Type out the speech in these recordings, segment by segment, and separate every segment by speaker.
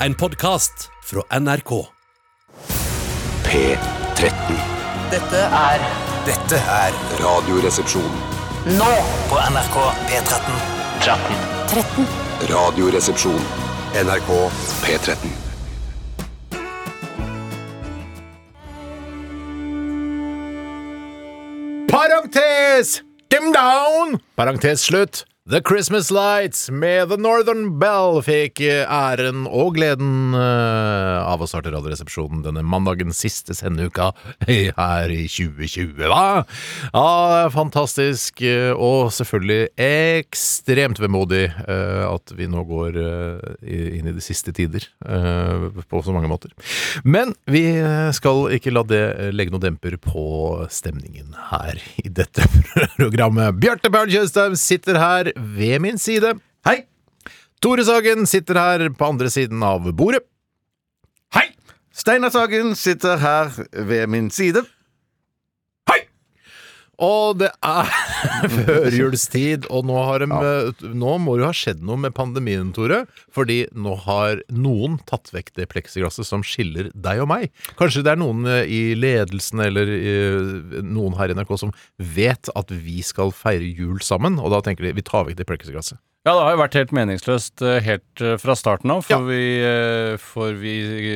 Speaker 1: En podkast fra NRK.
Speaker 2: P13.
Speaker 3: Dette er
Speaker 2: Dette er Radioresepsjon.
Speaker 3: nå på NRK P13. 13.
Speaker 2: Radioresepsjon. NRK P13.
Speaker 4: Parentes! Dim down! Parentes slutt. The Christmas Lights med The Northern Bell fikk eh, æren og gleden eh, av å starte Radioresepsjonen denne mandagen siste sendeuka eh, her i 2020, hva? Ja, det er fantastisk eh, og selvfølgelig ekstremt vemodig eh, at vi nå går eh, i- inn i de siste tider eh, på så mange måter. Men vi eh, skal ikke la det eh, legge noen demper på stemningen her i dette programmet. Bjarte Paul Tjøstheim sitter her ved min side. Hei! Tore Sagen sitter her på andre siden av bordet. Hei!
Speaker 5: Steinar Sagen sitter her ved min side.
Speaker 4: Og det er førjulstid, og nå, har de, eh, nå må det jo ha skjedd noe med pandemien, Tore. Fordi nå har noen tatt vekk det pleksiglasset som skiller deg og meg. Kanskje det er noen eh, i ledelsen eller eh, noen her i NRK som vet at vi skal feire jul sammen, og da tenker de vi tar vekk det pleksiglasset.
Speaker 6: Ja, det har jo vært helt meningsløst eh, helt eh, fra starten av,
Speaker 4: Ja.
Speaker 6: for, vi, eh, for vi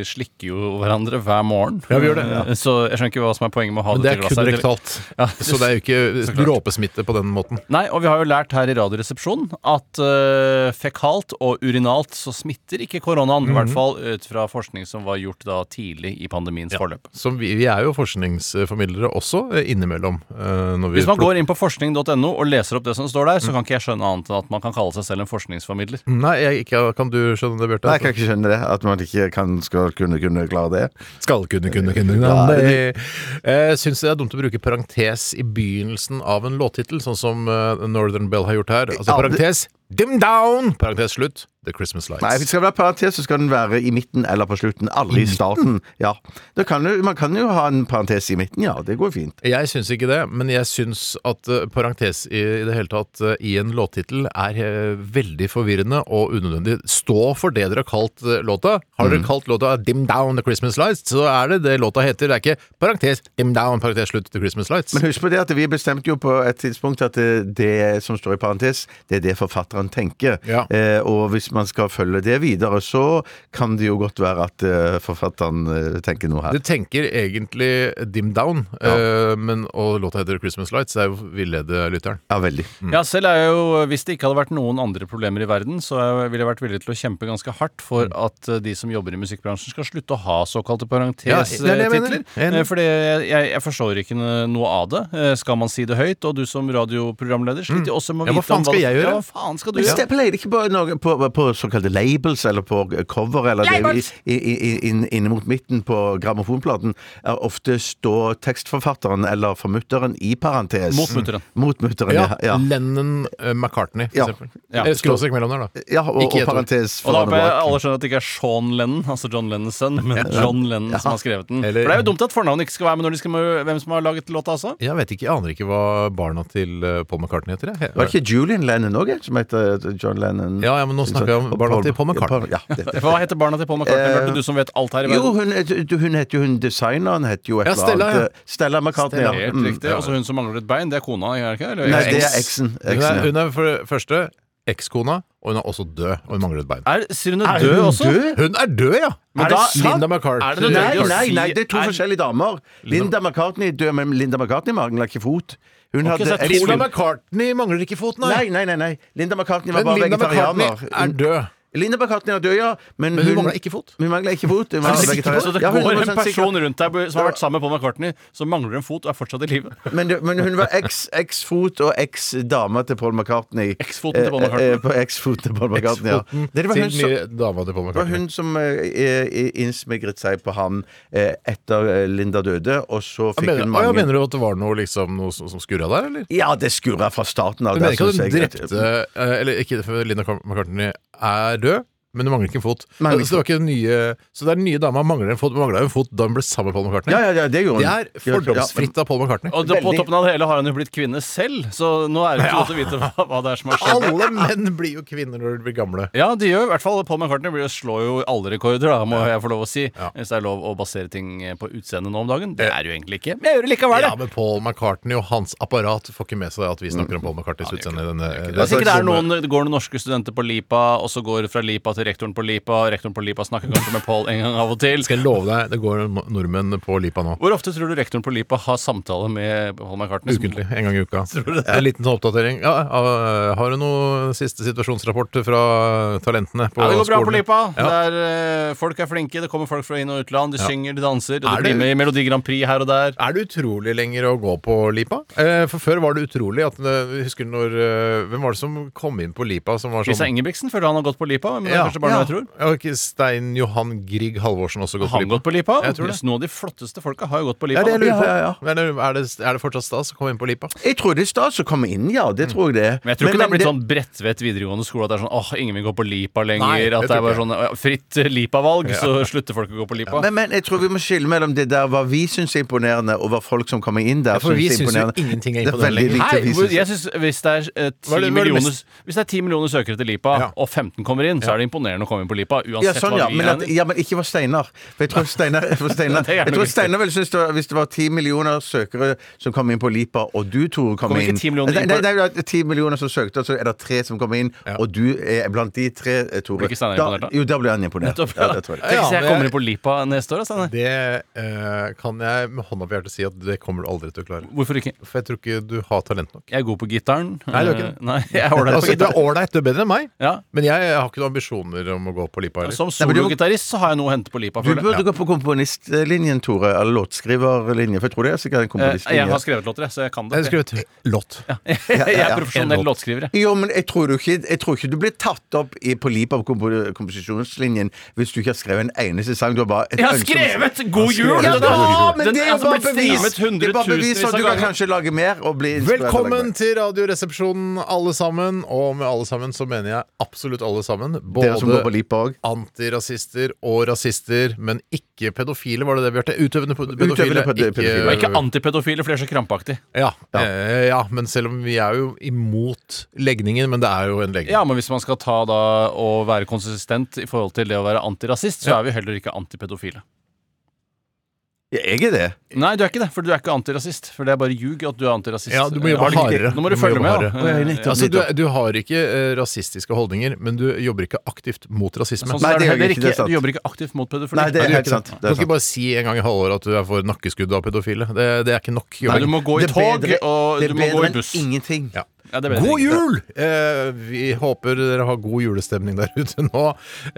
Speaker 6: slikker jo hverandre hver morgen.
Speaker 4: Ja, vi gjør det, ja.
Speaker 6: Eh, Så jeg skjønner ikke hva som er poenget med å ha
Speaker 4: Men det er kun
Speaker 6: til glasset.
Speaker 4: rektalt,
Speaker 6: Ja.
Speaker 4: så det er jo ikke dråpesmitte på den måten.
Speaker 6: Nei, og vi har jo lært her i Radioresepsjonen at eh, fekalt og urinalt så smitter ikke koronaen. I
Speaker 4: Mhm.
Speaker 6: hvert fall ut fra forskning som var gjort da tidlig i pandemiens forløp.
Speaker 4: Som vi, vi er jo forskningsformidlere også, eh, innimellom. eh, Når vi
Speaker 6: Hvis man
Speaker 4: plukker-
Speaker 6: går inn på forskning.no og leser opp det som står der, så kan ikke jeg skjønne annet enn at man kan kalle seg selv en forskningsformidler.
Speaker 4: Nei, jeg, ikke, kan du skjønne det, Bjarte?
Speaker 5: Nei, Jeg kan ikke skjønne det. At man ikke kan, skal kunne, kunne klare det.
Speaker 4: Skal kunne, kunne, kunne.
Speaker 5: Ja,
Speaker 4: kunne. Jeg Eh, syns det er dumt å bruke parentes i begynnelsen av en låttittel, sånn som eh, Northern Bell har gjort her. Altså
Speaker 5: Ja, det-
Speaker 4: parentes dim down! Parentes slutt. The Christmas
Speaker 5: Nei, hvis det
Speaker 4: Lights.
Speaker 5: skal være parentes, så skal den være i midten eller på slutten. Aldri i starten. Ja. Da kan du, man kan jo ha en parentes i midten, ja. Det går fint.
Speaker 4: Jeg syns ikke det, men jeg syns at eh, parentes i, i det hele tatt eh, i en låttittel er eh, veldig forvirrende og unødvendig. Stå for det dere har kalt eh, låta. Har
Speaker 5: Mm.
Speaker 4: dere kalt låta Dim Down The Christmas Lights, så er det det låta heter. Det er ikke parentes dim down, parentes slutt The Christmas Lights.
Speaker 5: Men husk på det at vi bestemte jo på et tidspunkt at det, det som står i parentes, det er det forfatteren tenker.
Speaker 4: Ja.
Speaker 5: Eh, og hvis man skal følge det videre, så kan det jo godt være at eh, forfatteren eh, tenker noe her.
Speaker 4: Du tenker egentlig Dim Down, eh, men, og låta heter Christmas Lights. Det er jo villede lytteren.
Speaker 5: Ja, veldig.
Speaker 4: Mm.
Speaker 6: Ja, selv er jeg jo, Hvis det ikke hadde vært noen andre problemer i verden, så er jeg- ville jeg vært villig til å kjempe ganske hardt for at eh, de som jobber i musikkbransjen skal slutte å ha såkalte
Speaker 4: Mm. Ja, det er det jeg mener.
Speaker 6: parentestitler.
Speaker 4: Enig.
Speaker 6: Ja, Eh, fordi jeg, jeg, jeg forstår ikke noe av det. Eh, Skal man si det høyt? Og du som radioprogramleder sliter jo også med å
Speaker 4: Mm. Ja,
Speaker 6: vite
Speaker 4: hva faen
Speaker 6: om
Speaker 4: skal jeg gjøre?
Speaker 6: Ja, hva faen skal du
Speaker 5: Men
Speaker 6: gjøre?
Speaker 5: det pleier ikke på, noe, på, på såkalte labels eller på cover eller det, i, i, i, inn- inne mot midten på grammofonplaten er ofte stå tekstforfatteren eller formutteren i parentes.
Speaker 6: Mot mutteren.
Speaker 5: Mot mutteren, ja. ja.
Speaker 4: Lennon eh, McCartney, for
Speaker 5: Ja.
Speaker 4: eksempel.
Speaker 6: Ja.
Speaker 4: Eh, Skråstrek mellom der, da.
Speaker 5: ja og,
Speaker 4: Ikke
Speaker 5: og
Speaker 4: et ord.
Speaker 5: parentes
Speaker 6: Og da
Speaker 5: foran
Speaker 6: håper
Speaker 5: og
Speaker 6: jeg
Speaker 5: bak.
Speaker 6: alle skjønner at det ikke er Sean Lennon, altså John Lennons sønn, men John Lennon som har skrevet den.
Speaker 4: Eller-
Speaker 6: For det er jo dumt at fornavnet ikke skal være med når de skal hvem som har laget låta, altså.
Speaker 4: Jeg vet ikke, jeg aner ikke hva barna til eh, Paul McCartney heter. Jeg.
Speaker 5: Var det ikke Julian Lennon òg, som heter John Lennon?
Speaker 4: Ja, ja, men nå snakker vi om
Speaker 5: Og
Speaker 4: barna til Paul McCartney.
Speaker 5: Ja, det- det-
Speaker 6: Hva heter barna til Paul McCartney?
Speaker 5: Eh,
Speaker 6: Bjarte, du som vet alt her i verden.
Speaker 5: Jo, hun, het- hun heter jo hun designeren het jo et
Speaker 4: Ja,
Speaker 5: eller
Speaker 4: Stella,
Speaker 5: annet. eh,
Speaker 4: ja.
Speaker 5: Stella McCartney. ja.
Speaker 6: Helt
Speaker 5: Mm.
Speaker 6: riktig. Også hun som mangler et bein, det er kona, er det ikke? Eller,
Speaker 5: Nei, det er
Speaker 6: eks.
Speaker 5: eksen.
Speaker 4: Hun
Speaker 5: eksen
Speaker 4: er,
Speaker 5: ja.
Speaker 4: hun er for det første ekskona, og hun er også død, og hun mangler et bein.
Speaker 6: Er Sirene død også?
Speaker 4: Hun er død, ja!
Speaker 6: Men
Speaker 4: er det
Speaker 6: da-
Speaker 4: Linda
Speaker 6: er det
Speaker 4: McCartney.
Speaker 6: nødvendig?
Speaker 5: Nei,
Speaker 6: å
Speaker 5: nei,
Speaker 6: si-
Speaker 5: nei, det er to
Speaker 6: er-
Speaker 5: forskjellige damer. Linda McCartney er død, men Linda McCartney mangler ikke fot. Hun
Speaker 6: Ok, så
Speaker 5: hadde
Speaker 6: er
Speaker 5: jeg-
Speaker 4: Linda McCartney mangler ikke foten,
Speaker 5: Nei, nei, nei, nei. Linda McCartney
Speaker 4: Men
Speaker 5: var bare
Speaker 4: Linda McCartney
Speaker 5: vegetarianer.
Speaker 4: er død.
Speaker 5: Linda McCartney er død, ja. Men,
Speaker 4: Men hun mangler ikke fot. Altså,
Speaker 5: Hun mangler ikke fot. Hun var
Speaker 6: Så det
Speaker 5: vegetarianer. Ja, hun
Speaker 6: går
Speaker 5: var
Speaker 6: en
Speaker 5: sånn
Speaker 6: person
Speaker 5: sikkert-
Speaker 6: rundt deg som har vært sammen med Paul McCartney, som mangler en fot og er fortsatt i live.
Speaker 5: men, det- men hun var eks- eks-fot og eks-dame til Paul McCartney.
Speaker 6: Eksfoten til Paul McCartney.
Speaker 5: Eh, eh, På eksfoten til Paul McCartney, ja.
Speaker 4: Foten
Speaker 5: Det var hun
Speaker 4: til
Speaker 5: som-
Speaker 4: nye dama til Paul
Speaker 5: Det var
Speaker 4: McCartney.
Speaker 5: hun som eh, eh, innsmigret seg på han eh, etter eh, Linda døde, og så fikk
Speaker 4: Mener,
Speaker 5: hun
Speaker 4: Å, ja,
Speaker 5: mange
Speaker 4: mener du at det var noe, liksom, noe som som skurra der, eller?
Speaker 5: Ja, det skurra fra starten av.
Speaker 4: Du mener
Speaker 5: Der
Speaker 4: ikke at
Speaker 5: synes
Speaker 4: hun
Speaker 5: jeg at-
Speaker 4: drepte eh, Eller ikke for Linda McCartney er død, men du mangler ikke en fot.
Speaker 5: Mangler ikke
Speaker 4: så, det var ikke den nye, så det er den nye dama mangler en fot, mangla en fot da hun ble sammen med Paul McCartney.
Speaker 5: Ja, ja, ja, det gjorde
Speaker 4: Det
Speaker 5: hun.
Speaker 4: er fordomsfritt av Paul McCartney.
Speaker 6: Og da, på
Speaker 5: Veldig.
Speaker 6: toppen av det hele har hun jo blitt kvinne selv, så nå er det ikke godt å vite hva, hva det er som har skjedd.
Speaker 4: Alle menn blir jo kvinner når de blir gamle.
Speaker 6: Ja, de gjør i hvert fall Paul McCartney blir, slår jo alle rekorder, da, må jeg få lov å si. Hvis det er lov å basere ting eh, på utseendet nå om dagen. Det er det jo egentlig ikke, men jeg gjør det likevel.
Speaker 4: Ja,
Speaker 6: jeg.
Speaker 4: men Paul McCartney og hans apparat får ikke med seg at vi snakker om Paul McCartneys utseende. i denne-
Speaker 6: Det er sikkert det er
Speaker 4: sånn-
Speaker 6: noen, det går noen norske studenter på Lipa, og så går det fra Lipa til rektoren på Lipa, og rektoren på Lipa snakker kanskje med Paul en gang av og til.
Speaker 4: Skal jeg love deg, det går no- nordmenn på lipa nå.
Speaker 6: Hvor ofte tror du rektoren på Lipa har samtale med Paul McCartney? som-
Speaker 4: Ukentlig. En gang i uka. En liten sånn oppdatering. Ja, ja, har du noe siste situasjonsrapport fra talentene på
Speaker 6: Ja, det går bra på
Speaker 4: skolen?
Speaker 6: Lipa.
Speaker 4: Ja.
Speaker 6: Det er, eh, folk er flinke. Det kommer folk fra inn- og utland. De synger, de danser. Og
Speaker 4: Er
Speaker 6: de blir
Speaker 4: det-
Speaker 6: med i Melodi Grand Prix her og der.
Speaker 4: Er det utrolig lenger å gå på Lipa? Eh, for før var det utrolig at eh, Husker du når eh, Hvem var det som kom inn på Lipa som var sånn
Speaker 6: Lisa Ingebrigtsen føler han har gått på Lipa. Men det er kanskje bare noe jeg tror.
Speaker 4: Ja, ikke Stein Johan Grieg Halvorsen også gått
Speaker 6: Har
Speaker 4: på
Speaker 6: han
Speaker 4: Lipa?
Speaker 6: gått på Lipa?
Speaker 4: Jeg tror det.
Speaker 6: Yes, Noen av de flotteste folka har jo gått på Lipa.
Speaker 4: Ja, det jeg lurer på.
Speaker 5: Ja, ja, ja.
Speaker 4: Men er det, er det fortsatt stas å komme inn på Lipa?
Speaker 5: Jeg tror det er stas å komme inn, ja. Det
Speaker 4: Mm.
Speaker 5: tror jeg det.
Speaker 6: Men jeg tror ikke det er blitt sånn Bredtvet videregående skole at det er sånn åh, ingen vil gå på Lipa lenger.
Speaker 4: Nei, det
Speaker 6: at det er
Speaker 4: tror
Speaker 6: bare
Speaker 4: jeg.
Speaker 6: sånn «Å, ja, fritt Lipa-valg, så slutter folk å gå på Lipa.
Speaker 5: Men, men jeg tror vi må skille mellom det der hva vi syns er imponerende, og hva folk som kommer inn der,
Speaker 4: for vi
Speaker 5: syns
Speaker 4: syns
Speaker 5: er
Speaker 4: jo
Speaker 5: imponerende.
Speaker 4: ingenting er
Speaker 5: Det
Speaker 4: imponerende
Speaker 5: veldig
Speaker 4: lenger.
Speaker 5: lite
Speaker 6: Nei,
Speaker 5: vi
Speaker 6: hvor-
Speaker 5: syns-
Speaker 6: jeg synes, hvis det er
Speaker 4: Hva er
Speaker 6: eh, 10
Speaker 4: det- hva er det
Speaker 6: millioner
Speaker 4: mest-
Speaker 6: Hvis det er 10 millioner søkere til Lipa,
Speaker 4: Ja.
Speaker 6: og 15 kommer inn, så er det imponerende å komme inn på Lipa. Uansett
Speaker 5: Ja, sånn, ja.
Speaker 6: hva vi
Speaker 5: Men, at,
Speaker 6: mener.
Speaker 5: ja, men ikke for Steinar. For jeg tror Steinar, for Steinar,
Speaker 6: Det er
Speaker 5: jeg
Speaker 6: noe
Speaker 5: tror Steinar ville synes det var, hvis det var ti millioner søkere som kom inn på Lipa, og du, Tore, kom
Speaker 6: Kommer ikke
Speaker 5: inn
Speaker 6: 10 millioner
Speaker 5: Nei,
Speaker 6: inn
Speaker 5: nei,
Speaker 6: på-
Speaker 5: nei, det er ti millioner som søkte, og så er det tre som kom inn, og du er blant de tre, eh, Tore.
Speaker 6: Blir ikke Steinar
Speaker 5: Da-
Speaker 6: imponert da?
Speaker 5: Jo, da blir han imponert.
Speaker 6: Nettopp,
Speaker 5: Ja,
Speaker 6: ja.
Speaker 5: det tror jeg.
Speaker 6: Tenk
Speaker 4: Ja,
Speaker 6: hvis jeg
Speaker 4: men
Speaker 6: kommer
Speaker 4: jeg-
Speaker 6: inn på Lipa neste år, da, Steinar.
Speaker 4: Det eh, kan jeg med hånda på hjertet si at det kommer du aldri til å klare.
Speaker 6: Hvorfor ikke?
Speaker 4: For jeg tror ikke du har talent nok.
Speaker 6: Jeg er god på gitaren.
Speaker 4: Nei, du er ikke det.
Speaker 6: Eh, Nei, jeg er ålreit på
Speaker 4: Altså, du er
Speaker 6: gitar.
Speaker 4: ålreit, du er bedre enn meg,
Speaker 6: Ja.
Speaker 4: men jeg har ikke noen ambisjoner om å gå på Lipa heller.
Speaker 6: Som
Speaker 5: Nei, men du-
Speaker 6: sologitarist så har jeg noe å hente på Lipa.
Speaker 5: Du
Speaker 6: føler jeg.
Speaker 5: burde gå på komponistlinjen, Tore, eller låtskriverlinjen, for jeg tror det er sikkert en
Speaker 6: Eh, Jeg
Speaker 5: komponistlinje.
Speaker 6: har skrevet låter, jeg, så jeg kan
Speaker 4: Jeg
Speaker 6: det.
Speaker 4: har
Speaker 5: Eh,
Speaker 4: skrevet låt.
Speaker 5: ja,
Speaker 6: Jeg
Speaker 5: ja.
Speaker 6: er profesjonell
Speaker 4: En låt.
Speaker 6: låtskriver. jeg.
Speaker 5: Jo, men jeg tror, du ikke, jeg tror ikke du blir tatt opp i, på Lipa på kompo- komposisjonslinjen hvis du ikke har skrevet en eneste sang. Du har bare et
Speaker 6: Jeg har
Speaker 5: ønske om-
Speaker 6: skrevet 'God jul'!
Speaker 5: Ja,
Speaker 6: Den er-
Speaker 5: da, men
Speaker 6: den
Speaker 5: det er jo
Speaker 6: altså
Speaker 5: bare
Speaker 6: blitt
Speaker 5: bevis.
Speaker 6: filmet
Speaker 5: Det er bare bevis
Speaker 6: hundretusenvis
Speaker 5: at
Speaker 6: av
Speaker 5: du kan
Speaker 6: ganger.
Speaker 5: kanskje lage mer og bli inspirert av å lage
Speaker 4: Velkommen
Speaker 5: mer.
Speaker 4: til Radioresepsjonen, alle sammen. Og med alle sammen så mener jeg absolutt alle sammen.
Speaker 5: Dere som går på
Speaker 4: Både
Speaker 5: Lipa òg.
Speaker 4: antirasister og rasister, men ikke pedofile, var det det, Bjarte? Utøvende pe- pedofile.
Speaker 5: Utøvende ped- pedofile.
Speaker 6: Og ikke antipedofile, for det er så krampaktig.
Speaker 4: Ja, eh, ja, men selv om vi er jo imot legningen, men det er jo en legning.
Speaker 6: Ja, men hvis man skal ta da og være konsistent i forhold til det å være antirasist, så er vi heller ikke antipedofile.
Speaker 5: Ja, jeg er det.
Speaker 6: Nei, du er ikke det, for du er ikke antirasist. For det er bare ljug at du er antirasist.
Speaker 4: Ja, du må jobbe
Speaker 6: Har ikke-
Speaker 4: hardere.
Speaker 6: Nå må du,
Speaker 4: Du må
Speaker 6: følge
Speaker 4: jobbe
Speaker 6: med,
Speaker 4: hardere.
Speaker 6: da.
Speaker 5: Å, ja, nettopp.
Speaker 4: Altså, du, du har ikke eh, rasistiske holdninger, men du jobber ikke aktivt mot rasisme.
Speaker 5: Nei,
Speaker 6: Sånn så
Speaker 5: det
Speaker 6: er det
Speaker 5: gjør jeg
Speaker 6: heller
Speaker 5: ikke, det er
Speaker 6: ikke,
Speaker 5: sant.
Speaker 6: du jobber ikke aktivt mot pedofili.
Speaker 5: Nei, det er
Speaker 4: du gjør
Speaker 5: helt
Speaker 4: ikke
Speaker 5: sant.
Speaker 4: det. Du
Speaker 5: Det
Speaker 4: kan
Speaker 5: er
Speaker 4: ikke
Speaker 5: sant.
Speaker 4: bare si en gang i halvåret at du er for nakkeskudd av pedofile. Det, det er ikke nok.
Speaker 6: Nei,
Speaker 4: jobbing.
Speaker 6: du må gå i
Speaker 5: Det er
Speaker 6: tog,
Speaker 5: bedre-
Speaker 6: og
Speaker 5: det
Speaker 6: du
Speaker 5: er
Speaker 6: må gå
Speaker 5: bedre
Speaker 6: i
Speaker 5: enn
Speaker 6: buss.
Speaker 5: ingenting.
Speaker 4: Ja.
Speaker 6: Ja, det er bedre.
Speaker 4: God jul! Eh, vi håper dere har god julestemning der ute nå.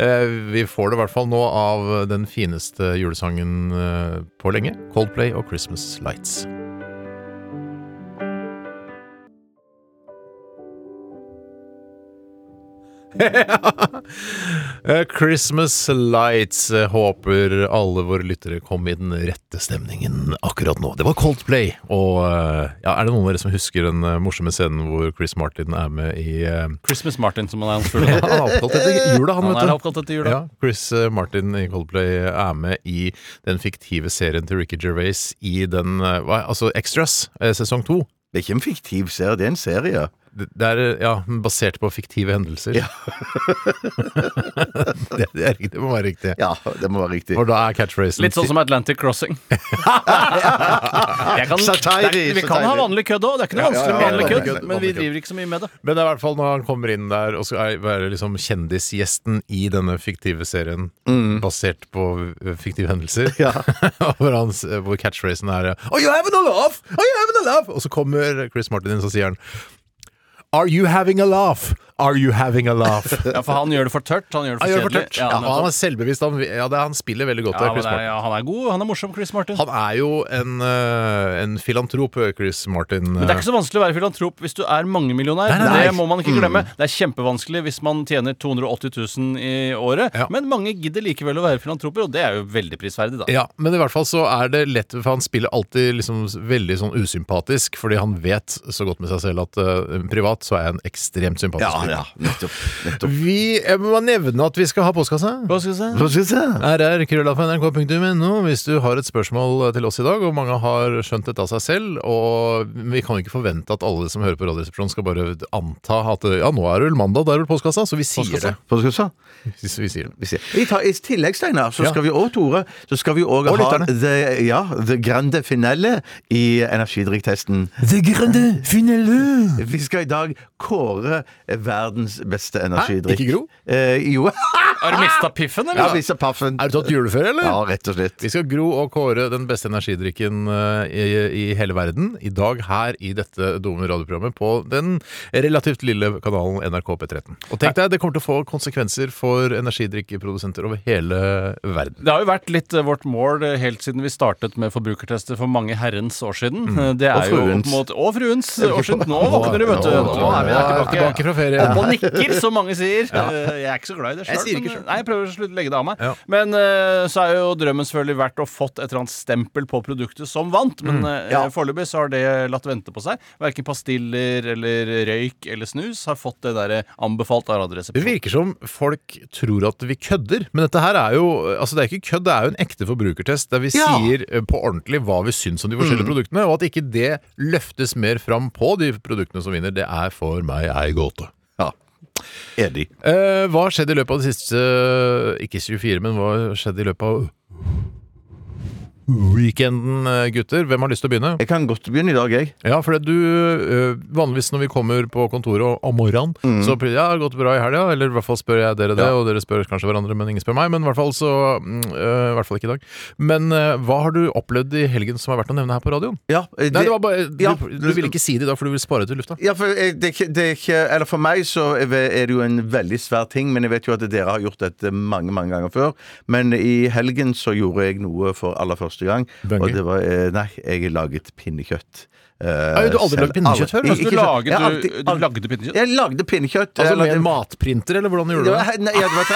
Speaker 4: Eh, vi får det i hvert fall nå av den fineste julesangen eh, på lenge. Coldplay og Christmas Lights. Eh, Christmas Lights. Eh, Håper alle våre lyttere kom i den rette stemningen akkurat nå. Det var Coldplay. Og eh, ja, er det noen av dere som husker den eh, morsomme scenen hvor Chris Martin er med i eh,
Speaker 6: Christmas Martin, som han er. Han,
Speaker 4: Han er oppkalt etter jula, han,
Speaker 6: han er
Speaker 4: vet du.
Speaker 6: oppkalt etter jula.
Speaker 4: Ja, Chris eh, Martin i Coldplay er med i den fiktive serien til Ricky Gervais i den eh, hva, altså Extras, eh, sesong to.
Speaker 5: Det er ikke en fiktiv serie, det er en serie.
Speaker 4: Det det er eh, ja, basert på fiktive hendelser. det, det, er, riktig, det må være riktig.
Speaker 5: Ja, det må være riktig.
Speaker 4: Og da er catchphrasen
Speaker 6: Litt sånn som Atlantic Crossing. Jeg kan,
Speaker 5: Satire,
Speaker 6: det er- vi kan ha
Speaker 5: satire.
Speaker 6: vanlig kødd òg, det er ikke noe
Speaker 5: Ja, ja,
Speaker 6: vanskelig med
Speaker 5: ja,
Speaker 6: vanlig
Speaker 5: vanlig
Speaker 6: kødd,
Speaker 5: kødd,
Speaker 6: men vi
Speaker 5: vanlig kødd.
Speaker 6: driver ikke så mye med det.
Speaker 4: Men det er i hvert fall når han kommer inn der og skal være liksom kjendisgjesten i denne fiktive serien,
Speaker 6: Mm.
Speaker 4: basert på ø, fiktive hendelser, Og hvor, han, s- eh, hvor catchphrasen er Oh, you having a laugh? Are you having a laugh? Og så kommer Chris Martin inn, så sier han Are you having a laugh? Are you having a laugh?
Speaker 6: Ja, For han gjør det for tørt. Han gjør det
Speaker 4: Han
Speaker 6: for
Speaker 4: gjør det for
Speaker 6: kjedelig.
Speaker 4: tørt.
Speaker 6: Ja,
Speaker 4: Ja,
Speaker 6: nettopp.
Speaker 4: han er selvbevisst. Han, ja, det, er- han spiller veldig godt.
Speaker 6: ja,
Speaker 4: der,
Speaker 6: men
Speaker 4: Chris
Speaker 6: det er-
Speaker 4: Martin.
Speaker 6: ja, han er god, han er morsom, Chris Martin.
Speaker 4: Han er jo en, ø, en filantrop, eh, Chris Martin.
Speaker 6: Men det er ikke så vanskelig å være filantrop hvis du er mangemillionær.
Speaker 4: Nei, nei, nei.
Speaker 6: Det må man ikke glemme. Det er kjempevanskelig hvis man tjener 280 000 i året.
Speaker 4: Ja.
Speaker 6: Men mange gidder likevel å være filantroper, og det er jo veldig prisverdig, da.
Speaker 4: eh. Ja, men i hvert fall så er det lett, for han spiller alltid liksom veldig sånn usympatisk, fordi han vet så godt med seg selv at eh, privat så er jeg en ekstremt sympatisk
Speaker 5: Ja, ja. Nettopp. nettopp.
Speaker 4: Vi jeg må nevne at vi skal ha postkasse.
Speaker 6: Hva skal jeg si?
Speaker 5: Hva skal jeg si?
Speaker 4: rr.nrk.no hvis du har et spørsmål til oss i dag, og mange har skjønt dette av seg selv. Og vi kan jo ikke forvente at alle som hører på Radioresepsjonen skal bare anta at ja, nå er det vel mandag, da er det vel postkassa. Så vi sier
Speaker 5: Hva skal jeg si?
Speaker 4: det. Vi, vi sier det.
Speaker 5: Vi ser. I, ta, I tillegg, Steinar, så
Speaker 4: Ja.
Speaker 5: skal vi og Tore, så skal vi òg
Speaker 4: Og
Speaker 5: ha
Speaker 4: lytterne.
Speaker 5: the, ja, the grande finale i energidrikktesten. Vi skal i dag kåre verdens beste energidrikk.
Speaker 4: Ikke Gro? Ah,
Speaker 5: Eh, jo.
Speaker 6: Har du mista piffen,
Speaker 5: ja,
Speaker 6: eller?
Speaker 5: vi ser paffen.
Speaker 4: Er sånn? du tatt juleføre, eller?
Speaker 5: Ja, rett og slett.
Speaker 4: Vi skal gro og kåre den beste energidrikken eh, i, i hele verden. I dag her i dette dumme radioprogrammet på den relativt lille kanalen NRK P13. Og tenk deg, det kommer til å få konsekvenser for energidrikkeprodusenter over hele verden.
Speaker 6: Det har jo vært litt eh, vårt mål eh, helt siden vi startet med forbrukertester for mange herrens år siden. Eh, Det er
Speaker 5: Og
Speaker 6: jo
Speaker 5: fruens.
Speaker 6: opp mot Og fruens år siden. Nå våkner du, vet du.
Speaker 5: Nå
Speaker 6: Nå er vi
Speaker 4: Jeg
Speaker 6: her
Speaker 4: er tilbake
Speaker 6: tilbake.
Speaker 4: fra ferie.
Speaker 6: Opp og nikker, som mange sier. Eh, Jeg er ikke så glad i det
Speaker 4: Jeg
Speaker 6: selv,
Speaker 4: sier ikke
Speaker 6: men- eh,
Speaker 4: selv.
Speaker 6: Nei, jeg prøver å slutte å legge det av meg.
Speaker 4: Ja.
Speaker 6: Men eh, så er jo drømmen selvfølgelig vært å fått et eller annet stempel på produktet som vant,
Speaker 4: Mm.
Speaker 6: men eh,
Speaker 5: Ja.
Speaker 6: foreløpig så har det latt vente på seg. Verken pastiller eller røyk eller snus har fått det derre anbefalt av
Speaker 4: Det
Speaker 6: Radioresepsjonen.
Speaker 4: virker som folk tror at vi kødder, men dette her er jo altså det er ikke kødd, det er jo en ekte forbrukertest der vi
Speaker 5: Ja.
Speaker 4: sier eh, på ordentlig hva vi syns om de
Speaker 6: Mm.
Speaker 4: forskjellige produktene, og at ikke det løftes mer fram på de produktene som vinner, det er for meg ei gåte.
Speaker 5: Ja. Enig.
Speaker 4: Eh, hva har skjedd i løpet av de siste Ikke 24, men hva har skjedd i løpet av weekenden, eh, gutter? Hvem har lyst til å begynne?
Speaker 5: Jeg kan godt begynne i dag, jeg.
Speaker 4: Ja, for det du eh, Vanligvis når vi kommer på kontoret og- om morgenen,
Speaker 5: Mm.
Speaker 4: så blir det ja, har det gått bra i helga, eller i hvert fall spør jeg dere det, og dere spør kanskje hverandre, men ingen spør meg, men i hvert fall så mm, eh, I hvert fall ikke i dag. Men eh, hva har du opplevd i helgen som er verdt å nevne her på radioen?
Speaker 5: Ja, eh,
Speaker 4: Nei, det var bare Du,
Speaker 5: ja,
Speaker 4: du ville ikke si det i dag, for du vil spare det til lufta.
Speaker 5: Ja, for, jeg, det, er ikke- det er ikke, eller for meg så er det er det jo en veldig svær ting, men jeg vet jo at dere har gjort dette mange mange ganger før. Men i helgen så gjorde jeg noe for aller første gang.
Speaker 4: Bungee?
Speaker 5: Og det var, eh, nei, jeg laget pinnekjøtt. Eh,
Speaker 4: Har du aldri lagd
Speaker 5: selv.
Speaker 4: pinnekjøtt før?
Speaker 5: Aldri.
Speaker 4: Altså,
Speaker 6: Du,
Speaker 5: Ikke-
Speaker 6: laget,
Speaker 5: jeg har
Speaker 6: du,
Speaker 5: alltid-
Speaker 6: du lagde pinnekjøtt?
Speaker 5: Jeg lagde pinnekjøtt.
Speaker 4: Altså
Speaker 5: Jeg
Speaker 4: med
Speaker 5: lagde-
Speaker 4: en matprinter, eller hvordan gjorde du det?
Speaker 5: Ja, Nei, jeg vet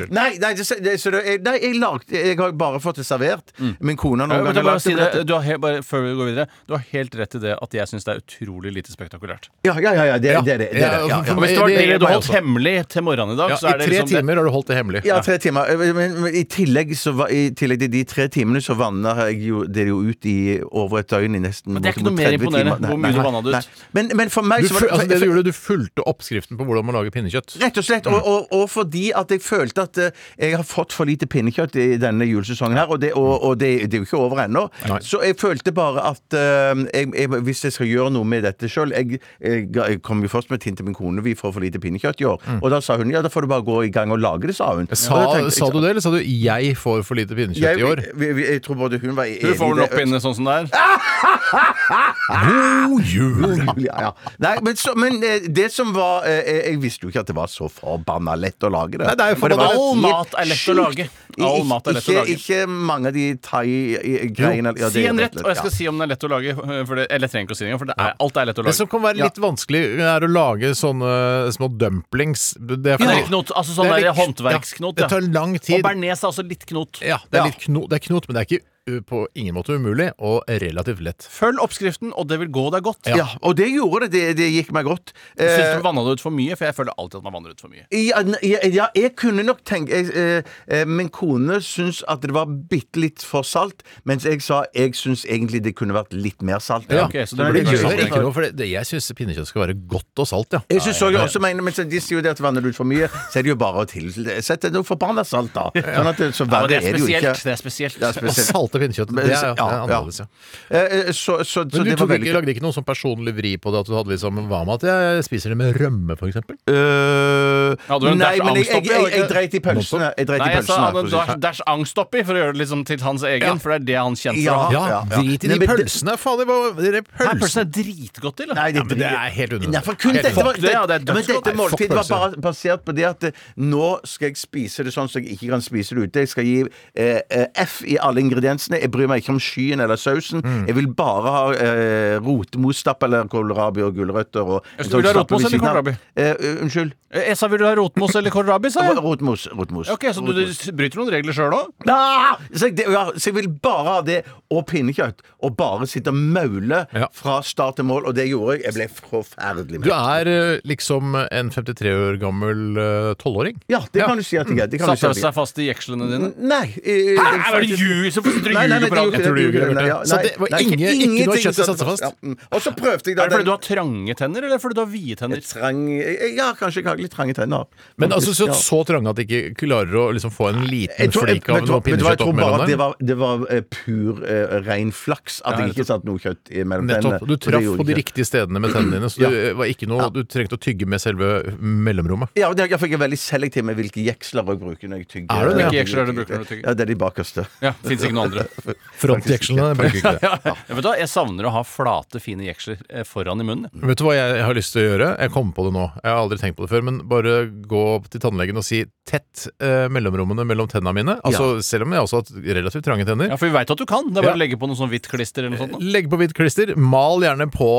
Speaker 5: det. Nei, nei, det, det, så det, nei, jeg lagde Jeg har bare fått det servert. Min kone har
Speaker 6: Ja,
Speaker 5: noen
Speaker 6: men
Speaker 5: ganger
Speaker 6: da bare
Speaker 5: lagd
Speaker 6: si
Speaker 5: det.
Speaker 6: det, du har helt, bare, før vi går videre, du har helt rett i det at jeg syns det er utrolig lite spektakulært.
Speaker 5: Ja, ja, ja. ja, Det er det. det, er det,
Speaker 4: Ja,
Speaker 5: ja, ja.
Speaker 4: for-
Speaker 6: Og hvis det var
Speaker 4: Det-
Speaker 6: det,
Speaker 4: det
Speaker 6: du
Speaker 4: meg
Speaker 6: holdt
Speaker 4: også.
Speaker 6: hemmelig til morgenen i dag,
Speaker 4: Ja, I
Speaker 6: så er det
Speaker 4: tre
Speaker 6: liksom det-
Speaker 4: timer har du holdt det hemmelig.
Speaker 5: Ja, tre timer. Eh, Men, men i, tillegg så var, i tillegg til de tre timene så vanna jeg jo, det jo ut i over et døgn i nesten
Speaker 6: Men det er ikke
Speaker 5: bortimot
Speaker 6: noe mer
Speaker 5: 30
Speaker 6: imponerende
Speaker 5: timer.
Speaker 6: hvor
Speaker 5: Nei,
Speaker 6: mye du
Speaker 5: nei,
Speaker 6: vannet det ut.
Speaker 5: nei. Men, men for meg
Speaker 4: Du,
Speaker 5: så var
Speaker 4: fu-
Speaker 5: det
Speaker 4: altså, det du gjorde, du fulgte oppskriften på hvordan man lager pinnekjøtt.
Speaker 5: Rett og slett. Og, og, og fordi at jeg følte at eh, jeg har fått for lite pinnekjøtt i denne julesesongen her, og det, og, og det, det er jo ikke over ennå. Så jeg følte bare at eh, jeg, jeg, hvis jeg skal gjøre noe med dette sjøl jeg, jeg, ga- jeg kom jo først med tinn til min kone, vi får for lite pinnekjøtt i år.
Speaker 6: Mm.
Speaker 5: Og da sa hun ja, da får du bare gå i gang og lage det, sa hun.
Speaker 4: Sa,
Speaker 5: Og da tenkte jeg-
Speaker 4: sa du det, eller sa du 'jeg får for lite pinnekjøtt
Speaker 5: Jeg,
Speaker 4: i år'?
Speaker 5: vi- vi- jeg tror både hun var enig
Speaker 6: Du får vel
Speaker 5: i
Speaker 6: opp inne sånn som det er.
Speaker 5: Ah!
Speaker 4: God jul!
Speaker 5: Ja, ja. Nei, men, så, men eh, det som var eh, eh, Jeg visste jo ikke at det var så forbanna lett å lage det.
Speaker 4: Nei, det er jo
Speaker 5: For
Speaker 4: forbanna
Speaker 5: var
Speaker 6: lett.
Speaker 5: helt
Speaker 6: All mat er lett å
Speaker 5: sjukt.
Speaker 6: lage. All
Speaker 5: Ik-
Speaker 6: mat er lett å
Speaker 5: ikke-
Speaker 6: lage.
Speaker 5: Ikke mange av de thai-greiene. Ja, det
Speaker 6: Si
Speaker 5: er
Speaker 6: en
Speaker 5: rett
Speaker 6: rett, og jeg skal
Speaker 5: ja.
Speaker 6: si om den er lett å lage. eh, For det, eller jeg trenger ikke å si det engang, for det er, alt er lett å
Speaker 4: Det
Speaker 6: lage.
Speaker 4: som kan være litt vanskelig, er å lage sånne eh, små dumplings. Det er,
Speaker 6: Ja, det er litt knot, altså sånn
Speaker 4: Det er
Speaker 6: der
Speaker 4: litt-
Speaker 6: håndverksknot.
Speaker 4: Ja, det tar lang tid.
Speaker 6: Og bearnés er også litt knot.
Speaker 4: Ja, det er litt knot, det er knot, men det er ikke uh, på ingen måte umulig, og relativt lett.
Speaker 6: Følg oppskriften, og det vil gå deg godt.
Speaker 5: Ja. og det gjorde det. Det, det gikk meg godt.
Speaker 6: Jeg
Speaker 5: Eh,
Speaker 6: Syns du vanna det ut for mye? For jeg føler alltid at man vanner ut for mye.
Speaker 5: Ja, n- ja, ja, jeg kunne nok tenke jeg, eh, eh, Min kone syns at det var bitte litt for salt, mens jeg sa jeg syns egentlig det kunne vært litt mer salt.
Speaker 4: Ja.
Speaker 6: ok, så det sånn.
Speaker 5: Men
Speaker 4: Det
Speaker 5: det
Speaker 6: blir kanskje
Speaker 5: gjør
Speaker 4: gjør
Speaker 6: salt.
Speaker 5: jeg
Speaker 4: ikke noe, for det, det- jeg syns pinnekjøtt skal være godt og salt, ja.
Speaker 5: Jeg synes også, jeg også mener, men så De sier jo det at vanner du ut for mye, så er det jo bare å tilsette noe forbanna salt, da. Sånn at det, så
Speaker 6: Ja, men
Speaker 5: verre
Speaker 6: det
Speaker 5: er
Speaker 6: er
Speaker 5: det jo ikke.
Speaker 6: spesielt. Det er spesielt.
Speaker 5: Det er
Speaker 4: Og
Speaker 5: spesielt.
Speaker 4: salte pinnekjøtt. Det er, ja, det er annerledes, ja.
Speaker 5: Eh, eh, Så, så, så
Speaker 4: Men du
Speaker 5: det var
Speaker 4: tok ikke,
Speaker 5: veldig
Speaker 4: lagde ikke noen sånn personlig vri på det? At du hadde liksom Hva med at jeg spiser det med rømme, for eksempel?
Speaker 5: Øh,
Speaker 6: Ja, du har en
Speaker 5: Eh, Nei, men
Speaker 6: dash
Speaker 5: jeg, jeg,
Speaker 6: angststopp,
Speaker 5: jeg, jeg
Speaker 6: ikke?
Speaker 5: dreit i pølsene. Jeg dreit
Speaker 6: Nei,
Speaker 5: i
Speaker 6: jeg sa
Speaker 5: pølsene.
Speaker 6: han
Speaker 5: for å si det
Speaker 6: dash, dash angst oppi, for å gjøre det liksom til hans egen,
Speaker 4: Ja.
Speaker 6: for det er det han kjente
Speaker 5: Ja.
Speaker 6: fra.
Speaker 4: Ja, drit i
Speaker 5: Nei,
Speaker 4: de
Speaker 5: men det-
Speaker 4: pølsene! Fader, hva Dere
Speaker 6: Her
Speaker 4: pølsene
Speaker 6: pølsen er dritgodt til. da.
Speaker 5: Nei,
Speaker 4: Ja, men det er helt unødvendig.
Speaker 5: Nei, for kun
Speaker 4: Helt
Speaker 5: dette, var,
Speaker 6: unødvendig. Ja, det er
Speaker 5: ja, men
Speaker 6: dødsgodt.
Speaker 5: dette
Speaker 4: Nei, fuck
Speaker 5: måltidet var
Speaker 4: pølse.
Speaker 5: bare basert på det at eh, nå skal jeg spise det sånn så jeg ikke kan spise det ute. Jeg skal gi eh, eh, F i alle ingrediensene. Jeg bryr meg ikke om skyen eller sausen.
Speaker 6: Mm.
Speaker 5: Jeg vil bare ha eh, rotmosstapp eller kålrabi og gulrøtter. Og
Speaker 6: Øystein, vil du ha
Speaker 5: stappe ved
Speaker 6: rotmos eller
Speaker 5: siden av.
Speaker 6: kålrabi?
Speaker 5: Eh, unnskyld.
Speaker 6: Eh, Esa, vil du ha rotmos eller kålrabi, sa jeg?
Speaker 5: Rotmos. rotmos.
Speaker 6: Ok, Så du, du bryter noen regler sjøl òg?
Speaker 5: Ah! Så, jeg, det- ja, så jeg vil bare ha det og pinnekjøtt, og bare sitte og maule
Speaker 4: Ja.
Speaker 5: fra start til mål. Og det gjorde jeg. Jeg ble forferdelig
Speaker 4: Du
Speaker 5: mett.
Speaker 4: er eh, liksom en 53 år gammel eh, tolvåring.
Speaker 5: Ja, det kan du si at jeg er. Det kan du si
Speaker 6: Satte
Speaker 5: at jeg
Speaker 6: seg fast i jekslene dine?
Speaker 5: er. Nei. eh,
Speaker 6: Hæ, er det ljug? Hvorfor sitter du og ljuger på radio?
Speaker 4: Jeg tror du ljuger, Bjarte. Så det var ingen- ikke noe kjøtt i satsa fast.
Speaker 5: mm. Og så prøvde jeg da
Speaker 6: Er det fordi du har trange tenner, eller fordi du har vide tenner?
Speaker 5: trang, Ja, kanskje jeg har litt trange tenner.
Speaker 4: Men altså, så,
Speaker 5: Ja.
Speaker 4: så trange at de ikke klarer å liksom få en liten
Speaker 5: Jeg tror, jeg,
Speaker 4: flik av
Speaker 5: vet du hva-
Speaker 4: noe
Speaker 5: vet du hva, jeg
Speaker 4: pinnekjøtt
Speaker 5: tror
Speaker 4: opp
Speaker 5: bare
Speaker 4: mellom
Speaker 5: at det
Speaker 4: der.
Speaker 5: var, det var eh, pur, eh, ren flaks at
Speaker 6: Ja,
Speaker 5: jeg ikke satt noe kjøtt i mellom tennene.
Speaker 4: Nettopp. Du
Speaker 5: og det
Speaker 4: traff
Speaker 5: gjorde
Speaker 4: på de
Speaker 5: jeg ikke.
Speaker 4: riktige stedene med tennene dine, så
Speaker 5: eh, Ja.
Speaker 4: du, eh, var ikke noe, du trengte å tygge med selve mellomrommet.
Speaker 5: Ja, og det, jeg fikk veldig selektiv med hvilke jeksler jeg bruker når jeg tygger.
Speaker 4: Er det det? Hvilke
Speaker 6: jeksler er det du bruker når du tygger?
Speaker 5: Ja, Det er de bakerste.
Speaker 6: Ja, Fins ikke noen andre.
Speaker 4: Frontjekslene bruker ikke det.
Speaker 6: Ja, vet du hva, Jeg savner å ha flate, fine jeksler eh, foran i munnen.
Speaker 4: Vet du hva jeg har lyst til å gjøre? Jeg kom på det nå. Jeg har aldri tenkt på det før. Men bare gå opp til tannlegen og si 'tett eh, mellomrommene mellom tennene mine'. Altså, Selv om jeg også har hatt relativt trange tenner.
Speaker 6: Ja, For vi veit at du kan. Det er bare
Speaker 4: Ja.
Speaker 6: å legge på noe sånn hvitt klister eller noe sånt. nå.
Speaker 4: Legg på hvitt klister. Mal gjerne på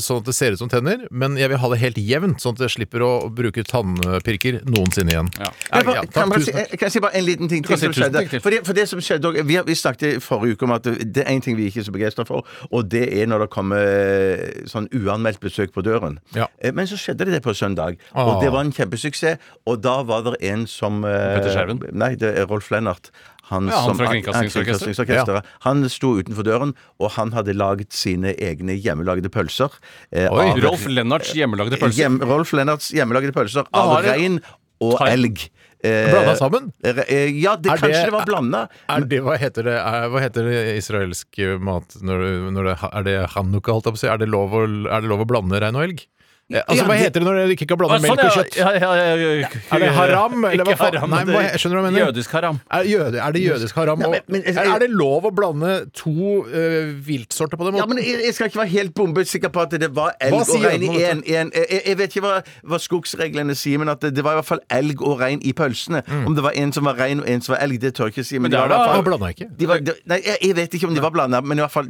Speaker 4: sånn at det ser ut som tenner, men jeg vil ha det helt jevnt, sånn at jeg slipper å bruke tannpirker noensinne igjen.
Speaker 6: Ja.
Speaker 4: Er
Speaker 5: Jeg
Speaker 4: det
Speaker 5: bare-
Speaker 4: greit?
Speaker 5: Kan jeg
Speaker 4: Takk,
Speaker 5: bare si-
Speaker 4: tusen takk.
Speaker 5: kan jeg si bare en liten ting
Speaker 6: kan
Speaker 5: til
Speaker 6: si
Speaker 5: som
Speaker 6: tusen
Speaker 5: skjedde?
Speaker 6: takk til.
Speaker 5: For det, for det som skjedde også- vi, har- vi snakket i forrige uke om at det er én ting vi ikke er så begeistra for, og det er når det kommer eh, sånn uanmeldt besøk på døren.
Speaker 4: Ja.
Speaker 5: Eh, Men så skjedde det det på søndag,
Speaker 4: Ah.
Speaker 5: og det var en kjempesuksess. Og da var det en som eh,
Speaker 6: Petter Skjerven?
Speaker 5: Nei, det er Rolf Lennart. Han,
Speaker 6: Ja, han
Speaker 5: som-
Speaker 6: fra Kringkastingsorkesteret.
Speaker 5: Kringkastingsorkesteret. Han sto utenfor døren, og han hadde laget sine egne hjemmelagde pølser. eh,
Speaker 4: Oi,
Speaker 5: av-
Speaker 6: Rolf Lennarts hjemmelagde pølser.
Speaker 5: Hjem, Rolf Lennarts hjemmelagde pølser av
Speaker 6: har det-
Speaker 5: rein og
Speaker 6: Thai-
Speaker 5: elg. Eh,
Speaker 4: Blanda sammen?
Speaker 5: re- eh, Ja, det,
Speaker 4: Er det-
Speaker 5: kanskje det var blanda.
Speaker 4: Er det, hva, heter det, er, hva heter det israelsk eh, mat når, du- når det, Er det hanukka, holdt jeg på å si? Er det lov å, er det lov å blande rein og elg? Eh, Altså,
Speaker 5: Ja,
Speaker 4: Hva
Speaker 5: det-
Speaker 4: heter det når dere ikke kan
Speaker 6: Å, sånn,
Speaker 4: blande melk og kjøtt?
Speaker 6: ja, ja, ja, ja, ja.
Speaker 4: Er det haram, eller hva
Speaker 6: Ikke
Speaker 4: faen?
Speaker 6: haram,
Speaker 4: Nei,
Speaker 6: det-
Speaker 4: hva- skjønner du hva jeg mener?
Speaker 6: Jødisk haram.
Speaker 4: Er, jøde, er det jødisk haram?
Speaker 5: Nei,
Speaker 4: og-
Speaker 5: men- men-
Speaker 4: er, er det lov å blande to eh, viltsorter på den
Speaker 5: Ja,
Speaker 4: måten?
Speaker 5: men jeg, jeg skal ikke være helt bombesikker på at det var elg
Speaker 4: Hva
Speaker 5: og
Speaker 4: sier
Speaker 5: rein i
Speaker 4: den om dette?
Speaker 5: én. Jeg, jeg vet ikke hva, hva skogsreglene sier, men at det, det var i hvert fall elg og rein i pølsene.
Speaker 4: Mm.
Speaker 5: Om det var en som var rein og en som var elg, det tør jeg ikke si. Men,
Speaker 6: det
Speaker 5: de
Speaker 6: er
Speaker 5: var i
Speaker 6: da-
Speaker 5: hvert
Speaker 4: Hva
Speaker 5: fall-
Speaker 4: blanda jeg ikke?
Speaker 5: de var, de, nei, jeg, jeg vet ikke om de var blanda, men i hvert fall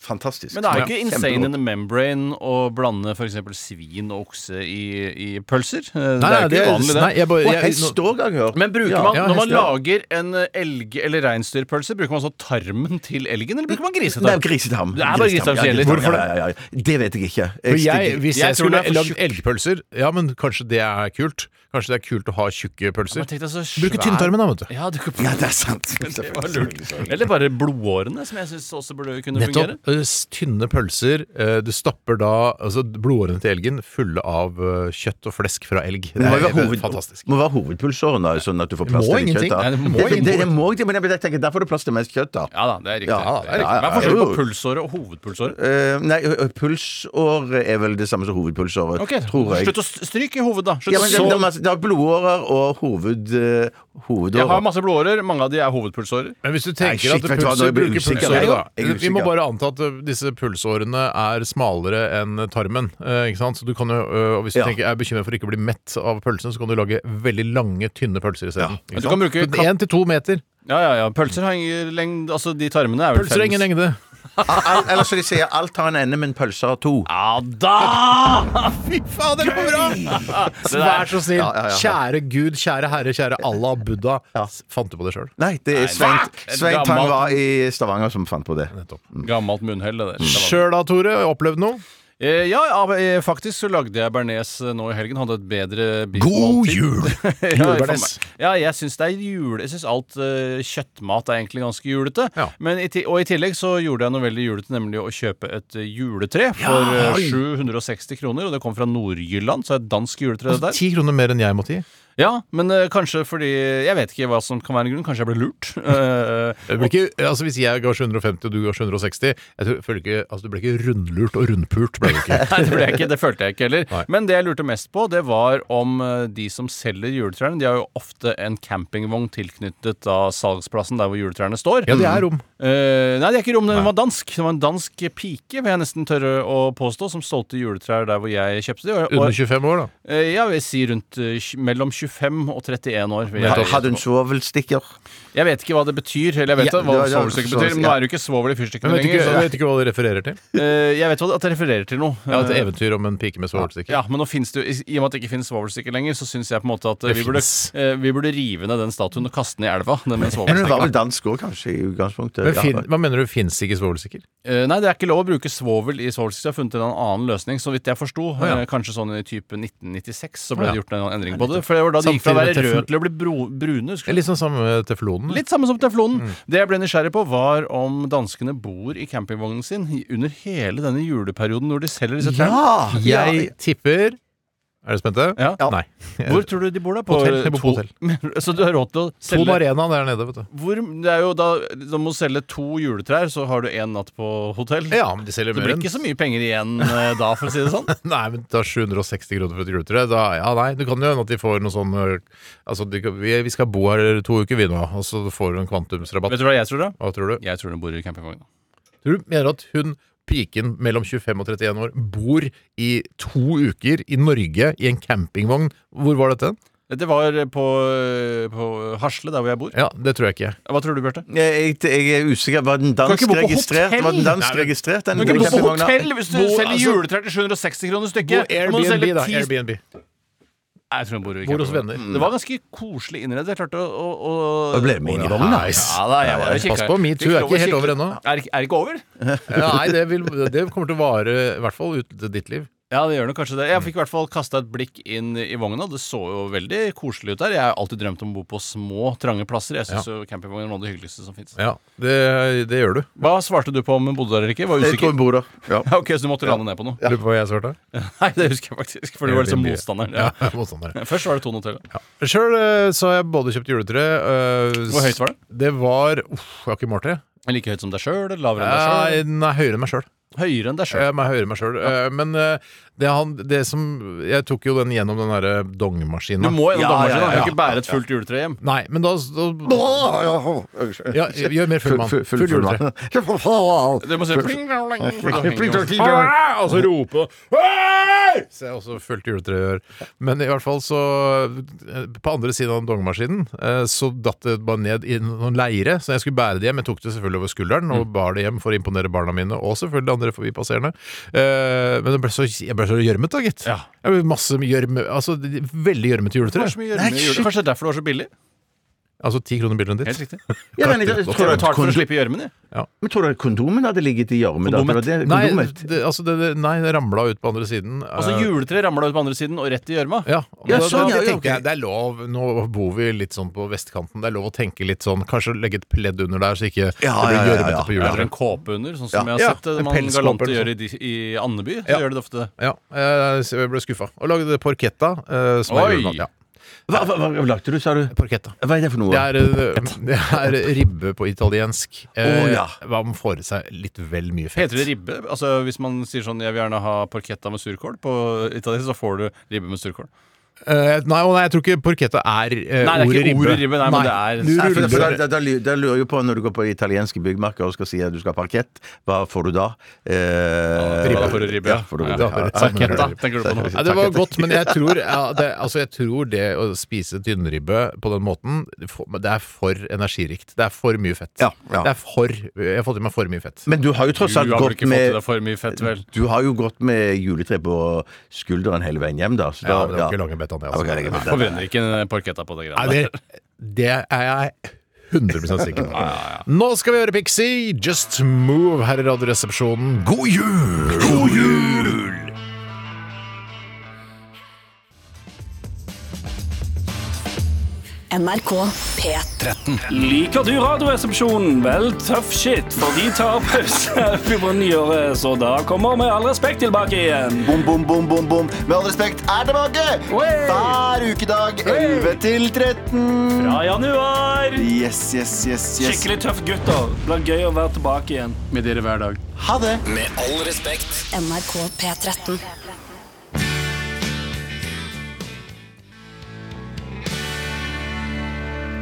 Speaker 5: fantastisk.
Speaker 6: Men det er
Speaker 5: Ja.
Speaker 6: ikke insane in
Speaker 5: Kjempegodt.
Speaker 6: the membrane å blande f.eks. svin og okse i, i pølser. Eh,
Speaker 4: Nei,
Speaker 6: det
Speaker 4: nei,
Speaker 6: er jo ikke uvanlig, det.
Speaker 4: nei, jeg bare,
Speaker 5: Og
Speaker 4: jeg,
Speaker 5: hest
Speaker 4: nå,
Speaker 5: òg, har jeg hørt.
Speaker 6: Men bruker
Speaker 5: Ja.
Speaker 6: man,
Speaker 4: Ja,
Speaker 6: når man
Speaker 4: hest, ja.
Speaker 6: lager en eh, elg- eller reinsdyrpølse, bruker man så tarmen til elgen, eller bruker man
Speaker 5: Det er
Speaker 6: grisetarm?
Speaker 5: jo grisetarm.
Speaker 6: Det er bare grisetarm som
Speaker 5: Ja,
Speaker 6: gjelder.
Speaker 5: grisetarm.
Speaker 6: Hvorfor
Speaker 5: Ja, ja, ja. Det vet jeg ikke.
Speaker 4: for jeg,
Speaker 5: stikker-
Speaker 4: hvis
Speaker 6: Jeg
Speaker 4: jeg,
Speaker 6: tror
Speaker 4: skulle
Speaker 6: det er for
Speaker 4: lagd
Speaker 6: tjukt.
Speaker 4: elgpølser Ja, men kanskje det er kult? Kanskje det er kult å ha tjukke
Speaker 6: Men
Speaker 4: pølser?
Speaker 6: tenk deg så
Speaker 4: Bruke
Speaker 6: svær-
Speaker 4: tynntarmen, da, vet du.
Speaker 6: Ja, du kan
Speaker 5: ja, det er sant.
Speaker 6: det var lurt. Eller bare blodårene, som jeg syns også burde kunne fungere.
Speaker 4: Nettopp. eh, s- Tynne pølser. eh, Du stapper da altså, blodårene til elgen fulle av eh, kjøtt og flesk fra elg. Det
Speaker 5: Det må
Speaker 4: er
Speaker 5: jo være,
Speaker 4: helt
Speaker 5: hoved,
Speaker 4: fantastisk.
Speaker 5: må være hovedpulsåren, da, sånn at du får
Speaker 4: Må
Speaker 5: plass til litt
Speaker 4: ingenting.
Speaker 5: kjøtt. Da.
Speaker 4: Nei, det må
Speaker 5: det, det,
Speaker 4: ingenting.
Speaker 5: det må ikke, men jeg tenker, der får du plass til mest kjøtt, da.
Speaker 6: Ja da, det er riktig.
Speaker 5: Ja,
Speaker 6: Det er
Speaker 5: ja,
Speaker 6: riktig.
Speaker 5: ja,
Speaker 6: Hva er forskjellen
Speaker 5: ja,
Speaker 6: på
Speaker 5: jo.
Speaker 6: pulsåret og hovedpulsåret?
Speaker 5: Eh, nei, ø- ø, pulsår er vel det samme som hovedpulsåret,
Speaker 6: Ok,
Speaker 5: tror jeg.
Speaker 6: Slutt å st- stryke i hovedet, da. Slutt
Speaker 5: Ja,
Speaker 6: å
Speaker 5: men det,
Speaker 6: så-
Speaker 5: det, er masse- det er blodårer og hoved, eh, hovedårer.
Speaker 6: Jeg har masse blodårer. Mange av de er hovedpulsårer.
Speaker 4: Men hvis du
Speaker 5: Nei,
Speaker 4: tenker
Speaker 5: shit,
Speaker 4: at
Speaker 5: vet du hva, nå
Speaker 4: pulser
Speaker 5: blir jeg
Speaker 4: bruker
Speaker 5: usikker.
Speaker 4: pulsåret,
Speaker 5: Jeg
Speaker 4: da.
Speaker 5: er usikker.
Speaker 4: Vi må bare anta at ø, disse pulsårene er smalere enn tarmen. eh, Ikke sant? Så du kan jo, ø, og hvis du
Speaker 5: Ja.
Speaker 4: tenker er bekymret for å ikke bli mett av pølsen, så kan du lage veldig lange, tynne pølser isteden.
Speaker 6: Men du kan bruke katt-
Speaker 4: Én til to meter.
Speaker 6: Ja, ja, ja. Pølser henger lengd Altså, de tarmene er vel
Speaker 4: Pølser har ingen lengde.
Speaker 5: Al- al- Eller så de sier alt har en ende, men pølser har to.
Speaker 6: Ja da! Fy
Speaker 4: Fader, det går bra! Vær så snill.
Speaker 5: Ja, ja, ja.
Speaker 4: Kjære Gud, kjære Herre, kjære Allah, Buddha. S- Fant du på det sjøl?
Speaker 5: Nei, det er Svein,
Speaker 6: fuck! Et
Speaker 5: Svein Tang
Speaker 6: gammelt-
Speaker 5: var i Stavanger som fant på det.
Speaker 6: Gammelt munnhell, det der.
Speaker 5: Mm.
Speaker 4: Sjøl da, Tore? Opplevd noe?
Speaker 6: Eh, ja, ja, eh, faktisk så lagde jeg bearnés eh, nå i helgen. Hadde et bedre
Speaker 4: God
Speaker 6: biffmåltid.
Speaker 4: jul!
Speaker 6: Ja, for
Speaker 4: Julebearnés.
Speaker 6: meg. Ja, jeg syns det er jule... Jeg syns alt eh, kjøttmat er egentlig ganske julete.
Speaker 4: Ja.
Speaker 6: Men i ti og i tillegg så gjorde jeg noe veldig julete, nemlig å kjøpe et eh, juletre for eh, 760 kroner. Og det kom fra Nord-Jylland, så er det dansk juletre det der.
Speaker 4: Altså, Ti kroner mer enn jeg måtte gi.
Speaker 6: Ja, men eh, kanskje fordi Jeg vet ikke hva som kan være en grunn. Kanskje jeg ble lurt. Eh,
Speaker 4: Det blir ikke, altså Hvis jeg ga 750 og du ga 760 jeg tror, føler ikke, altså Du ble ikke rundlurt og rundpult, ble du ikke?
Speaker 6: Nei, det, ble jeg ikke, det følte jeg ikke heller.
Speaker 4: Nei.
Speaker 6: Men det jeg lurte mest på, det var om eh, de som selger juletrærne De har jo ofte en campingvogn tilknyttet da salgsplassen der hvor juletrærne står.
Speaker 4: Ja, det er rom.
Speaker 6: Eh, nei, det er ikke rom, den var dansk. Det var en dansk pike, vil jeg nesten tørre å påstå, som solgte juletrær der hvor jeg kjøpte de. Og,
Speaker 4: Under
Speaker 6: og,
Speaker 4: 25 år, da.
Speaker 6: eh, jeg vil si rundt eh, tj- mellom 25 og 31 år. vil jeg
Speaker 5: Hadde
Speaker 6: gjette
Speaker 5: hadde hun
Speaker 6: på.
Speaker 5: svovelstikker?
Speaker 6: Jeg vet ikke hva det betyr, eller jeg vet
Speaker 5: Ja,
Speaker 6: hva
Speaker 5: det- det-
Speaker 6: svovelstykke betyr, men nå
Speaker 5: ja.
Speaker 6: er det jo ikke svovel i fyrstikkene
Speaker 4: Men vet
Speaker 6: lenger.
Speaker 4: ikke,
Speaker 6: så-
Speaker 4: vet ikke hva det refererer til?
Speaker 6: Eh, Jeg vet hva det- at det refererer til noe.
Speaker 4: Ja, Et
Speaker 6: Eh,
Speaker 4: eventyr om en pike med svovelstikker?
Speaker 6: Ja, men nå finnes det jo, i- I og med at det ikke finnes svovelstikker lenger, så syns jeg på en måte at eh,
Speaker 4: Det
Speaker 6: vi burde,
Speaker 4: finnes.
Speaker 6: eh, vi burde rive ned den statuen og kaste den i elva. Den
Speaker 5: Men hun
Speaker 6: med
Speaker 5: var vel
Speaker 6: svovelstikken.
Speaker 5: dansk òg, kanskje, i utgangspunktet?
Speaker 4: Men
Speaker 5: Ja.
Speaker 4: fin, hva mener du, fins ikke svovelstikker?
Speaker 6: Eh, Nei, det er ikke lov å bruke svovel i svovelstikker. Jeg har funnet en annen løsning, så vidt jeg forsto.
Speaker 4: ja.
Speaker 6: Eh, Kanskje sånn i type 1996 så ble
Speaker 4: Ja.
Speaker 6: det gjort en endring på det. For det var da det gikk fra å
Speaker 4: Samtidig
Speaker 6: være
Speaker 4: med tefl-
Speaker 6: rød til å bli bro, brune.
Speaker 4: Det er
Speaker 6: husker du?
Speaker 4: Litt sånn samme teflonen.
Speaker 6: Litt samme som teflonen. Mm. Det jeg ble nysgjerrig på, var om danskene bor i campingvognen sin i- under hele denne juleperioden når de selger disse trærne.
Speaker 5: Ja!
Speaker 4: Jeg
Speaker 5: ja.
Speaker 4: tipper Er dere spente?
Speaker 6: Ja.
Speaker 4: Nei.
Speaker 6: Hvor tror du de bor da? På
Speaker 4: Hotell. De bor på
Speaker 6: to-
Speaker 4: hotell.
Speaker 6: Så du har råd til å
Speaker 4: Tom
Speaker 6: selge
Speaker 4: Arena der nede, vet du.
Speaker 6: Hvor, det er jo da, da må du selge to juletrær, så har du én natt på hotell.
Speaker 4: Ja, men de selger
Speaker 6: det
Speaker 4: mer
Speaker 6: blir
Speaker 4: enn
Speaker 6: ikke så mye penger igjen eh, da, for å si det sånn.
Speaker 4: Nei, men ta 760 kroner for et juletre. Da, ja, nei, det kan jo hende at de får noe sånn øh, Altså, de, kan- vi, vi skal bo her to uker, vi nå, og så får du en kvantumsrabatt.
Speaker 6: Vet du hva jeg tror, da?
Speaker 4: Hva tror du?
Speaker 6: Jeg tror hun bor i campingvogna.
Speaker 4: Tror du mener at hun piken mellom 25 og 31 år bor i to uker i Norge i en campingvogn? Hvor var dette?
Speaker 6: Det var på, på Hasle, der hvor jeg bor.
Speaker 4: Ja, det tror jeg ikke.
Speaker 6: Hva tror du, Bjarte?
Speaker 5: Jeg, jeg, jeg er usikker. Var den dansk
Speaker 6: ikke bo på
Speaker 5: registrert?
Speaker 6: hotell?
Speaker 5: Var den dansk
Speaker 4: Nei, men-
Speaker 5: registrert,
Speaker 6: Du
Speaker 5: den
Speaker 6: kan ikke bo på
Speaker 5: campingvogna?
Speaker 6: hotell hvis du
Speaker 4: Bo-
Speaker 6: selger
Speaker 4: altså-
Speaker 6: juletrær til 760 kroner
Speaker 4: Bo
Speaker 6: stykket! Da må du
Speaker 4: Airbnb,
Speaker 6: selge
Speaker 4: da.
Speaker 6: ti-
Speaker 4: Airbnb.
Speaker 6: Nei, Jeg tror hun bor i
Speaker 4: Bor hos
Speaker 6: campingvogna.
Speaker 4: venner.
Speaker 6: Det var ganske koselig innredet. Jeg klarte å, å, å
Speaker 5: Og ble med inn i vogna.
Speaker 4: Nice.
Speaker 6: Ja da, jeg var jo
Speaker 4: Pass på, metoo er ikke helt over ennå.
Speaker 6: Er, ikke- er ikke over?
Speaker 4: Ja, nei, det, vil, det kommer til å vare i hvert fall ut ditt liv.
Speaker 6: Ja, det gjør nok kanskje det. Jeg fikk i hvert fall kasta et blikk inn i vogna. Det så jo veldig koselig ut der. Jeg har alltid drømt om å bo på små, trange plasser. Jeg syns jo campingvogn er noe av det hyggeligste som fins.
Speaker 4: Ja, det, det gjør du.
Speaker 6: Hva svarte du på om hun bodde der eller ikke? Var
Speaker 5: Jeg tror
Speaker 6: usikker?
Speaker 5: hun bor der. Ja.
Speaker 6: Ja, ok, Så du måtte lande ned på noe?
Speaker 4: Lurer på hva jeg svarte?
Speaker 6: Nei, det husker jeg faktisk. For du var liksom
Speaker 4: Airbnb.
Speaker 6: motstanderen.
Speaker 4: Ja,
Speaker 6: Ja.
Speaker 4: motstander.
Speaker 6: Først var det Tone Hotel.
Speaker 4: Sjøl eh, så har jeg både kjøpt juletre øh,
Speaker 6: Hvor høyt var det?
Speaker 4: Det var uff, jeg har ikke målt det.
Speaker 6: Men like høyt som deg sjøl? Eller lavere enn deg sjøl?
Speaker 4: Nei, den er høyere enn meg sjøl.
Speaker 6: Høyere enn deg sjøl.
Speaker 4: Jeg er høyere enn meg selv. Eh, Men eh, det, han, det som Jeg tok jo den gjennom den derre
Speaker 6: Du
Speaker 4: dongmaskina.
Speaker 6: må gjennom
Speaker 5: Ja,
Speaker 6: dommeren.
Speaker 5: ja,
Speaker 6: Du kan
Speaker 5: ja,
Speaker 6: ikke bære et fullt juletre hjem.
Speaker 4: Nei, men da, da ja, Gjør mer full mann.
Speaker 5: Full- full-
Speaker 4: Full juletre.
Speaker 6: Du må se pling, pling, pling, pling.
Speaker 4: Ah! Og så rope Hei! Så jeg også fulgte juletreet gjør. Men i hvert fall så eh, På andre siden av dongemaskinen eh, så datt det bare ned i noen leire, så jeg skulle bære det hjem. Jeg tok det selvfølgelig over skulderen og bar det hjem for å imponere barna mine og selvfølgelig andre forbipasserende. Eh, Men det ble så, jeg ble så gjørmet, da, gitt.
Speaker 6: Ja.
Speaker 4: Jeg ble masse gjørme, altså de- Veldig gjørmete juletre.
Speaker 6: Kanskje det er kanskje derfor det var så billig?
Speaker 4: Altså ti kroner billigere enn
Speaker 6: Helt
Speaker 4: ditt.
Speaker 6: riktig.
Speaker 5: Ja, men jeg
Speaker 6: Tror du
Speaker 5: tror
Speaker 6: det tar for å
Speaker 5: at-
Speaker 6: slippe gjørmen? jeg?
Speaker 5: Men tror du at kondomen hadde ligget i gjørmen? da?
Speaker 6: Kondomet?
Speaker 5: Det var det-
Speaker 4: Nei,
Speaker 5: kondomet.
Speaker 4: det, altså det, det, nei, det ramla ut på andre siden.
Speaker 6: Altså,
Speaker 4: Eh,
Speaker 6: juletreet ramla ut på andre siden og rett i gjørma.
Speaker 4: Ja, og
Speaker 5: Ja,
Speaker 4: da,
Speaker 5: sånn,
Speaker 4: da
Speaker 5: ja, ja,
Speaker 4: tenker jeg det er lov Nå bor vi litt sånn på vestkanten. Det er lov å tenke litt sånn Kanskje legge et pledd under der, så ikke det
Speaker 5: Ja, ja,
Speaker 4: blir
Speaker 5: ja,
Speaker 4: gjørmete
Speaker 5: ja.
Speaker 4: på
Speaker 6: Eller en
Speaker 4: juletreet.
Speaker 6: kåpe under, sånn som
Speaker 5: Ja.
Speaker 6: jeg
Speaker 4: Ja,
Speaker 6: har sett det
Speaker 4: en
Speaker 6: man
Speaker 4: pelskåpe
Speaker 6: galante
Speaker 4: eller
Speaker 6: gjør i, de- i Andeby. Så
Speaker 4: Ja.
Speaker 6: gjør de det ofte.
Speaker 4: Ja, eh, så jeg ble skuffa. Og lagde porketta. eh, Som er
Speaker 6: Oi!
Speaker 4: julemat. Ja,
Speaker 5: Hva, hva, hva lagde du, sa du?
Speaker 4: porchetta.
Speaker 5: Hva er det for noe?
Speaker 4: Det er, eh, det er ribbe på italiensk. Eh,
Speaker 5: Å, ja.
Speaker 4: Man får i seg litt vel mye fett.
Speaker 6: Heter det ribbe? Altså Hvis man sier sånn 'jeg vil gjerne ha porchetta med surkål', på italiensk så får du ribbe med surkål.
Speaker 4: Eh, nei, å nei, jeg tror ikke porchetta er, eh,
Speaker 6: Nei, det er
Speaker 4: ordet
Speaker 6: ikke
Speaker 4: ribbe.
Speaker 6: ordet ribbe, nei, men det er-
Speaker 4: Du
Speaker 5: Nei, for, for,
Speaker 4: ruller
Speaker 5: da, da, lu- da lurer jeg på, når du går på italienske byggmarker og skal si at du skal ha parkett, hva får du da? Eh,
Speaker 6: Ribbe. Da får du ribbe, ja.
Speaker 5: Ja, får du
Speaker 6: Ja,
Speaker 5: ribbe.
Speaker 6: ja.
Speaker 4: Ja, ja.
Speaker 6: Porchetta, tenker du på nå.
Speaker 4: Ja, det var godt, men jeg tror, ja, det, altså jeg tror det å spise tynnribbe på den måten, det får- det er for energirikt. Det er for mye fett.
Speaker 5: Ja, ja.
Speaker 4: Det er for, jeg har fått i meg for mye fett.
Speaker 5: Men du har jo tross alt
Speaker 6: Du har vel
Speaker 5: gått
Speaker 6: ikke fått i
Speaker 5: med
Speaker 6: deg for mye fett, vel?
Speaker 5: Du har jo gått med juletre på skulderen hele veien hjem, da. Så
Speaker 4: ja,
Speaker 5: da
Speaker 4: men det var ikke lange betaen, det.
Speaker 5: Ja, ok, det er
Speaker 4: Altså.
Speaker 5: ikke bra.
Speaker 6: Forbrenner ikke en porchetta på det
Speaker 4: Nei,
Speaker 6: greiene der.
Speaker 4: det, det er jeg 100 sikker på. Nå skal vi høre Pixie, Just Move her i Radioresepsjonen. God jul! God jul!
Speaker 7: NRK P13.
Speaker 8: Liker du Radioresepsjonen? Vel, tough shit, for de tar pause på nyåret, så da kommer Med all respekt tilbake igjen.
Speaker 9: Bom, bom, bom, bom, bom. Med all respekt er tilbake! Hver ukedag 11 til 13.
Speaker 8: Fra januar!
Speaker 9: Yes, yes, yes, yes.
Speaker 8: Skikkelig tøff gutter. Blir gøy å være tilbake igjen.
Speaker 6: Med dere hver dag.
Speaker 9: Ha det!
Speaker 7: NRK P13.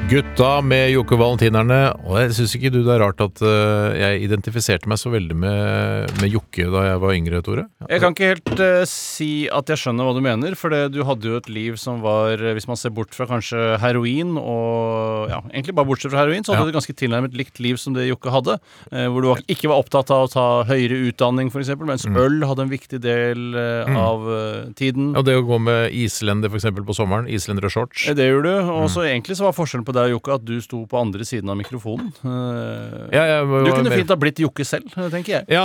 Speaker 4: Gutta med Jokke og Valentinerne. Og jeg syns ikke du det er rart at eh, jeg identifiserte meg så veldig med, med Jokke da jeg var yngre, Tore?
Speaker 6: Jeg kan ikke helt eh, si at jeg skjønner hva du mener, for det, du hadde jo et liv som var, eh, hvis man ser bort fra kanskje heroin og ja, egentlig bare bortsett fra heroin, så hadde
Speaker 4: Ja.
Speaker 6: du et ganske tilnærmet likt liv som det Jokke hadde, eh, hvor du var- ikke var opptatt av å ta høyere utdanning, f.eks., mens
Speaker 4: Mm.
Speaker 6: øl hadde en viktig del eh, av eh, tiden.
Speaker 4: Og det å gå med islender for eksempel på sommeren, islendere shorts.
Speaker 6: Eh, Det gjør du. Og
Speaker 4: Mm.
Speaker 6: så egentlig så var forskjellen på deg og Jokke at du sto på andre siden av mikrofonen. Eh,
Speaker 4: Ja, jeg var
Speaker 6: Du kunne
Speaker 4: mer-
Speaker 6: fint ha blitt Jokke selv, eh, tenker jeg.
Speaker 4: Ja,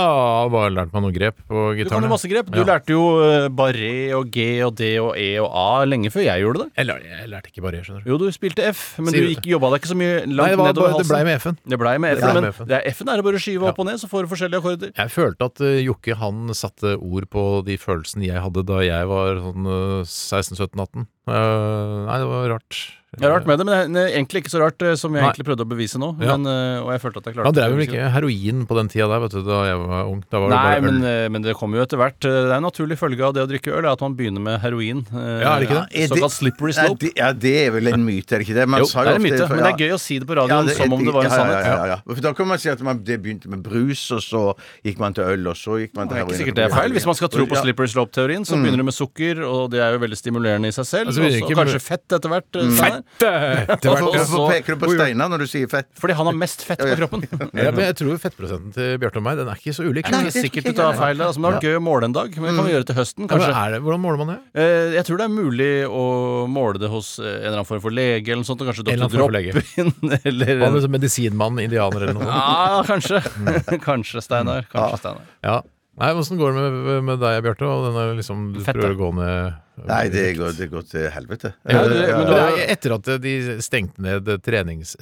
Speaker 4: bare lært meg noen grep på
Speaker 6: Du kan
Speaker 4: gitaren.
Speaker 6: jo masse grep. Du
Speaker 4: Ja.
Speaker 6: lærte jo eh, barré og G og D og E og A lenge før jeg gjorde det.
Speaker 4: Jeg, lær, jeg lærte ikke bare, skjønner du.
Speaker 6: Jo, du spilte F, men
Speaker 4: Sier
Speaker 6: du
Speaker 4: du
Speaker 6: gikk, jobba deg ikke så mye
Speaker 4: Nei,
Speaker 6: langt
Speaker 4: det, var
Speaker 6: nedover
Speaker 4: bare, det
Speaker 6: halsen.
Speaker 4: ble med F-en.
Speaker 6: Det blei med
Speaker 4: Det ble
Speaker 6: F-en,
Speaker 4: med
Speaker 6: men
Speaker 4: F-en.
Speaker 6: det er F-en er det bare å skyve
Speaker 4: Ja.
Speaker 6: opp og ned, så får du forskjellige akkorder.
Speaker 4: Jeg følte at eh, Jokke han satte ord på de følelsene jeg hadde da jeg var sånn 16-17-18. Eh, nei, det var rart.
Speaker 6: Det er rart med det, men det er egentlig ikke så rart eh, som jeg
Speaker 4: Nei.
Speaker 6: egentlig prøvde å bevise nå.
Speaker 4: Ja.
Speaker 6: Men, eh, og jeg følte at jeg klarte
Speaker 4: Han drev
Speaker 6: å
Speaker 4: vel
Speaker 6: bevise det.
Speaker 4: ikke heroin på den tida der, vet du, da jeg var ung. Da var det
Speaker 6: Nei,
Speaker 4: bare øl.
Speaker 6: men, eh, men det kommer jo etter hvert. Eh, Det er en naturlig følge av det å drikke øl, er at man begynner med heroin. eh,
Speaker 4: Ja, er det ikke det?
Speaker 5: Er det-
Speaker 6: Såkalt slippery
Speaker 5: Nei,
Speaker 6: slope.
Speaker 5: det, ja, det er vel en myte, er det ikke det? Man
Speaker 6: Jo,
Speaker 5: sa jo
Speaker 6: det er en
Speaker 5: ofte-
Speaker 6: myte,
Speaker 5: for-
Speaker 6: men
Speaker 5: ja.
Speaker 6: det er gøy å si det på radioen
Speaker 5: det-
Speaker 6: som om det var en
Speaker 5: ja, Ja,
Speaker 6: sannhet.
Speaker 5: ja, ja, ja. For da kan man si at man, det begynte med brus, og så gikk man til øl, og så gikk man til
Speaker 6: Det er
Speaker 5: heroin.
Speaker 6: ikke sikkert det er feil. Hvis man skal tro på
Speaker 5: Ja.
Speaker 6: slippery slope-teorien, så begynner du med sukker, og det er jo veldig stimulerende i seg selv.
Speaker 4: Altså, vi
Speaker 6: og
Speaker 4: er
Speaker 6: så
Speaker 4: ikke-
Speaker 6: kanskje fett etter hvert. eh, Steinar.
Speaker 4: Etter hvert,
Speaker 5: Hvorfor
Speaker 4: ja.
Speaker 5: hvorfor peker du på Steinar når du sier fett?
Speaker 6: Fordi han har mest fett på kroppen.
Speaker 4: Ja, men jeg tror fettprosenten til Bjarte og meg Den er ikke så ulik.
Speaker 6: Det er ikke sikkert du tar feil der. Altså, men det har vært gøy å måle en dag. Men det kan vi gjøre til høsten,
Speaker 4: Hvordan,
Speaker 6: kanskje.
Speaker 4: er det? Hvordan måler man det?
Speaker 6: Eh, Jeg tror det er mulig å måle det hos eh, en eller annen form for lege eller noe sånt, og
Speaker 4: En
Speaker 6: kanskje
Speaker 4: eller annen
Speaker 6: doktor
Speaker 4: form for lege.
Speaker 6: Droppin eller
Speaker 4: Hva med sånn medisinmann, indianer eller noe sånt?
Speaker 6: Ja, kanskje. kanskje, Steinar. Kanskje, Steinar.
Speaker 4: Ja. Nei, Åssen går det med, med deg, Bjarte? Og den er liksom, du
Speaker 6: Fett,
Speaker 4: prøver
Speaker 6: da.
Speaker 4: å gå ned
Speaker 5: Nei, det går, det går til helvete.
Speaker 6: Ja, det- men
Speaker 4: det
Speaker 6: da-
Speaker 4: er etter at de stengte ned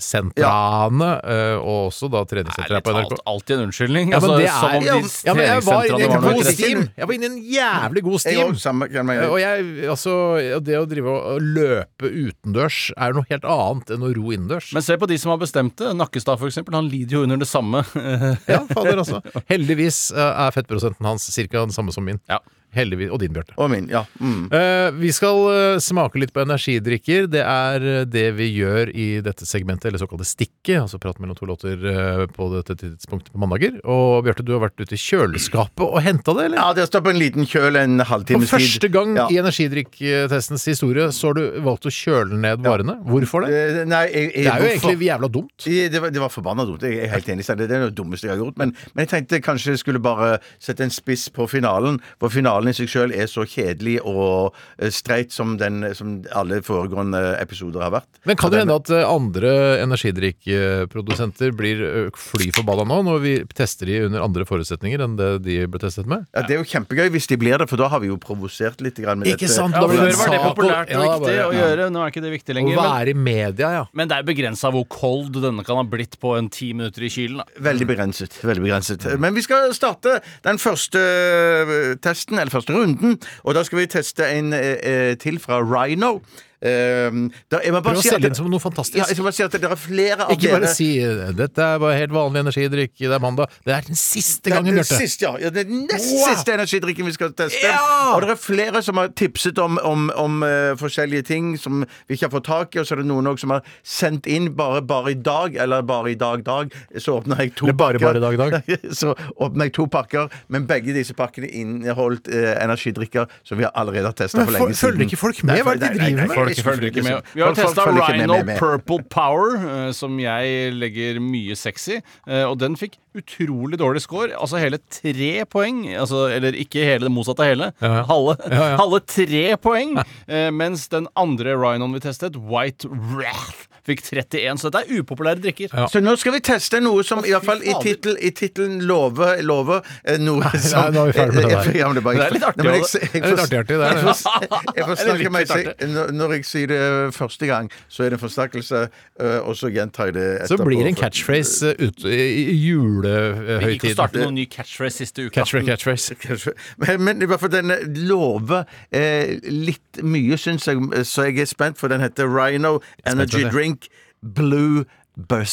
Speaker 4: treningssentrene, eh, og også da treningssentra
Speaker 6: Ærlig
Speaker 4: på NRK.
Speaker 6: talt, alltid en unnskyldning.
Speaker 4: Ja, men
Speaker 6: altså,
Speaker 4: det
Speaker 6: som om
Speaker 4: er,
Speaker 6: de
Speaker 4: ja, men- ja, men jeg var inne i
Speaker 6: treningssentrene
Speaker 4: en
Speaker 6: var noe
Speaker 4: god
Speaker 5: rett.
Speaker 6: interesse.
Speaker 4: stim! Jeg var inne i en jævlig god
Speaker 5: Jeg
Speaker 4: stim!
Speaker 5: også, samme, kan man-
Speaker 4: Eh, Og jeg, altså, det å drive og- og løpe utendørs er noe helt annet enn å ro innendørs.
Speaker 6: Men se på de som har bestemt det. Nakkestad, for eksempel. Han lider jo under det samme.
Speaker 4: Ja, fader altså. Heldigvis eh, er fettprosenten hans ca. den samme som min.
Speaker 6: Ja.
Speaker 4: Heldigvis, Og din, Bjarte.
Speaker 5: Og min, ja. Mm.
Speaker 4: Eh, vi skal eh, smake litt på energidrikker. Det er eh, det vi gjør i dette segmentet, eller såkalte stikket. Altså prat mellom to låter eh, på dette tidspunktet på mandager. Og Bjarte, du har vært ute i kjøleskapet og henta det, eller?
Speaker 5: Ja, det står på en liten kjøl en
Speaker 4: For
Speaker 5: halvtimes tid.
Speaker 4: første gang
Speaker 5: Ja.
Speaker 4: i energidrikktestens historie så har du valgt å kjøle ned varene. Hvorfor det?
Speaker 5: Eh, Nei, jeg, jeg,
Speaker 4: Det er jo
Speaker 5: hvorfor-
Speaker 4: egentlig jævla dumt.
Speaker 5: I- Det var, det var forbanna dumt. Jeg er helt enig. i seg. Det det er det dummeste jeg har gjort. Men, men jeg tenkte kanskje jeg skulle bare sette en spiss på finalen. For finalen i seg sjøl er så kjedelig og eh, streit som, den, som alle foregående episoder har vært.
Speaker 4: Men kan
Speaker 5: Så
Speaker 4: det
Speaker 5: den-
Speaker 4: hende at eh, andre energidrikkprodusenter blir eh, fly forbanna nå, når vi tester de under andre forutsetninger enn det de ble testet med?
Speaker 5: Ja, det er jo kjempegøy hvis de blir det, for da har vi jo provosert litt. Grann med
Speaker 4: Ikke
Speaker 5: dette.
Speaker 4: sant?
Speaker 6: Ja,
Speaker 4: Da blir
Speaker 6: Før
Speaker 4: det en
Speaker 6: var det
Speaker 4: sak og-
Speaker 6: populært og
Speaker 4: Ja,
Speaker 6: viktig
Speaker 4: bare-
Speaker 6: å gjøre. Nå er ikke det viktig
Speaker 4: Å
Speaker 6: lenger. Men,
Speaker 4: være i media, ja.
Speaker 6: men det er begrensa hvor cold denne kan ha blitt på en ti minutter i kylen. Da.
Speaker 5: Veldig begrenset. veldig begrenset Men vi skal starte den første eh, testen, eller første runden. Og da skal vi teste en eh, eh, til fra Rhino. Eh, da, jeg må bare
Speaker 4: Prøv å
Speaker 5: si at-
Speaker 4: selge inn som noe
Speaker 5: Ja, jeg
Speaker 4: fantastisk.
Speaker 5: skal bare si at det er flere av
Speaker 4: Ikke
Speaker 5: dere
Speaker 4: bare si 'dette er bare helt vanlig energidrikk, det er mandag'. Det er den siste
Speaker 5: Det er
Speaker 4: gangen,
Speaker 5: den
Speaker 4: Bjarte.
Speaker 5: siste, ja. Ja, det er den nest
Speaker 4: Wow.
Speaker 5: siste energidrikken vi skal teste.
Speaker 4: Ja.
Speaker 5: Og det er flere som har tipset om, om, om eh, forskjellige ting som vi ikke har fått tak i, og så er det noen også som har sendt inn bare, bare i dag, eller bare i dag, dag. Så åpner jeg to
Speaker 4: Eller bare, bare
Speaker 5: pakker.
Speaker 4: i dag,
Speaker 5: så åpner jeg to pakker, men begge disse pakkene inneholdt eh, energidrikker som vi allerede har testa
Speaker 4: Men
Speaker 5: for
Speaker 4: for-
Speaker 5: lenge siden.
Speaker 4: følger ikke folk med? Hva er det de
Speaker 5: Nei, nei,
Speaker 4: driver
Speaker 5: nei,
Speaker 4: med?
Speaker 5: nei,
Speaker 4: Folk
Speaker 5: jeg
Speaker 6: Følger ikke med. Liksom, Vi har
Speaker 5: Folk- folk
Speaker 6: testa
Speaker 5: følger ikke med,
Speaker 6: Rhino
Speaker 5: med, med.
Speaker 6: Purple Power, eh, som jeg legger mye sexy, eh, og den fikk utrolig dårlig score. Altså hele tre poeng. Altså, eller ikke hele, det motsatte av hele.
Speaker 4: ja.
Speaker 6: Halve,
Speaker 4: Ja, ja.
Speaker 6: halve tre poeng. Eh, mens den andre Rhinoen vi testet, White Wrath, fikk 31. Så dette er upopulære drikker.
Speaker 5: Så nå skal vi teste noe som i hvert fall i tittel- i tittelen lover, lover eh, noe som
Speaker 4: nå er vi ferdig med det
Speaker 5: Eh, eh,
Speaker 4: der.
Speaker 5: ja, men det, er bare,
Speaker 6: Men det er litt artig,
Speaker 5: Nei, men jeg-
Speaker 6: også.
Speaker 5: jeg-
Speaker 4: Det er litt artig, det er
Speaker 5: Jeg
Speaker 4: det.
Speaker 5: får- jeg får
Speaker 6: Det er
Speaker 5: snakke
Speaker 6: litt
Speaker 5: meg
Speaker 6: artig.
Speaker 5: selv- når- Når jeg sier det første gang, så er det en forsterkelse, eh, og så gjentar jeg det etterpå.
Speaker 4: Så blir det en catchphrase eh, ut i i
Speaker 6: Vi gikk og
Speaker 4: julehøytiden.
Speaker 6: startet noen ny catchphrase siste uka.
Speaker 4: Catchphrase, catchphrase.
Speaker 5: Eh, Men, men i hvert fall den lover eh, litt mye, syns jeg, så jeg er spent, for den heter Rhino
Speaker 4: spent på
Speaker 5: Energy
Speaker 4: det.
Speaker 5: Drink Blue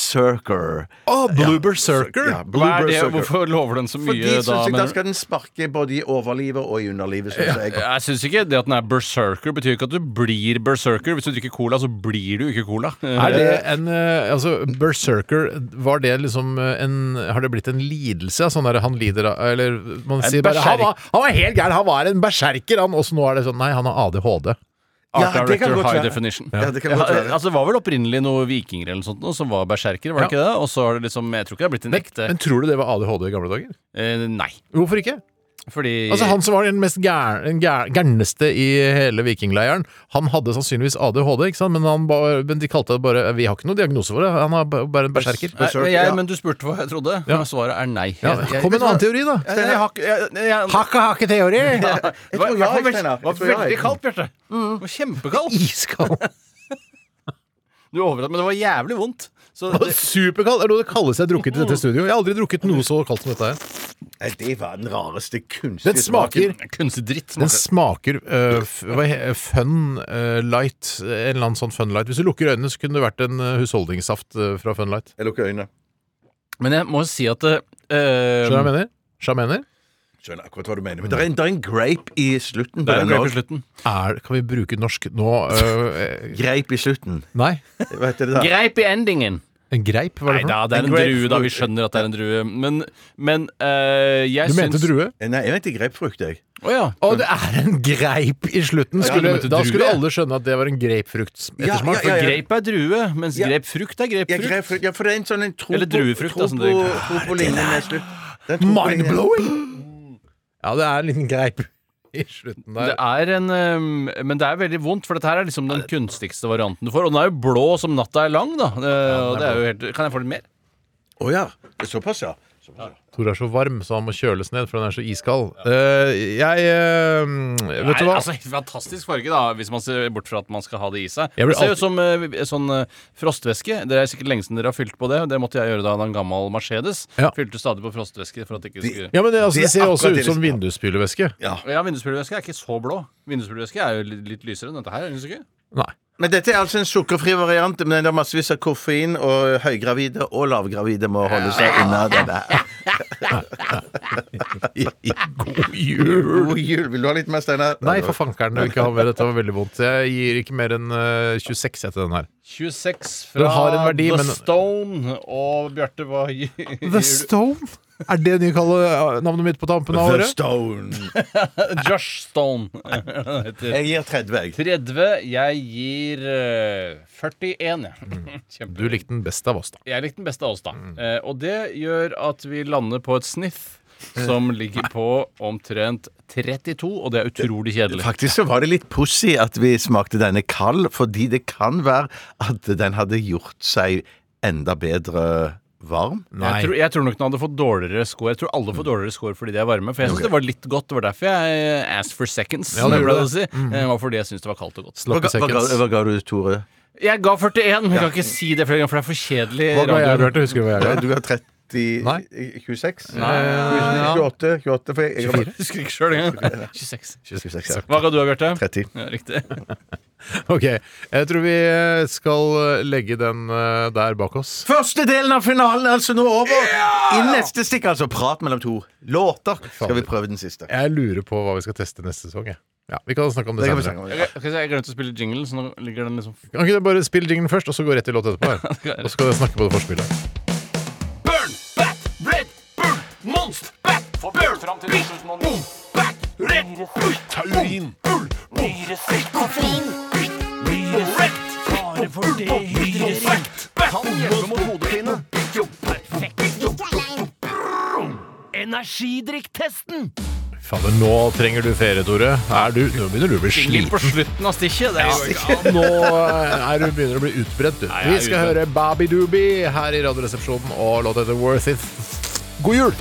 Speaker 5: berserker.
Speaker 4: Å, Blue Berserker!
Speaker 5: Ja,
Speaker 6: Hva er det?
Speaker 5: berserker.
Speaker 6: Hvorfor lover den så mye,
Speaker 5: Fordi synes
Speaker 6: da?
Speaker 5: jeg,
Speaker 6: mener
Speaker 5: da
Speaker 6: du?
Speaker 5: skal den sparke både i overlivet og i underlivet, synes jeg.
Speaker 6: Jeg syns ikke det at den er berserker, betyr ikke at du blir berserker. Hvis du drikker cola, så blir du ikke cola.
Speaker 4: Er det en eh, Altså, berserker, var det liksom eh, en Har det blitt en lidelse? Sånn der han lider av Eller man
Speaker 6: En
Speaker 4: sier bare
Speaker 6: berserk-
Speaker 4: han var, han var helt gæren! Han var en berserker, han! Og så nå er det sånn Nei, han har ADHD.
Speaker 6: Art
Speaker 5: Ja, det kan
Speaker 6: Director
Speaker 5: godt
Speaker 6: High
Speaker 5: være.
Speaker 6: Definition.
Speaker 5: Ja, det kan godt være.
Speaker 6: altså, det var vel opprinnelig noen vikinger eller noe sånt noe, som var berserkere, var det
Speaker 4: Ja.
Speaker 6: ikke det? Og så har det liksom Jeg tror ikke det har blitt en
Speaker 4: Men,
Speaker 6: ekte
Speaker 4: men tror du det var ADHD i gamle dager?
Speaker 6: eh, Nei.
Speaker 4: Hvorfor ikke?
Speaker 6: Fordi
Speaker 4: Altså Han som var den mest gær- den gær- gærneste i hele vikingleiren, han hadde sannsynligvis ADHD, ikke sant? Men, han ba, men de kalte det bare Vi har ikke noen diagnose for det, han er ba- bare en berserker.
Speaker 6: Nei, men, jeg,
Speaker 5: ja.
Speaker 6: men du spurte hva jeg trodde.
Speaker 4: Ja.
Speaker 6: Svaret er nei.
Speaker 4: Ja,
Speaker 6: Jeg- jeg-
Speaker 4: kom med en annen teori, da.
Speaker 6: Jeg, jeg, har ikke- jeg, jeg, jeg,
Speaker 4: Hakka hakke teori!
Speaker 6: Det var,
Speaker 5: tror
Speaker 6: det var,
Speaker 5: jeg,
Speaker 6: veld-
Speaker 5: Steinar. Jeg
Speaker 6: var
Speaker 5: tror jeg.
Speaker 6: veldig kaldt, Bjarte.
Speaker 4: Mm.
Speaker 6: Det var kjempekaldt.
Speaker 4: Iskald!
Speaker 6: Du overdrev, men det var jævlig vondt. Så det,
Speaker 4: Superkald! Er det noe det kalles jeg har drukket i dette studio? Jeg har aldri drukket noe så kaldt som dette her.
Speaker 5: Nei, Det var den rareste kunstige
Speaker 4: Den smaker
Speaker 6: kunstig dritt
Speaker 4: den
Speaker 6: smaker.
Speaker 4: smaker øh, f- hva he- fun øh, light. En eller annen sånn fun light. Hvis du lukker øynene, så kunne det vært en øh, husholdningssaft øh, fra fun light.
Speaker 5: Jeg lukker øynene.
Speaker 6: Men jeg må si at eh,
Speaker 4: Skjønner du hva jeg mener? Sjamener?
Speaker 5: Skjønner akkurat hva du mener. Men det er en, det er en grape i slutten.
Speaker 6: Det er en
Speaker 5: den
Speaker 6: grep i
Speaker 5: også.
Speaker 6: slutten.
Speaker 4: Er, kan vi bruke norsk nå? øh, eh,
Speaker 5: Grape i slutten.
Speaker 4: nei.
Speaker 5: Hva heter det da?
Speaker 6: Greip i endingen.
Speaker 4: En greip? Hva er
Speaker 6: Nei
Speaker 4: det for
Speaker 6: da,
Speaker 4: noe?
Speaker 6: det er en
Speaker 5: En grape-
Speaker 6: drue, da. Vi skjønner at det er en drue. Men, men eh, jeg
Speaker 4: Du mente
Speaker 6: syns
Speaker 4: drue?
Speaker 5: Nei, jeg mente grapefrukt, jeg.
Speaker 6: Å ja.
Speaker 4: Å, det er en greip i slutten!
Speaker 6: Ja, du
Speaker 4: Skulle,
Speaker 6: mente
Speaker 4: da
Speaker 6: drue,
Speaker 4: skulle
Speaker 6: ja.
Speaker 4: alle skjønne at det var en grapefruktettersmak.
Speaker 5: Ja, ja.
Speaker 6: Greip er drue, mens
Speaker 5: Ja.
Speaker 6: grepfrukt er
Speaker 5: Ja,
Speaker 6: grepfrukt.
Speaker 5: grapefrukt. ja, for det er en sånn en tro
Speaker 6: Eller
Speaker 5: på-
Speaker 6: druefrukt,
Speaker 5: tro
Speaker 6: da, som det-
Speaker 5: på- tro på linjen i slutt. Det er tro på linjen.
Speaker 4: Ja, det er en liten greip i slutten
Speaker 6: Det
Speaker 4: der.
Speaker 6: er en, eh, men det er veldig vondt, for dette her er liksom den kunstigste varianten du får. Og den er jo blå som natta er lang, da. Eh, og det er jo helt, kan jeg få litt mer?
Speaker 5: Å ja. Såpass, ja. Såpass, ja.
Speaker 4: Tor er så varm, så han må kjøles ned, for han er så iskald. Eh, jeg eh, Vet du
Speaker 6: Nei,
Speaker 4: hva?
Speaker 6: Altså, fantastisk farge, da, hvis man ser bort fra at man skal ha det i seg.
Speaker 4: Jeg blir
Speaker 6: Det ser ut som eh, sånn eh, frostvæske. Det er sikkert lenge siden dere har fylt på det. Det måtte jeg gjøre da jeg hadde en gammel Mercedes.
Speaker 4: Ja.
Speaker 6: Fylte stadig på frostvæske for at det ikke skulle
Speaker 4: Ja, men det, altså,
Speaker 5: Det
Speaker 4: det
Speaker 5: er
Speaker 4: ser jo også
Speaker 5: akkurat
Speaker 4: ut
Speaker 5: det
Speaker 4: som
Speaker 5: vi-
Speaker 4: vindusspylevæske.
Speaker 6: ja, Vindusspylevæske er ikke så blå. Vindusspylevæske er jo li- litt lysere enn dette her. Synes du ikke?
Speaker 4: Nei.
Speaker 5: Men dette er altså en sukkerfri variant, men det er massevis av koffein, og høygravide og lavgravide må holde seg unna det der.
Speaker 4: God jul!
Speaker 5: God jul. Vil du ha litt mer, Steinar?
Speaker 4: Nei, for fankeren. jeg vil Ikke ha mer. Dette var veldig vondt. Jeg gir ikke mer enn eh, 26 etter den her.
Speaker 6: 26
Speaker 4: Den
Speaker 6: fra
Speaker 4: har en verdi,
Speaker 6: The
Speaker 4: men-
Speaker 6: Stone og Bjarte, hva gir
Speaker 4: The Stone? Er det nye kalle eh, navnet mitt på tampen av
Speaker 5: The
Speaker 4: året?
Speaker 5: Stone.
Speaker 6: Josh Stone. heter.
Speaker 5: Jeg gir 30, jeg.
Speaker 6: 30. Jeg gir eh, 41, jeg. Kjempe-
Speaker 4: Mm. Du likte den Mm. best av oss, da.
Speaker 6: Jeg likte den beste av oss, da. Eh, og det gjør at vi lander på et sniff som ligger på omtrent 32, og det er utrolig kjedelig.
Speaker 5: Faktisk så var det litt pussig at vi smakte denne kald, fordi det kan være at den hadde gjort seg enda bedre varm.
Speaker 6: Jeg tror, jeg tror nok den hadde fått dårligere score. Jeg tror alle
Speaker 4: Mm.
Speaker 6: får dårligere score fordi de er varme. For jeg syns det var litt godt. Det var derfor jeg eh, asked for seconds.
Speaker 4: Ja,
Speaker 6: Ja,
Speaker 4: det
Speaker 6: det
Speaker 4: gjorde
Speaker 6: ble
Speaker 4: det.
Speaker 6: det
Speaker 4: Mm.
Speaker 6: å si. Eh, var fordi jeg syns det var kaldt og godt.
Speaker 5: Hva,
Speaker 4: Slapp
Speaker 5: ga-
Speaker 4: i
Speaker 5: hva,
Speaker 4: sekken.
Speaker 5: ga- hva ga du, Tore?
Speaker 6: Jeg ga 41, men jeg kan ikke si det flere ganger, for det er for kjedelig.
Speaker 4: Hva ga jeg,
Speaker 6: radio.
Speaker 4: Bjarte? Husker du hva jeg ga?
Speaker 5: Du ga 30
Speaker 4: Nei. Eh,
Speaker 5: 26?
Speaker 4: ja.
Speaker 5: 28? 28 for jeg, jeg,
Speaker 6: Jeg Husker ikke sjøl engang. 26.
Speaker 5: 26 ja.
Speaker 6: Hva ga du, Bjarte?
Speaker 5: 30.
Speaker 6: Ja, riktig.
Speaker 4: Ok, jeg tror vi skal legge den eh, der bak oss.
Speaker 5: Første delen av finalen er altså nå over. I neste stikk, altså prat mellom to låter, skal vi prøve den siste.
Speaker 4: Jeg lurer på hva vi skal teste neste sesong. Jeg. Ja, Vi kan snakke om det,
Speaker 5: Det kan vi
Speaker 4: senere.
Speaker 5: snakke om.
Speaker 6: Ok, ok, så Jeg glemte å spille jingle, så nå ligger den liksom
Speaker 4: Kan ikke du bare spille jinglen først, og så gå rett i låt etterpå? her Og så skal jeg snakke på det forspillet.
Speaker 3: Burn, bat, red, burn, monst, bat, burn, boom, bat, red, burn, taurin, burn, boom, Rett! Bare for det Kan hjelpe mot hodepine. Energidrikktesten!
Speaker 4: Fader, nå trenger du ferie, Tore. Er du, nå begynner du å bli
Speaker 6: Jingle på
Speaker 4: sliten.
Speaker 6: slutten av stikket. Det er jo
Speaker 4: Nå eh, er du begynner å bli utbrent, du. Vi
Speaker 6: jeg er
Speaker 4: skal
Speaker 6: utbrent.
Speaker 4: høre Babi Doobie her i Radioresepsjonen og låta heter Worth It. God jul!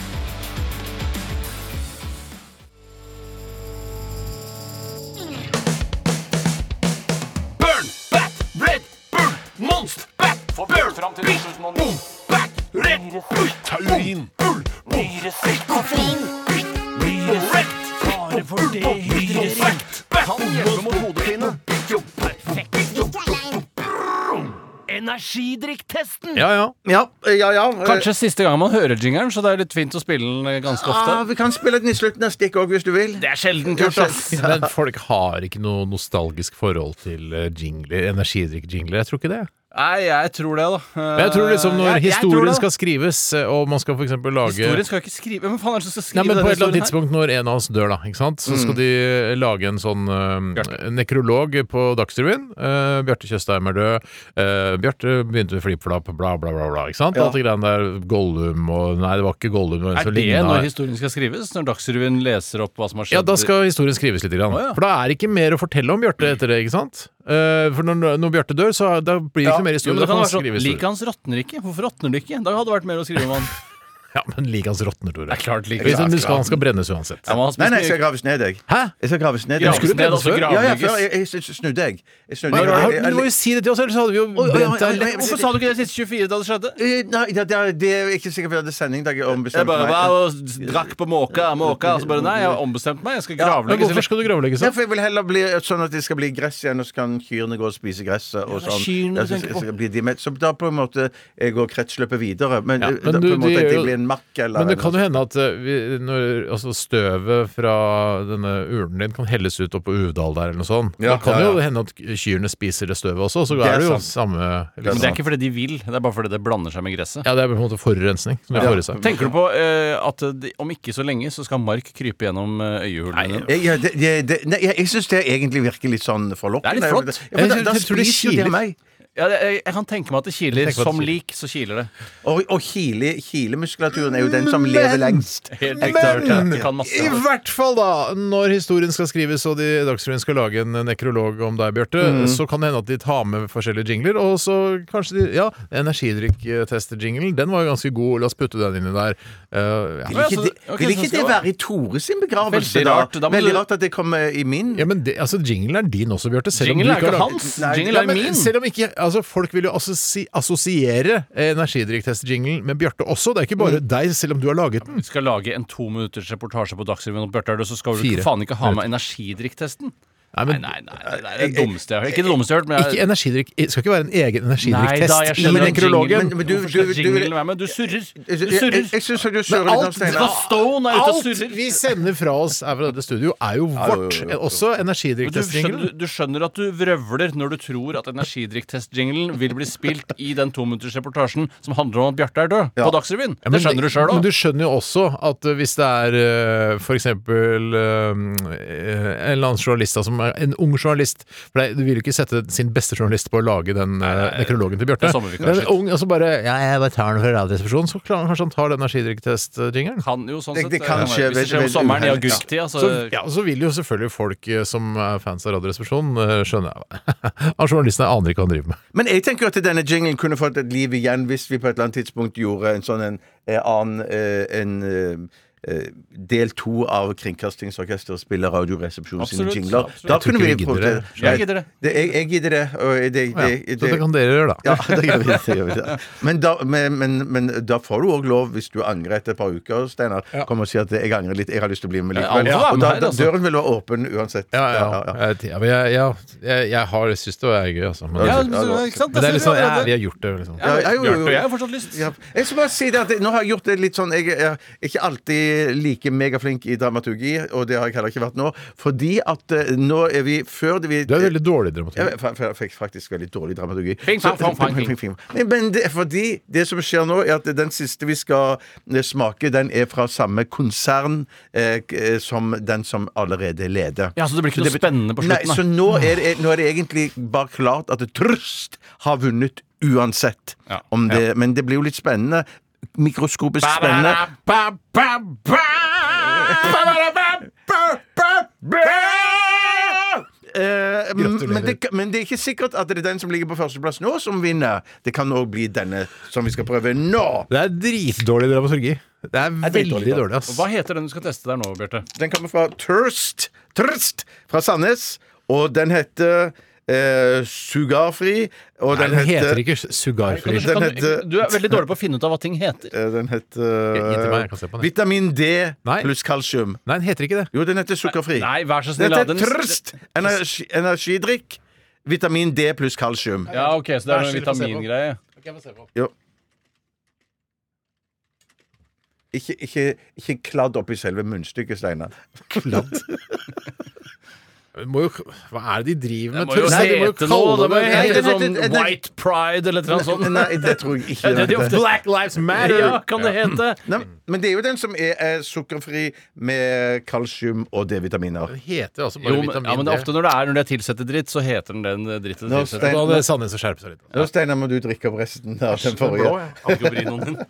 Speaker 3: Burn, bat, red, burn, monst, bat, burn, boom, bat, red, burn, taurin, burn, boom, rett! Bare for det Kan hjelpe mot hodepine. Energi energidrikktesten!
Speaker 4: Ja, ja.
Speaker 5: Ja, eh, ja, ja.
Speaker 6: Kanskje siste gang man hører jingeren, så det er litt fint å spille den eh, ganske
Speaker 5: Ah,
Speaker 6: ofte.
Speaker 5: vi kan spille den i slutten av stikket òg, hvis du vil.
Speaker 6: Det er sjelden
Speaker 5: Ja,
Speaker 6: kult, ass.
Speaker 5: skjønt.
Speaker 4: Men folk har ikke noe nostalgisk forhold til eh, jingler, energidrikk-jingler. Jeg tror ikke det.
Speaker 6: Nei, jeg tror det, da.
Speaker 4: Men jeg tror liksom når
Speaker 6: Eh, Jeg- jeg tror
Speaker 4: historien
Speaker 6: det, da.
Speaker 4: skal skrives, eh, og man skal for eksempel lage
Speaker 6: Historien skal ikke skrive Hvem faen er det som skal
Speaker 4: Nei,
Speaker 6: skrive
Speaker 4: men
Speaker 6: denne
Speaker 4: På et eller annet
Speaker 6: historien her? Mm.
Speaker 4: tidspunkt når en av oss dør, da, ikke sant? så skal de eh, lage en sånn eh, nekrolog på Dagsrevyen. Eh, Bjarte Tjøstheim er død. eh, Bjarte begynte med flippflapp, bla, bla, bla. bla ikke sant? Alt det greiene der. Gollum og Nei, det var ikke Gollum. men så
Speaker 6: Er det
Speaker 4: lignet-
Speaker 6: når historien skal skrives? Når Dagsrevyen leser opp hva som har skjedd?
Speaker 4: Ja, da skal historien skrives litt. Grann.
Speaker 6: Å, ja.
Speaker 4: For da er det ikke mer å fortelle om Bjarte etter det, ikke sant? Eh, for når, når Bjarte dør, så er- da blir det ikke noe mer
Speaker 6: Jo,
Speaker 4: historie.
Speaker 6: men det
Speaker 4: da kan
Speaker 6: kan være
Speaker 4: man
Speaker 6: sånn,
Speaker 4: skrive historie.
Speaker 6: Liket hans råtner ikke. Hvorfor råtner det ikke? Da hadde det vært mer å skrive om han.
Speaker 4: Ja, men lik hans råtner, Tore.
Speaker 6: Det er klart liket
Speaker 4: Hvis
Speaker 6: hans
Speaker 4: han,
Speaker 6: er
Speaker 4: skal, han skal brennes uansett.
Speaker 6: Ja, men han
Speaker 5: Nei, nei, jeg
Speaker 6: spiser
Speaker 5: skal
Speaker 6: mye-
Speaker 5: graves ned, jeg.
Speaker 4: Hæ?
Speaker 5: Jeg skal graves ned.
Speaker 6: Graves
Speaker 5: jeg.
Speaker 6: ned, altså,
Speaker 4: før?
Speaker 5: Ja, ja,
Speaker 6: gravlegges.
Speaker 5: før jeg, jeg, jeg snudde jeg. jeg snudde
Speaker 4: Men,
Speaker 5: jeg.
Speaker 4: har-
Speaker 5: Jeg-
Speaker 4: du må jo
Speaker 5: jeg-
Speaker 4: si det til oss, ellers hadde vi jo
Speaker 5: oi, oi,
Speaker 4: brent
Speaker 5: oi,
Speaker 4: deg
Speaker 5: oi,
Speaker 4: lett.
Speaker 6: Hvorfor sa du ikke det siste 24 da det skjedde?
Speaker 5: Eh, Nei, det, det, er- det er ikke sikkert vi hadde sending. Det er ikke ombestemt
Speaker 6: Jeg bare
Speaker 5: meg.
Speaker 6: var og drakk på måka, måka, og så bare nei, jeg har ombestemt meg, jeg skal
Speaker 4: Men
Speaker 6: gravlegge.
Speaker 4: hvorfor skal du gravlegges?
Speaker 5: Ja,
Speaker 4: da?
Speaker 5: for jeg vil heller bli sånn at det skal bli gress igjen, og så kan kyrne gå og spise gresset. Og
Speaker 6: det er
Speaker 5: sånn.
Speaker 6: kyrne du
Speaker 5: Ja, så-
Speaker 6: tenker
Speaker 5: så
Speaker 6: på.
Speaker 5: blir de med. Så da på en måte eh, går kretsløpet videre. Men, eh,
Speaker 4: men
Speaker 5: da,
Speaker 4: du-
Speaker 5: på en måte
Speaker 4: de
Speaker 5: at
Speaker 4: gjør
Speaker 5: de
Speaker 4: jo-
Speaker 5: blir en makk eller
Speaker 4: Men det kan jo hende at eh, vi, når, altså støvet fra denne urnen din kan helles ut oppå Uvdal der, eller noe sånt.
Speaker 5: Ja,
Speaker 4: da kan
Speaker 5: ja, ja.
Speaker 4: jo hende at kyrne spiser det støvet også, så
Speaker 5: Det er
Speaker 4: er det jo
Speaker 5: sant.
Speaker 4: samme
Speaker 6: Men det
Speaker 4: liksom.
Speaker 6: er ikke fordi de vil, det er bare fordi det blander seg med gresset.
Speaker 4: Ja, det er på en måte forurensning. Som de får i seg.
Speaker 6: Tenker du på eh, at de, om ikke så lenge så skal Mark krype gjennom eh, øyehulene dine?
Speaker 5: Jeg, ja, det, det, det, nei, jeg, jeg syns det egentlig virker litt sånn forlokkende.
Speaker 6: Det er litt flott.
Speaker 5: Ja, for da,
Speaker 4: Jeg
Speaker 5: da
Speaker 4: tror- jeg tror det
Speaker 5: spiser jo
Speaker 4: kiler.
Speaker 5: de meg.
Speaker 6: Ja, det- jeg, jeg kan tenke meg at det kiler.
Speaker 4: Jeg tenker meg at
Speaker 6: Som
Speaker 4: det
Speaker 6: lik så kiler det.
Speaker 5: Og, og kile, kilemuskulaturen er jo den som lever lengst.
Speaker 6: Helt riktig. jeg har hørt det. Det kan masse.
Speaker 4: I hvert fall, da, når historien skal skrives og de Dagsrevyen skal lage en nekrolog om deg, Bjarte,
Speaker 6: Mm.
Speaker 4: så kan det hende at de tar med forskjellige jingler, og så kanskje de Ja, energidrikktest-jinglen, den var jo ganske god, la oss putte den inni der. Eh, ja.
Speaker 5: Vil ikke,
Speaker 6: så-
Speaker 5: det,
Speaker 6: ok,
Speaker 5: vil
Speaker 6: så
Speaker 5: ikke det
Speaker 6: skal det
Speaker 5: være i Tore sin begravelse,
Speaker 6: Veldig
Speaker 5: da?
Speaker 6: rart, da må
Speaker 5: Veldig
Speaker 6: du-
Speaker 5: rart at det kommer i min.
Speaker 4: ja, men det, altså, jinglen er din også, Bjarte. selv om du
Speaker 6: Jingle er
Speaker 4: har
Speaker 6: ikke
Speaker 4: laget-
Speaker 6: hans,
Speaker 5: Nei,
Speaker 6: jingle
Speaker 4: Ja,
Speaker 6: er
Speaker 4: men
Speaker 6: min.
Speaker 4: Selv om ikke, altså Folk vil jo assosi assosiere eh, energidrikktest-jinglen med Bjarte også. Det er ikke
Speaker 6: Mm.
Speaker 4: bare deg, selv om du har laget den.
Speaker 6: Vi skal lage en to minutters reportasje på Dagsrevyen om Bjarte Erdø, så skal du
Speaker 4: Fire.
Speaker 6: ikke- faen ikke ha med energidrikktesten.
Speaker 4: Nei,
Speaker 6: Nei,
Speaker 4: men
Speaker 6: nei, nei, nei, det er
Speaker 5: Eh,
Speaker 6: det dummeste jeg har hørt. Ikke det dummeste jeg har hørt, men
Speaker 4: ikke
Speaker 6: jeg
Speaker 4: energidrikk Det skal ikke være en egen
Speaker 6: Nei da, jeg
Speaker 4: energidrikktest i
Speaker 6: skjønner at
Speaker 4: nekrologen.
Speaker 6: jinglen-
Speaker 5: Men du-
Speaker 6: Hvorfor
Speaker 5: du-
Speaker 6: skal
Speaker 5: du-
Speaker 6: jinglen være med? Du surrer. Du
Speaker 5: Jeg, jeg, jeg,
Speaker 6: surrer.
Speaker 5: jeg syns du surrer litt,
Speaker 4: alt-
Speaker 5: Hans Steinar.
Speaker 6: Hva Stone er ute og
Speaker 4: Alt
Speaker 6: surrer.
Speaker 4: vi sender fra oss er fra dette studio, er jo vårt. Også
Speaker 6: Men Du skjønner,
Speaker 4: energidrikktest-jinglen.
Speaker 6: du skjønner at du vrøvler når du tror at energidrikktest-jinglen vil bli spilt i den tominuttersreportasjen som handler om at Bjarte er død, på Dagsrevyen. det skjønner du sjøl
Speaker 4: Men
Speaker 6: òg.
Speaker 4: du skjønner jo også at eh, hvis det er eh, for eksempel eh, en eller annen journalist da, som er en ung journalist For det- du vil jo ikke sette sin beste journalist på å lage den eh, nekrologen til Bjarte.
Speaker 6: Det er sommervikar,
Speaker 4: Men
Speaker 6: shit.
Speaker 4: en ung, og så bare Ja, jeg bare tar den fra Radioresepsjonen, så klarer han kanskje han tar den energidrikktest-jingelen.
Speaker 6: Kan jo sånn
Speaker 5: Det-
Speaker 6: sett
Speaker 5: det kan
Speaker 6: eh,
Speaker 5: skje
Speaker 6: Hvis det skjer
Speaker 5: ved-
Speaker 6: om sommeren i
Speaker 5: ved-
Speaker 6: augusttida, så
Speaker 4: Så, ja, så vil jo selvfølgelig folk eh, som er fans av Radioresepsjonen, eh, skjønne at journalistene aner ikke hva han driver med.
Speaker 5: Men jeg tenker jo at denne jinglen kunne fått et liv igjen hvis vi på et eller annet tidspunkt gjorde en sånn en, eh, annen eh, en, eh, eh, Del to av Kringkastingsorkesteret spiller Radioresepsjonen sine
Speaker 6: Absolutt,
Speaker 5: jingler.
Speaker 6: absolutt.
Speaker 5: Da
Speaker 4: Jeg tror
Speaker 5: kunne
Speaker 4: ikke
Speaker 5: vi
Speaker 4: vi
Speaker 5: prøvd
Speaker 4: gidder
Speaker 5: det.
Speaker 6: det. Jeg gidder det.
Speaker 5: det. Jeg, jeg gidder det. Og det, det,
Speaker 4: Ja,
Speaker 5: det,
Speaker 4: så det kan dere gjøre, da.
Speaker 5: ja, det gjør vi, det gjør vi det. Men da, men, men, men da får du òg lov, hvis du angrer etter et par uker, Steinar, kom og si at jeg angrer litt, jeg har lyst til å bli med likevel. Og
Speaker 6: Ja, alle er
Speaker 5: da,
Speaker 6: med her,
Speaker 5: da,
Speaker 6: altså.
Speaker 5: døren vil være åpen uansett.
Speaker 4: Ja, ja, Jeg, ja, men jeg, ja, jeg, jeg har syns det var gøy, altså. Men,
Speaker 6: ja,
Speaker 4: men
Speaker 6: så- ikke sant?
Speaker 4: det er litt sånn ja, Vi
Speaker 6: ja,
Speaker 4: har gjort det, liksom.
Speaker 5: Ja, ja, jo, jo, jo.
Speaker 6: Bjarte og jeg har fortsatt lyst.
Speaker 5: Ja. Jeg skal bare si det at jeg- Nå har jeg gjort det litt sånn Jeg er ikke alltid like megaflink i dramaturgi, og det har jeg heller ikke vært nå. Fordi at eh, nå er vi før det vi
Speaker 4: Du er veldig dårlig dramaturg.
Speaker 5: jeg fa- fa- fikk faktisk veldig dårlig dramaturgi.
Speaker 6: Fing, fang,
Speaker 5: Så-
Speaker 6: fang, fang, fing.
Speaker 5: Fing, fing, fing. Men det er fordi det som skjer nå, er at den siste vi skal eh, smake, den er fra samme konsern eh, k- eh, som den som allerede leder.
Speaker 6: Ja, Så det blir ikke noe
Speaker 5: bet-
Speaker 6: spennende på
Speaker 5: Nei, så
Speaker 6: slutten? da.
Speaker 5: nå er, det, nå er det egentlig bare klart at Trøst har vunnet uansett.
Speaker 6: Ja.
Speaker 5: Om det, Men det blir jo litt spennende. Mikroskopisk spennende. Eh, men, det, men det er ikke sikkert at det er den som ligger på førsteplass nå, som vinner. Det kan òg bli denne som vi skal prøve nå.
Speaker 4: Det er dritdårlig dramaturgi. Det er
Speaker 5: dritdårlig,
Speaker 4: veldig
Speaker 5: da.
Speaker 4: dårlig, ass.
Speaker 6: Hva heter den du skal teste der nå, Bjarte?
Speaker 5: Den kommer fra Thirst, Thirst fra Sandnes, og den heter eh, Sugarfri. Og
Speaker 4: Nei,
Speaker 5: den,
Speaker 4: den heter
Speaker 5: heter
Speaker 4: ikke sugarfri.
Speaker 5: Den
Speaker 6: Kan du,
Speaker 5: heter-
Speaker 6: du er veldig dårlig på å finne ut av hva ting heter.
Speaker 5: eh, Den heter
Speaker 4: Gi til meg, jeg kan se på den.
Speaker 5: Vitamin D
Speaker 4: Nei.
Speaker 5: pluss kalsium.
Speaker 4: Nei, den heter ikke det.
Speaker 5: Jo, den heter Sukkerfri.
Speaker 6: Nei, vær så snill.
Speaker 5: Den
Speaker 6: la
Speaker 5: heter
Speaker 6: den-
Speaker 5: Thirst energi, energidrikk. Vitamin D pluss kalsium.
Speaker 6: Ja, ok, så det er noe
Speaker 4: Vær så snill, få se på.
Speaker 6: vitamingreie.
Speaker 5: Jo. Ikke, ikke, ikke kladd oppi selve munnstykket, Steinar.
Speaker 4: Må jo, hva er det de driver med?
Speaker 6: Det må jo
Speaker 4: Nei, de må jo
Speaker 6: hete noe.
Speaker 4: kalle
Speaker 6: Det må jo
Speaker 4: det-
Speaker 5: Nei,
Speaker 6: hete
Speaker 5: det-
Speaker 6: sånn
Speaker 5: det- det-
Speaker 6: White Pride eller et eller annet sånt.
Speaker 5: Nei, det tror jeg ikke.
Speaker 6: Ja, det er de ofte.
Speaker 4: Black Lives Matter!
Speaker 6: Ja, kan det hete.
Speaker 5: Nei, men det er jo den som er, eh, sukkerfri med kalsium og D-vitaminer.
Speaker 4: Det heter altså bare
Speaker 6: Jo, men,
Speaker 4: vitamin
Speaker 6: ja, men det er
Speaker 4: D.
Speaker 6: ofte når det er når det er tilsette dritt, så heter den den eh, dritten
Speaker 5: Nå,
Speaker 6: det tilsetter.
Speaker 5: Stein-
Speaker 4: Da hadde Sandnes å skjerpe seg litt.
Speaker 5: Nå, Steinar, må du drikke opp resten av den
Speaker 4: Den blå,
Speaker 5: forrige.
Speaker 4: ja.
Speaker 6: Algobrinoen din.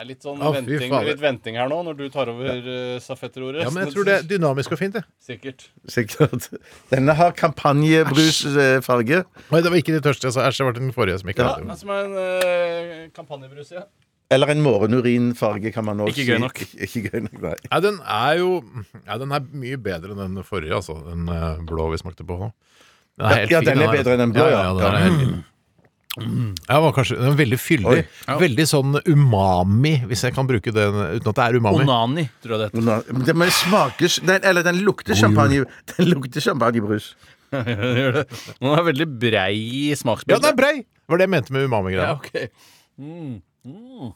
Speaker 6: Det er litt sånn
Speaker 4: Å, fy
Speaker 6: venting,
Speaker 4: fader.
Speaker 6: litt venting her nå, når du tar over eh, stafetterordet.
Speaker 4: Ja, men jeg tror det er dynamisk og fint, det.
Speaker 6: Sikkert.
Speaker 5: Sikkert. Denne har eh, kampanjebrusfarge.
Speaker 4: Nei, det var ikke de tørste jeg sa. Æsj, det var den forrige som ikke
Speaker 6: Ja,
Speaker 4: hadde
Speaker 6: det
Speaker 4: det.
Speaker 6: er som en eh, kampanjebrus, ja.
Speaker 5: Eller en morgenurinfarge, kan man også
Speaker 6: Ikke
Speaker 5: si.
Speaker 6: gøy nok.
Speaker 5: Ikke, ikke gøy nok, nei.
Speaker 4: Nei, den er jo ja, Den er mye bedre enn den forrige, altså. Den eh, blå vi smakte på nå. Den
Speaker 5: Ja, ja, den er
Speaker 4: her,
Speaker 5: bedre enn den blå,
Speaker 4: ja.
Speaker 5: ja.
Speaker 4: ja, den er helt fin. Ja, den var kanskje, den er veldig fyldig.
Speaker 5: Oi.
Speaker 4: Veldig sånn umami, hvis jeg kan bruke den uten at det er umami.
Speaker 6: Onani, tror jeg det heter.
Speaker 5: Nå- men Den men smaker den, Eller den lukter champagne Den lukter champagnebrus.
Speaker 6: Gjør det. Den er veldig brei i
Speaker 4: Ja, den er
Speaker 6: smaksbildet.
Speaker 4: brei! Det var det jeg mente med umami-greia.
Speaker 5: Nei,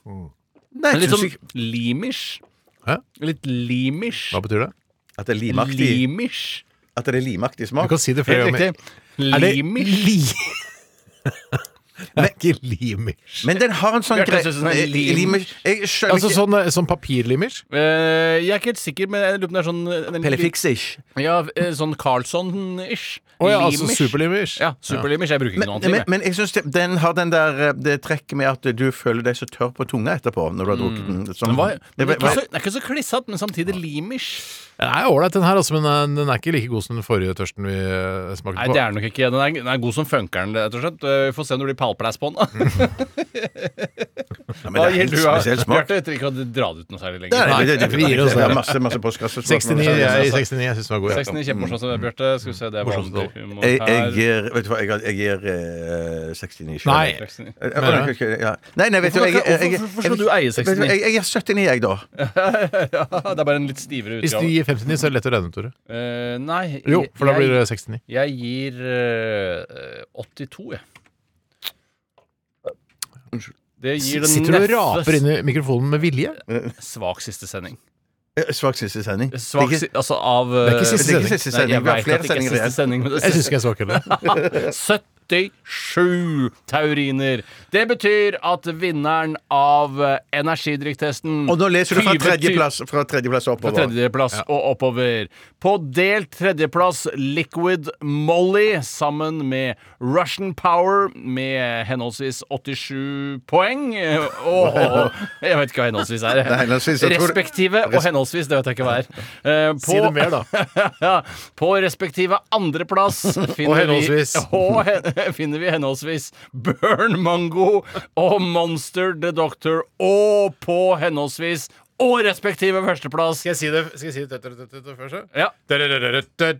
Speaker 6: Men
Speaker 5: jeg
Speaker 6: litt
Speaker 5: synes
Speaker 6: sånn
Speaker 5: ikke
Speaker 6: limish.
Speaker 4: Hæ?
Speaker 6: Litt limish.
Speaker 4: Hva betyr det?
Speaker 5: At det er limaktig
Speaker 6: Limish.
Speaker 5: At det er limaktig
Speaker 4: Du
Speaker 5: smak.
Speaker 4: kan si det flere
Speaker 6: Helt
Speaker 4: ganger.
Speaker 6: riktig. Limish.
Speaker 4: li... Det er ikke limish.
Speaker 5: Men den har en sånn
Speaker 6: Bjarte
Speaker 5: greie
Speaker 6: synes den er lim.
Speaker 5: Jeg skjønner
Speaker 4: Altså
Speaker 5: ikke
Speaker 4: sånn, eh, sånn papirlimers?
Speaker 6: Eh, jeg er ikke helt sikker, men jeg lurer på om det er sånn
Speaker 5: Pellefixish.
Speaker 6: Ja, eh, sånn Carlsson-ish.
Speaker 4: Å ja, altså
Speaker 6: Limish.
Speaker 4: superlimers.
Speaker 6: Ja, superlimers. Jeg bruker ikke
Speaker 5: Men,
Speaker 6: noe annet.
Speaker 5: men,
Speaker 6: jeg.
Speaker 5: men jeg syns det- den har den der eh, det trekket med at du føler deg så tørr på tunga etterpå når du har drukket den. Sånn-
Speaker 6: Den var,
Speaker 5: det,
Speaker 6: den er
Speaker 5: var-
Speaker 6: ikke så, den er ikke så klissete, men samtidig limish.
Speaker 4: Den er ålreit, den her, altså, men den- den er ikke like god som den forrige tørsten vi eh, smakte
Speaker 6: Nei,
Speaker 4: på.
Speaker 6: det er den nok ikke. Den er, den er god som funkeren, rett og slett. Eh, Vi får se når det blir pallplass på den.
Speaker 5: Ja, men det
Speaker 6: Hva
Speaker 5: er
Speaker 6: gir
Speaker 5: helt
Speaker 6: du av?
Speaker 5: spesiell smak.
Speaker 6: Bjarte, jeg trenger ikke å dra det ut noe særlig
Speaker 5: Det
Speaker 6: lenger.
Speaker 5: er-
Speaker 6: Nei.
Speaker 5: det- det- det-
Speaker 4: vi gir oss
Speaker 5: det er
Speaker 4: det.
Speaker 5: Masse, masse postkasser.
Speaker 4: 69, jeg, 69, jeg syns den var god.
Speaker 6: 69 kjempemorsomt,
Speaker 4: Mm.
Speaker 6: det, Bjarte. Skal vi se, det var
Speaker 4: Morsomt, da.
Speaker 6: humor
Speaker 5: Jeg, jeg
Speaker 6: her.
Speaker 5: gir Vet du hva, jeg, gir- jeg gir eh, 69 selv.
Speaker 4: Nei.
Speaker 5: Eh, eh, ok, ok, ja. Nei, nei, vet du
Speaker 6: Hvorfor-
Speaker 5: jeg- jeg- jeg-
Speaker 6: hvorfor skal du eie 69?
Speaker 5: Jeg, jeg, jeg er 79, jeg, da.
Speaker 6: Ja, det er bare en litt stivere
Speaker 4: Hvis du
Speaker 6: utgave.
Speaker 4: gir 59, så er det lett å regne ut, Tore.
Speaker 6: Eh, nei,
Speaker 4: Jo, for da
Speaker 6: jeg-
Speaker 4: blir det 69.
Speaker 6: Jeg gir eh, 82, jeg. Det gir den
Speaker 4: Sitter du og raper
Speaker 6: neste
Speaker 4: inn i mikrofonen med vilje?
Speaker 6: svak siste sending.
Speaker 5: Eh, Svak siste sending.
Speaker 6: Svak,
Speaker 5: Det er
Speaker 6: si- altså av
Speaker 4: Det er ikke
Speaker 5: ikke-
Speaker 4: siste
Speaker 5: det er ikke
Speaker 4: sending.
Speaker 5: siste
Speaker 6: Nei,
Speaker 5: sending.
Speaker 6: jeg
Speaker 5: Vi har
Speaker 6: vet
Speaker 5: flere
Speaker 6: at det ikke
Speaker 5: sendinger
Speaker 6: er siste
Speaker 5: igjen.
Speaker 6: sending, men det
Speaker 4: Jeg syns
Speaker 6: er
Speaker 4: ikke jeg er svak heller.
Speaker 6: 77 tauriner. Det betyr at vinneren av eh, energidrikktesten
Speaker 5: Og nå leser du fra
Speaker 6: 20
Speaker 5: tredjeplass fra tredjeplass
Speaker 6: På
Speaker 5: oppover.
Speaker 6: tredjeplass og oppover. På delt tredjeplass Liquid Molly sammen med Russian Power med henholdsvis 87 poeng. Og Jeg vet ikke hva henholdsvis er.
Speaker 5: Nei, henholdsvis, jeg tror-
Speaker 6: Respektive og henholdsvis, det vet jeg ikke hva er. Eh, På,
Speaker 4: Si det mer, da.
Speaker 6: ja, på respektive andreplass finner,
Speaker 4: henholdsvis.
Speaker 6: Vi, og hen, finner vi henholdsvis Burn Mango og Monster The Doctor, og på henholdsvis og respektive førsteplass
Speaker 4: Skal jeg si det Skal jeg si det tøtt, tøtt, tøtt, tøtt først?
Speaker 6: ja.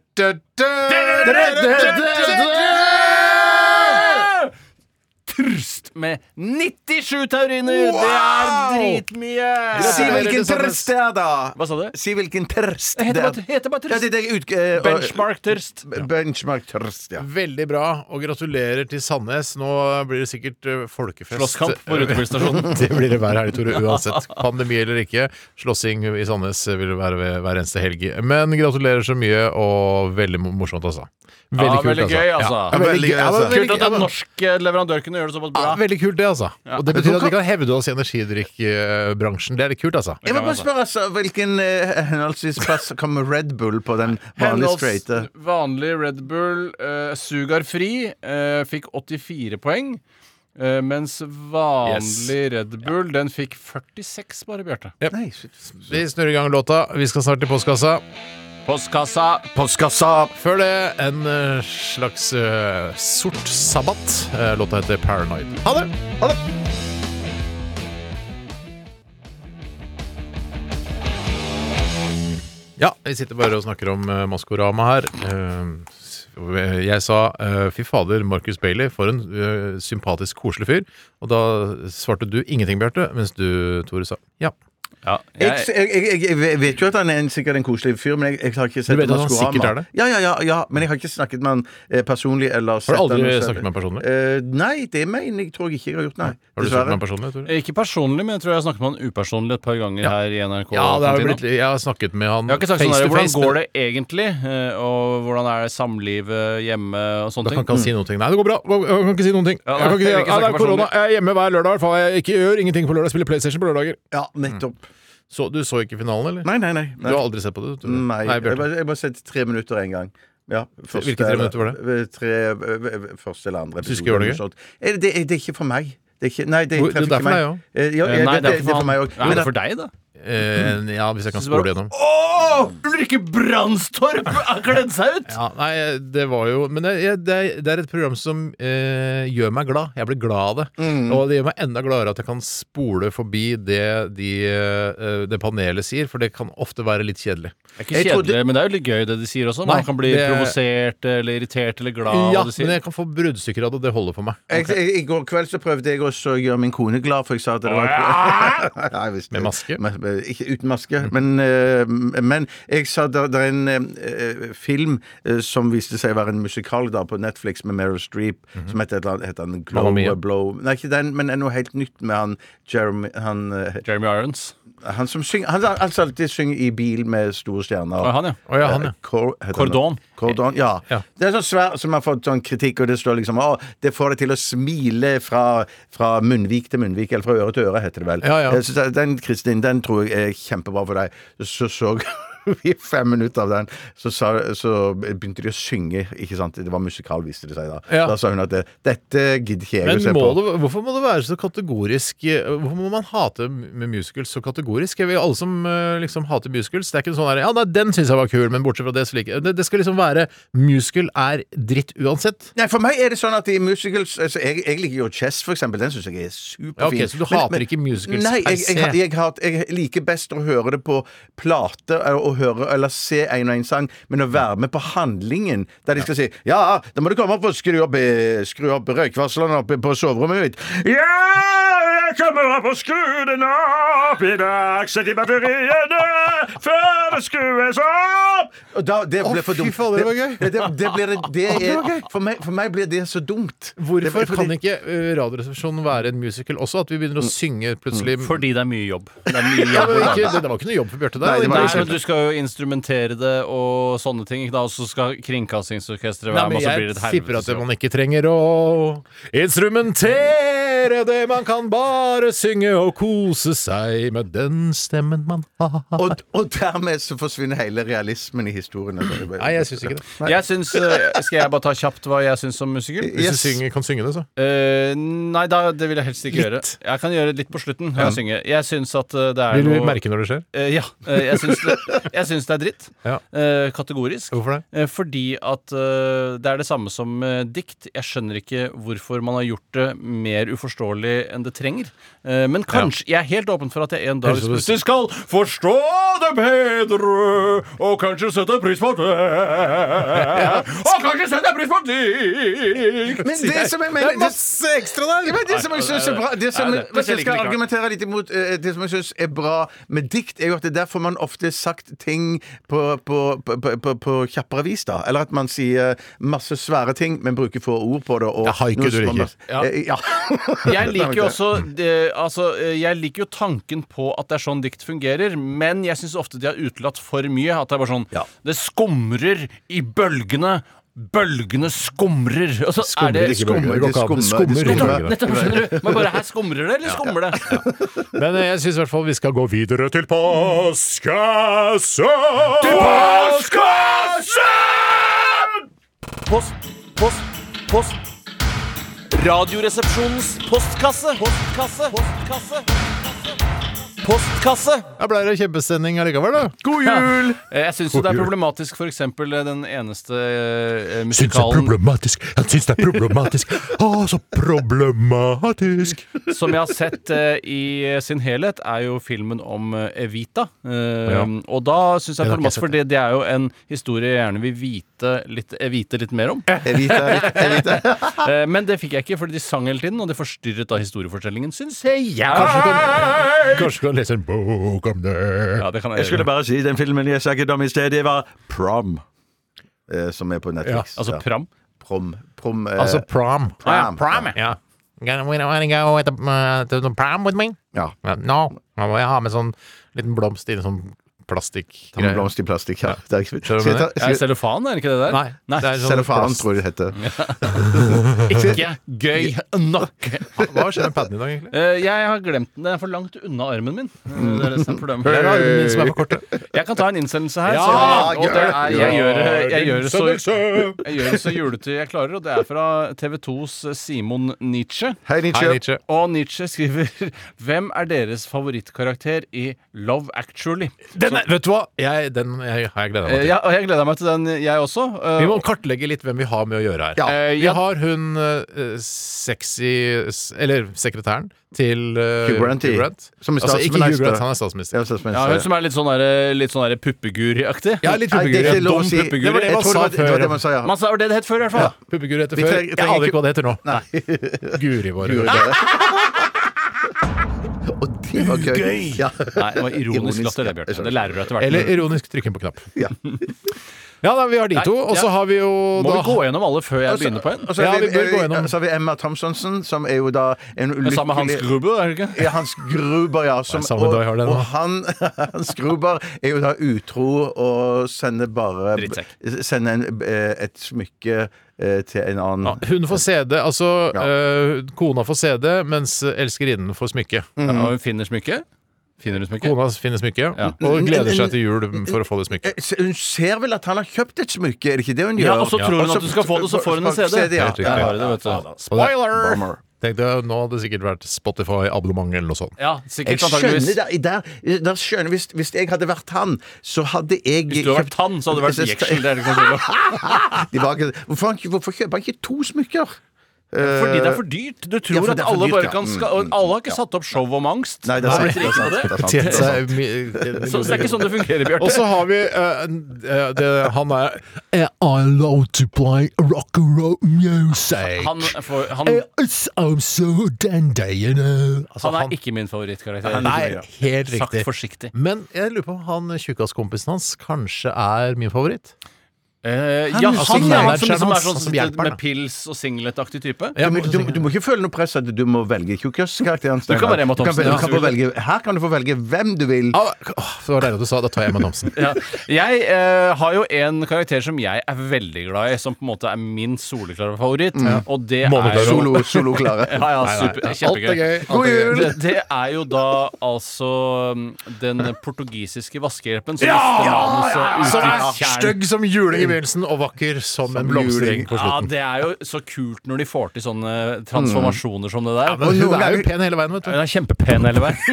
Speaker 6: Trst Eh! med 97 tauriner! Det er dritmye!
Speaker 5: Si hvilken
Speaker 4: Gratulerer,
Speaker 5: terst det er, da!
Speaker 6: Hva sa du?
Speaker 5: Si hvilken terst
Speaker 6: Det
Speaker 5: det
Speaker 6: heter
Speaker 5: er.
Speaker 6: bare, heter bare
Speaker 5: Ja, det
Speaker 6: trst.
Speaker 5: er ut, eh,
Speaker 6: Benchmark-tørst.
Speaker 5: og- Benchmark-terst, ja.
Speaker 4: Veldig bra, og gratulerer til Sandnes. Nå blir det sikkert eh, folkefest.
Speaker 6: Slåsskamp på rutebilstasjonen.
Speaker 4: Det blir det hver helg, Tore, uansett pandemi eller ikke. Slåssing i Sandnes vil det være ved hver eneste helg. Men gratulerer så mye, og veldig mo- morsomt, altså.
Speaker 6: Ja, veldig gøy, altså.
Speaker 4: Ja, veldig gøy, altså.
Speaker 6: Kult at en norsk eh, leverandør kunne gjøre det såpass
Speaker 4: Ja,
Speaker 6: bra.
Speaker 4: veldig kult, det, altså. Og det betyr at vi kan hevde oss i energidrikkbransjen. Det er litt kult, altså.
Speaker 5: Jeg må bare spørre, altså, hvilken eh, henholdsvis plass kommer Red Bull på den vanlige
Speaker 4: eh.
Speaker 5: straighte?
Speaker 6: vanlig Red Bull, eh, Sugar Fri, eh, fikk 84 poeng. eh, mens vanlig Red Bull, den fikk 46 bare, Bjarte.
Speaker 5: Nei,
Speaker 4: Vi snurrer i gang låta. Vi skal snart til postkassa.
Speaker 6: Postkassa.
Speaker 5: postkassa!
Speaker 4: Før det en eh, slags eh, sort sabbat. Eh, Låta heter Paranoid. Ha det! Ja, vi sitter bare og snakker om eh, Maskorama her. Eh, s- jeg sa eh, 'fy fader, Marcus Bailey, for en eh, sympatisk, koselig fyr'. Og da svarte du ingenting, Bjarte, mens du, Tore, sa ja.
Speaker 6: Ja,
Speaker 5: Jeg,
Speaker 6: jeg,
Speaker 5: jeg, jeg, jeg vet jo at han er en, sikkert en koselig fyr, men jeg, jeg har ikke sett
Speaker 4: Du vet
Speaker 5: om
Speaker 4: at han
Speaker 5: Maskorama.
Speaker 4: sikkert er det?
Speaker 5: Ja, ja, ja, ja, men jeg har ikke snakket med han eh, personlig. Eller sett
Speaker 4: aldri
Speaker 5: han-
Speaker 4: snakket med han personlig?
Speaker 5: Eh, nei, det mener jeg tror jeg ikke jeg har gjort, nei.
Speaker 4: Har du
Speaker 5: Dessverre.
Speaker 4: snakket med ham personlig? Tore?
Speaker 6: Eh, ikke personlig, men jeg tror jeg har snakket med han upersonlig et par ganger her i
Speaker 4: Ja,
Speaker 6: NRK.
Speaker 4: det har jo
Speaker 6: kantina.
Speaker 4: blitt, jeg har snakket med han
Speaker 6: Jeg har ikke sagt sånn
Speaker 4: face
Speaker 6: der,
Speaker 4: to
Speaker 6: Hvordan
Speaker 4: face,
Speaker 6: går
Speaker 4: men-
Speaker 6: det egentlig? eh, Og hvordan er det samlivet hjemme
Speaker 4: Da
Speaker 6: og sånne
Speaker 4: kan
Speaker 6: ting?
Speaker 4: ikke han si noen ting. Nei, det går bra. Jeg kan ikke si noen ting.
Speaker 6: Mm. Ja,
Speaker 4: Jeg kan ikke si,
Speaker 6: jeg vil ikke
Speaker 4: ja, det er
Speaker 6: snakke
Speaker 4: korona. Jeg er hjemme hver lørdag. i hvert fall. Jeg ikke gjør ingenting på lørdag. Spiller PlayStation på lørdager.
Speaker 5: Ja, nettopp.
Speaker 4: Så, du så ikke finalen, eller?
Speaker 5: Mm. Nei, nei, nei.
Speaker 4: Du har aldri sett på det? du, Tore?
Speaker 5: Nei,
Speaker 4: Nei,
Speaker 5: jeg
Speaker 4: Bjarte.
Speaker 5: bare- jeg bare sett tre minutter en gang. Ja, første,
Speaker 4: Hvilke tre minutter var
Speaker 5: det? Tre, eh, eh, første eller andre
Speaker 4: Syns ikke det var noe
Speaker 5: eller noe sånt. Eh, Det, det, er ikke for meg. Det er ikke, nei, det
Speaker 4: Hvor- det er
Speaker 5: treffer
Speaker 4: for
Speaker 5: ikke meg.
Speaker 4: deg,
Speaker 5: Eh, ja,
Speaker 6: Eh,
Speaker 5: ja,
Speaker 6: Nei, det er for
Speaker 5: for meg
Speaker 6: han.
Speaker 5: òg.
Speaker 6: Nei, det er for deg, da.
Speaker 4: Eh, ja, hvis jeg kan
Speaker 6: Syns
Speaker 4: spole
Speaker 6: bare-
Speaker 4: gjennom.
Speaker 6: Å! Ulrikke Brandstorp har kledd seg ut!
Speaker 4: Ja, nei, det var jo Men det, jeg- det, er- det er et program som eh, gjør meg glad. Jeg blir glad av det.
Speaker 6: Mm.
Speaker 4: Og det gjør meg enda gladere at jeg kan spole forbi det, de, eh, det panelet sier, for det kan ofte være litt kjedelig.
Speaker 6: Det er ikke
Speaker 5: Jeg trodde-
Speaker 6: kjedelig, men det er jo litt gøy det de sier også. Man
Speaker 4: Nei,
Speaker 6: kan bli
Speaker 4: det-
Speaker 6: provosert eller irritert eller glad. av
Speaker 4: ja,
Speaker 6: hva de sier.
Speaker 4: men jeg kan få bruddstykker av det. Det holder for meg.
Speaker 5: Jeg, jeg, I går kveld så prøvde jeg også å gjøre min kone glad, for jeg sa at det var Nei, hvis det-
Speaker 4: Med maske?
Speaker 5: Med, med, ikke uten maske, men, eh, men jeg sa det er en eh, film eh, som viste seg å være en musikal da, på Netflix med Meryl Streep, som heter et eller annet heter han
Speaker 4: Mhm.
Speaker 5: Glow
Speaker 4: Mamma Mia.
Speaker 5: or Blow Nei, ikke den, men noe helt nytt med han Jeremy Han, eh,
Speaker 6: Jeremy Irons.
Speaker 5: han som synger Han som altså alltid synger i bil med store stjerner.
Speaker 6: Og han, ja.
Speaker 4: Å ja, han, ja.
Speaker 5: Cor- heter han
Speaker 6: Cordon.
Speaker 5: det? Cordon, ja.
Speaker 4: Ja.
Speaker 5: Det er så svær som har fått sånn kritikk, og det står liksom Å, det får deg til å smile fra, fra munnvik til munnvik, eller fra øre til øre, heter det vel.
Speaker 4: Ja, ja.
Speaker 5: Jeg synes at den, Kristin, den tror jeg er kjempebra for deg. Så så vi fem minutter av den, så, sa, så begynte de å synge, ikke sant. Det var musikal, viste det seg da.
Speaker 4: Ja.
Speaker 5: Da sa hun at det, dette gidder ikke jeg
Speaker 4: Men
Speaker 5: å se
Speaker 4: må
Speaker 5: på.
Speaker 4: det, hvorfor må det være så kategorisk eh, Hvorfor må man hate med musicals så kategorisk? Jeg vil, alle som eh, liksom hater musicals, det er ikke sånn her Ja, nei, den syns jeg var kul, men bortsett fra det så liker jeg det, det skal liksom være Musical er dritt uansett.
Speaker 5: Nei, For meg er det sånn at i musicals altså, jeg, jeg liker jo Chess, for eksempel. Den syns jeg er superfin.
Speaker 4: Ja, ok, så du hater ikke musicals
Speaker 5: nei,
Speaker 4: per
Speaker 5: jeg, jeg,
Speaker 4: se?
Speaker 5: jeg, hat- jeg liker best å høre det på plate eh, og høre, eller se en og en sang, men å være med på handlingen, der de skal si Ja, da må du komme opp og skru opp, eh, skru opp røykvarslene oppe på soverommet mitt.
Speaker 8: Ja, jeg kommer opp og skrur den opp i dag. Sett i batteriene før det skrues opp.
Speaker 5: Og da, det ble for
Speaker 4: fy
Speaker 5: dumt.
Speaker 4: faen, det var gøy.
Speaker 5: Det, det, det blir det, det er, for, meg, for meg blir det så dumt.
Speaker 4: Hvorfor
Speaker 5: det, fordi- Mm.
Speaker 4: kan ikke eh, Radioresepsjonen være en musical også? At vi begynner å synge plutselig
Speaker 6: Fordi det er mye jobb. Det er mye
Speaker 4: ja,
Speaker 6: jobb.
Speaker 4: men ikke, det, det var ikke noe jobb for Bjarte der.
Speaker 5: Nei, det var
Speaker 6: Nei,
Speaker 5: ikke
Speaker 6: men du skal jo instrumentere det og sånne ting. ikke da? Og så skal Kringkastingsorkesteret
Speaker 4: Nei,
Speaker 6: være med,
Speaker 4: men
Speaker 6: og så blir
Speaker 4: jeg
Speaker 6: det et
Speaker 4: tipper at
Speaker 6: helvetes jobb.
Speaker 4: man ikke trenger å instrumentere det. Man kan bare synge og kose seg med den stemmen man har.
Speaker 5: og, og dermed så forsvinner hele realismen i historien.
Speaker 4: Nei, jeg syns ikke det.
Speaker 6: Jeg syns, eh, Skal jeg bare ta kjapt hva jeg syns om musiker?
Speaker 4: Hvis du synger, kan synge det, så.
Speaker 6: Eh, nei, da, det vil jeg helst ikke gjøre.
Speaker 4: Litt.
Speaker 6: Jeg kan gjøre litt på slutten. når Jeg, synger. jeg syns at eh, det er
Speaker 4: Vil du
Speaker 6: noe
Speaker 4: merke når det skjer?
Speaker 6: Eh, Ja. eh, jeg syns det, jeg syns det er dritt.
Speaker 4: Ja.
Speaker 6: Eh, kategorisk.
Speaker 4: Hvorfor det?
Speaker 6: Eh, Fordi at eh, det er det samme som eh, dikt. Jeg skjønner ikke hvorfor man har gjort det mer uforståelig enn det trenger. Eh, men kanskje Jeg er helt åpen for at jeg en dag
Speaker 4: Høres ut som-
Speaker 6: plutselig skal forstå det bedre, og kanskje sette pris på det. Og kanskje sette pris på dikt.
Speaker 5: Men det som jeg mener
Speaker 4: ekstra der!
Speaker 5: Ja, men det som jeg synes er bra Det som,
Speaker 6: Nei, det-
Speaker 5: hvis
Speaker 6: det
Speaker 5: jeg skal
Speaker 6: liker vi ikke.
Speaker 5: argumentere litt imot eh, Det som jeg synes er bra med dikt, er jo at det er derfor man ofte sagt ting på, på, på, på, på, på kjappere vis, da. Eller at man sier masse svære ting, men bruker få ord på det. Og
Speaker 4: Ja, haiku
Speaker 5: noe
Speaker 4: du
Speaker 5: små-
Speaker 4: liker.
Speaker 5: Ja. Eh, ja.
Speaker 6: Jeg liker jo også det, altså, eh, Jeg liker jo tanken på at det er sånn dikt fungerer, men jeg syns ofte de har utelatt for mye. At det er bare sånn Det skumrer i bølgene. Bølgene skumrer. Og så er det
Speaker 4: ikke bølger. Det går ikke an.
Speaker 5: Skummer,
Speaker 4: Skummer
Speaker 5: skummer.
Speaker 4: ikke
Speaker 5: Skummer.
Speaker 4: bølger.
Speaker 6: Nettopp, skjønner du? Men bare her skumrer det, eller skummer det?
Speaker 4: Men eh, jeg syns i hvert fall vi skal gå videre til påskesang! Til påskesang!
Speaker 6: Post, post, post. Radioresepsjonens postkasse. Postkasse. Postkasse. Postkasse.
Speaker 4: Da ble det kjempesending allikevel, da. God jul!
Speaker 6: Eh, Jeg syns jo det er problematisk, for eksempel eh, den eneste eh,
Speaker 1: Syns det er
Speaker 6: musikalen
Speaker 1: problematisk. Han syns det er problematisk. Å, så problematisk.
Speaker 6: som jeg har sett eh, i sin helhet, er jo filmen om eh, Evita. Eh,
Speaker 4: Ja.
Speaker 6: Og da syns jeg
Speaker 4: Den har ikke jeg
Speaker 6: problematisk, for det, det er jo en historie jeg gjerne vil vite litt, eh, vite litt mer om.
Speaker 5: Evita, Evita.
Speaker 6: Eh, Men det fikk jeg ikke, fordi de sang hele tiden, og det forstyrret da historiefortellingen, syns jeg.
Speaker 4: Kanskje du kan,
Speaker 1: å lese en bok om det.
Speaker 6: Ja, det kan
Speaker 5: Jeg
Speaker 6: jeg
Speaker 5: skulle
Speaker 6: gjøre.
Speaker 5: bare si den filmen jeg snakket om i sted, det var Prom. eh, Som er på Netflix.
Speaker 6: Altså
Speaker 5: Ja.
Speaker 6: pram.
Speaker 5: Prom. prom eh,
Speaker 4: Altså prom.
Speaker 5: Pram.
Speaker 4: Ja. Gonna- wanna- wanna go at the, uh, to the prom with me?
Speaker 5: Ja.
Speaker 4: Ja, No. Nå må jeg ha med sånn liten blomst i en sånn
Speaker 5: Ta med
Speaker 4: plastikkgreie.
Speaker 5: blomst i plastikk her. Det er ikke
Speaker 4: Skjønner du
Speaker 5: Skal jeg
Speaker 4: hva jeg
Speaker 5: ta- skal
Speaker 6: Er det
Speaker 5: jeg-
Speaker 6: cellofan, er det ikke det der?
Speaker 4: Nei, det er sånn
Speaker 5: Cellofan,
Speaker 4: plast.
Speaker 5: tror jeg det heter.
Speaker 6: Ikke gøy nok.
Speaker 4: Hva skjer med paden i dag, egentlig?
Speaker 6: Eh, jeg har glemt den. Den er for langt unna armen min. Eh, Det er det som er problemet.
Speaker 4: Det er armen min som er for kort.
Speaker 6: Jeg kan ta en innsendelse her.
Speaker 4: Ja,
Speaker 6: så- og det er, jeg gjør det- jeg gjør det så
Speaker 4: Innsendelse!
Speaker 6: jeg gjør det så julete jeg klarer, og det er fra TV2s Simon Nietzsche.
Speaker 5: Hei,
Speaker 4: Hei,
Speaker 5: Nietzsche.
Speaker 4: Nietzsche.
Speaker 6: Og Nietzsche skriver Hvem er deres favorittkarakter i Love Actually?
Speaker 4: Den er, vet du hva? Jeg, den jeg, har jeg gleda meg
Speaker 6: Eh,
Speaker 4: til.
Speaker 6: ja, og jeg gleder meg til den, jeg også. Eh,
Speaker 4: Vi må kartlegge litt hvem vi har med å gjøre her.
Speaker 5: Ja.
Speaker 4: Eh, Vi
Speaker 6: ja.
Speaker 4: har hun eh, sexy s- Eller sekretæren til eh,
Speaker 5: Hugh Grant, som er
Speaker 4: altså, ikke Hugh
Speaker 5: statsminister.
Speaker 4: Grant, han er
Speaker 5: Jeg
Speaker 4: statsminister.
Speaker 5: var statsminister.
Speaker 6: ja, hun som er litt sånn, der, litt sånn der puppeguri-aktig.
Speaker 4: Ja, litt
Speaker 5: Nei, det er
Speaker 4: puppeguri.
Speaker 5: ikke lov å
Speaker 4: Dum
Speaker 5: si.
Speaker 4: puppeguri.
Speaker 5: Det var det
Speaker 4: Jeg
Speaker 5: man
Speaker 4: tror
Speaker 5: sa
Speaker 4: det var-
Speaker 5: før.
Speaker 4: det var det man
Speaker 5: sa, ja.
Speaker 6: Man sa, var det det het før, i hvert fall.
Speaker 4: Puppeguri heter
Speaker 5: Vi
Speaker 4: før.
Speaker 5: trenger-
Speaker 4: Jeg
Speaker 5: trenger
Speaker 4: aner
Speaker 5: ikke-
Speaker 4: ikke hva det heter nå.
Speaker 5: Nei.
Speaker 4: Guri vår.
Speaker 5: Gjorde dere det? Og det var gøy. Ja.
Speaker 6: Nei, det var ironisk
Speaker 5: Ironisk,
Speaker 6: latter, det,
Speaker 5: ja.
Speaker 6: Bjarte. Det lærer du etter hvert.
Speaker 4: Eller ironisk trykken på knapp.
Speaker 5: Ja.
Speaker 4: Ja, da, vi har de
Speaker 6: Nei,
Speaker 4: to. Og så
Speaker 6: ja.
Speaker 4: har vi jo
Speaker 6: Må
Speaker 4: da,
Speaker 6: vi gå gjennom alle før
Speaker 5: Altså,
Speaker 6: jeg begynner på en?
Speaker 5: Og så er
Speaker 4: Ja, vi bør gå gjennom.
Speaker 5: Så har vi Emma Thomsonsen, som er jo da en ulykkelig
Speaker 6: Sammen med Hans Gruber, er det ikke?
Speaker 5: ja, Hans Gruber, ja. Som,
Speaker 4: Nei, samme
Speaker 5: og,
Speaker 4: dag har det nå.
Speaker 5: og han, Hans Gruber er jo da utro og sender bare
Speaker 6: Drittsekk.
Speaker 5: Sender en, eh, et smykke eh, til en annen.
Speaker 4: ja, Hun får CD, altså
Speaker 5: Ja.
Speaker 4: eh, Kona får CD, mens elskerinnen får smykke.
Speaker 5: Mm.
Speaker 6: Ja, og hun finner smykket. Finner hun smykket?
Speaker 4: Kona finner smykke
Speaker 5: Mm,
Speaker 4: og gleder seg til jul for å få det smykket.
Speaker 5: Eh, se- Hun ser vel at han har kjøpt et smykke, er det ikke det hun gjør?
Speaker 6: Ja, og så tror hun
Speaker 5: Og
Speaker 6: at du skal få det, så får hun en CD.
Speaker 5: ja.
Speaker 4: Helt riktig.
Speaker 5: Ja,
Speaker 6: Bare det, vet du.
Speaker 4: Spoiler!
Speaker 5: Bummer.
Speaker 4: Tenkte jeg, Nå hadde det sikkert vært Spotify-abonnement eller noe sånt.
Speaker 6: Ja,
Speaker 5: Jeg
Speaker 6: sikkert antageligvis.
Speaker 5: skjønner det. Der, der skjønner, hvis, hvis jeg hadde vært han, så hadde jeg
Speaker 6: Hvis du hadde vært han, så hadde det vært jeksel. Det er det ikke noe tvil om.
Speaker 5: De var ikke- hvorfor, han ikke- hvorfor kjøper han ikke to smykker?
Speaker 6: Fordi det er for dyrt. Du
Speaker 5: Ja,
Speaker 6: tror
Speaker 5: for
Speaker 6: at
Speaker 5: det er for
Speaker 6: alle
Speaker 5: dyrt,
Speaker 6: bare
Speaker 5: ja.
Speaker 6: kan ska-
Speaker 5: Mm,
Speaker 6: og
Speaker 5: mm,
Speaker 6: Alle har ikke satt opp show om angst.
Speaker 5: Nei, det er
Speaker 6: Nei,
Speaker 5: sant. Det er sant, det er sant, det er
Speaker 4: Tjent
Speaker 5: sant.
Speaker 4: seg mi-
Speaker 6: Så så det er ikke sånn det fungerer,
Speaker 4: Og
Speaker 6: Bjarte.
Speaker 4: så har vi eh, en- eh, det, Han er I love to play rock and roll music.
Speaker 6: Han, får- han,
Speaker 4: It's also dandy, you know. Altså,
Speaker 6: han er ikke min favorittkarakter.
Speaker 4: Nei, helt
Speaker 6: Sagt
Speaker 4: riktig.
Speaker 6: forsiktig.
Speaker 4: Men jeg lurer på om han tjukkaskompisen hans kanskje er min favoritt.
Speaker 6: Eh, ja,
Speaker 4: altså,
Speaker 6: han, ja, han som
Speaker 4: manageren
Speaker 6: liksom er
Speaker 4: hans,
Speaker 6: sånn
Speaker 4: han som
Speaker 6: med-
Speaker 4: hjelper han, da.
Speaker 6: med pils og singlet-aktig type.
Speaker 5: Du, må- du, du må ikke føle noe press at du må velge tjukkaskarakteren.
Speaker 6: Du kan være Emma
Speaker 5: Du kan,
Speaker 6: Thompson,
Speaker 5: vel-
Speaker 6: ja.
Speaker 5: du kan få velge, her kan du få velge hvem du vil.
Speaker 4: Ah, åh, det var deilig at du sa Da tar jeg Emma Thomsen.
Speaker 6: Ja. Jeg eh, har jo en karakter som jeg er veldig glad i, som på en måte er min soleklare favoritt,
Speaker 4: Mm.
Speaker 6: og det er
Speaker 4: Måneklare.
Speaker 6: jo
Speaker 5: Solo, solo klare.
Speaker 6: Ja, ja, super, kjempegøy.
Speaker 4: Alt er gøy.
Speaker 5: God jul!
Speaker 6: Det, det er jo da altså mm, den portugisiske vaskehjelpen som mister
Speaker 4: Som er
Speaker 6: manuset ut i tjern.
Speaker 4: stygg som juling i begynnelsen og vakker som en blomstereng på
Speaker 6: Ja,
Speaker 4: slutten.
Speaker 6: det er jo så kult når de får til sånne transformasjoner som det der.
Speaker 4: Men hun
Speaker 5: noen
Speaker 4: er jo
Speaker 5: ganger-
Speaker 4: pen hele veien, vet du.
Speaker 6: Hun er kjempepen hele veien.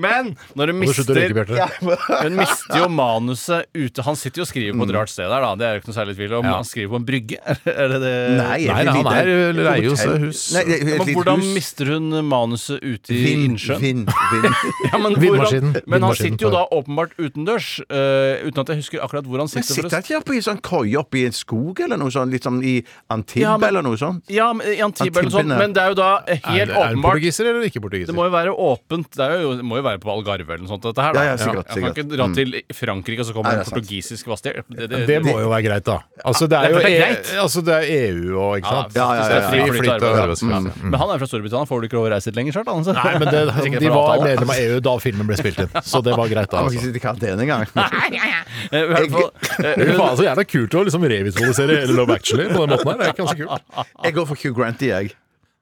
Speaker 6: Men når hun
Speaker 4: Må du slutte å
Speaker 6: mister
Speaker 4: røyke, Bjarte?
Speaker 6: Hun mister jo manuset ute. Han sitter jo og skriver på et rart sted der, da. Det er jo ikke noe særlig tvil om. Han skriver på en brygge. Er det det?
Speaker 5: Nei,
Speaker 4: Nei, nei, han er leier jo seg hus.
Speaker 5: Nei, det er et
Speaker 6: Men
Speaker 5: lite
Speaker 6: hvordan
Speaker 5: hus.
Speaker 6: mister hun manuset ute i
Speaker 5: Vind,
Speaker 6: innsjøen?
Speaker 5: vind, vind.
Speaker 6: Ja,
Speaker 4: Vindmaskinen.
Speaker 6: men, hvordan, men han
Speaker 4: Vindmaskinen
Speaker 6: sitter jo
Speaker 4: tar-
Speaker 6: da åpenbart utendørs, eh, uten at jeg husker akkurat hvor han
Speaker 5: Men
Speaker 6: sitter.
Speaker 5: Sitter
Speaker 6: forresten.
Speaker 5: ikke jeg på en sånn køye oppe i en skog eller noe sånt? Litt sånn i Antibes
Speaker 6: Ja, men-
Speaker 5: eller noe sånt?
Speaker 6: Ja, men i Antibes eller sånn,
Speaker 5: Antibene.
Speaker 6: men det er jo da eh,
Speaker 4: Er
Speaker 6: helt
Speaker 4: det- er det
Speaker 6: åpenbart
Speaker 4: portugiser eller ikke
Speaker 6: det
Speaker 4: portugiser?
Speaker 6: må jo være åpent. Det er jo, det må jo være på Algarve eller noe sånt. Dette her, da.
Speaker 5: Ja, ja, sikkert,
Speaker 6: Jeg kan
Speaker 5: sikkert. Mm.
Speaker 6: ikke dra til Frankrike, og så
Speaker 5: Nei,
Speaker 6: kommer
Speaker 5: det
Speaker 6: en
Speaker 5: er sant.
Speaker 6: portugisisk vassdel. Det, det,
Speaker 4: Det må jo være greit, da. Altså, det er jo
Speaker 6: Det er
Speaker 4: E-
Speaker 6: greit.
Speaker 4: altså, det er EU og ikke sant?
Speaker 5: Ja, ja, ja, ja, ja.
Speaker 4: Så det er Fri flyt av arbeidskraft.
Speaker 6: Mm. Men han er fra Storbritannia, får du ikke lov å reise dit lenger, Kjartan?
Speaker 4: altså.
Speaker 6: så-
Speaker 4: Nei, men det,
Speaker 6: Sikkert
Speaker 4: de
Speaker 6: fra
Speaker 4: var
Speaker 6: avtale.
Speaker 4: medlem av EU da filmen ble spilt inn, så det var greit, da.
Speaker 5: Han må ikke
Speaker 4: Altså.
Speaker 5: sitte i karantene engang.
Speaker 6: Eh, i hvert fall, eh,
Speaker 4: Det er jo
Speaker 6: hun-
Speaker 4: faen så jævla kult å liksom revisualisere hele Love Actually på den måten her. Det er ganske kult.
Speaker 5: Jeg går for Hugh Grant, jeg.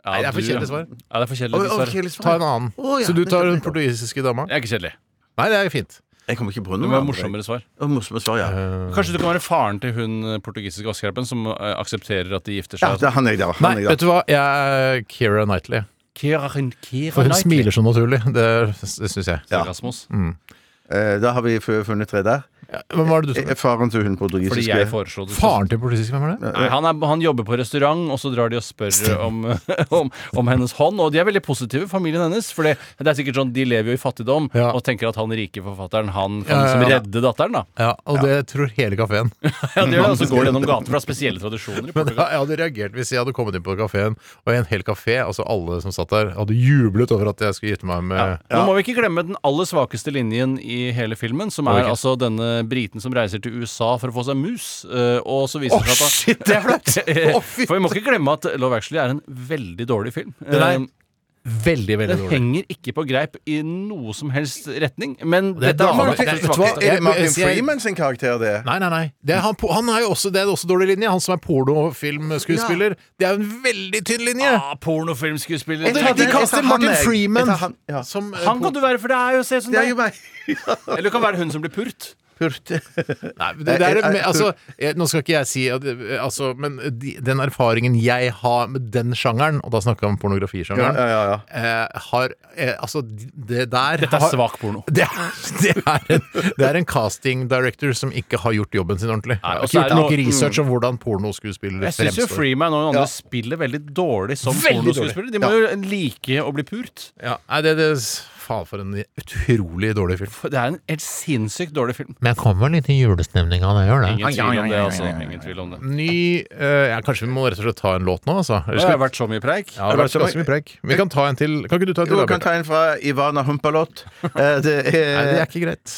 Speaker 4: Nei, det er for
Speaker 6: du-
Speaker 4: kjedelig svar.
Speaker 6: Ja, det er for
Speaker 5: Oi,
Speaker 6: kjedelig,
Speaker 5: oi,
Speaker 6: dessverre.
Speaker 5: Kjelis,
Speaker 4: Ta en annen.
Speaker 5: Å, ja,
Speaker 4: Så du tar den
Speaker 5: nettopp, nettopp.
Speaker 4: portugisiske dama?
Speaker 6: Jeg er ikke kjedelig.
Speaker 4: Nei, det er fint.
Speaker 5: Jeg kommer ikke på
Speaker 6: Det
Speaker 5: noe.
Speaker 6: må være
Speaker 5: annet.
Speaker 6: morsommere svar.
Speaker 5: Å, morsomme svar, ja.
Speaker 6: Kanskje du kan være faren til hun eh, portugisiske vaskehjelpen som eh, aksepterer at de gifter
Speaker 5: ja.
Speaker 6: seg?
Speaker 5: Det er han jeg der. Han
Speaker 4: Nei,
Speaker 5: jeg der.
Speaker 4: vet du hva, jeg er Keira Knightley.
Speaker 6: Kieran Kieran
Speaker 4: For hun
Speaker 6: Knightley.
Speaker 4: smiler så naturlig. Det, det syns jeg.
Speaker 5: Ja.
Speaker 6: Rasmus.
Speaker 5: Eh, Da har vi fu- funnet tre der.
Speaker 4: Hvem var det du
Speaker 5: Eh,
Speaker 4: som
Speaker 5: Faren til hun
Speaker 6: Fordi
Speaker 5: portugisiske
Speaker 6: jeg foreslo det.
Speaker 4: Faren til portugisisk, hvem er det?
Speaker 6: Nei, han, er, han jobber på restaurant, og så drar de og spør om, om, om hennes hånd. Og de er veldig positive, familien hennes. For det, det er sikkert sånn, de lever jo i fattigdom
Speaker 4: Ja.
Speaker 6: og tenker at han rike forfatteren han kan
Speaker 4: Ja, ja,
Speaker 6: liksom
Speaker 4: ja.
Speaker 6: redde datteren. da
Speaker 4: Ja, og det tror hele kafeen.
Speaker 6: ja, det gjør det, Og så går det gjennom gaten, for det er spesielle tradisjoner i
Speaker 4: Men
Speaker 6: Portugal.
Speaker 4: jeg hadde reagert hvis jeg hadde kommet inn på kafeen, og en hel kafé, altså alle som satt der, hadde jublet over at jeg skulle gifte meg med
Speaker 6: Nå må vi ikke glemme den aller svakeste linjen i hele filmen, som er altså denne briten som reiser til USA for å få seg mus, eh, og så viser
Speaker 4: Åh,
Speaker 6: det seg
Speaker 4: shit, det er flaut! Åh, fy-
Speaker 6: For vi må ikke glemme at Love Actually er en veldig dårlig film.
Speaker 4: Den
Speaker 6: Eh,
Speaker 4: er veldig, veldig
Speaker 6: Den
Speaker 4: dårlig.
Speaker 6: henger ikke på greip i noe som helst retning, men
Speaker 4: Det er
Speaker 6: dette
Speaker 4: dama- det er-
Speaker 6: er absolutt
Speaker 4: vet du hva?
Speaker 6: svakeste.
Speaker 5: Er det Martin
Speaker 4: Jeg- jeg-
Speaker 5: Freeman sin karakter, det?
Speaker 4: Nei, nei, nei. Det er, han, po- han er jo også, det er også dårlig linje. Han som er pornofilmskuespiller. Det er jo en veldig tynn linje!
Speaker 6: Ah, pornofilmskuespiller.
Speaker 5: Jeg tar
Speaker 4: de
Speaker 5: det-
Speaker 4: kaster
Speaker 5: jeg tar
Speaker 4: Martin
Speaker 5: han, jeg.
Speaker 4: Freeman
Speaker 5: Jeg tar han, ja.
Speaker 4: som eh,
Speaker 6: Han kan du være, for det er jo å se som
Speaker 5: Det er
Speaker 6: deg.
Speaker 5: jo meg.
Speaker 6: Eller du kan være hun som blir purt.
Speaker 4: Nei, det, det er,
Speaker 5: Jeg- jeg-
Speaker 4: altså, jeg, nå skal ikke jeg si at, eh, altså, Men de, den erfaringen jeg har med den sjangeren, og da snakker jeg om pornografisjangeren,
Speaker 5: Ja, ja,
Speaker 4: Eh, har eh, Altså, det der
Speaker 6: Dette er
Speaker 4: har-
Speaker 6: svak porno.
Speaker 4: Det er, det, er en, det er en casting director som ikke har gjort jobben sin ordentlig.
Speaker 6: Nei,
Speaker 4: Har
Speaker 6: og
Speaker 4: ikke
Speaker 6: så er
Speaker 4: gjort
Speaker 6: det
Speaker 4: nok
Speaker 6: noe-
Speaker 4: research om hvordan pornoskuespillere
Speaker 6: Jeg syns jo
Speaker 4: fremstår.
Speaker 6: Freeman og noen andre spiller veldig dårlig som
Speaker 4: Veldig
Speaker 6: pornoskuespillere. De
Speaker 4: dårlig.
Speaker 6: må jo like å bli purt.
Speaker 4: Ja, nei, det, det, faen, for en utrolig dårlig film.
Speaker 6: For Det er en helt sinnssykt dårlig film.
Speaker 4: Men jeg kommer litt i julestemning av det, gjør
Speaker 6: Ingen tvil om det, altså. Ingen tvil om det.
Speaker 4: Ny eh, ja, Kanskje vi må rett og slett ta en låt nå, altså? Eller
Speaker 6: Det
Speaker 4: skal
Speaker 6: har
Speaker 4: vi-
Speaker 6: vært så mye preik.
Speaker 4: Ja, det har vært
Speaker 5: så mye-
Speaker 4: ganske mye preik. Vi kan ta en til. Kan ikke du ta en
Speaker 5: Jo,
Speaker 4: til? da,
Speaker 5: jeg kan
Speaker 4: Bjarte?
Speaker 5: ta en fra Ivana Humpalot. Eh, Det
Speaker 4: Nei, det
Speaker 5: er
Speaker 4: er ikke greit.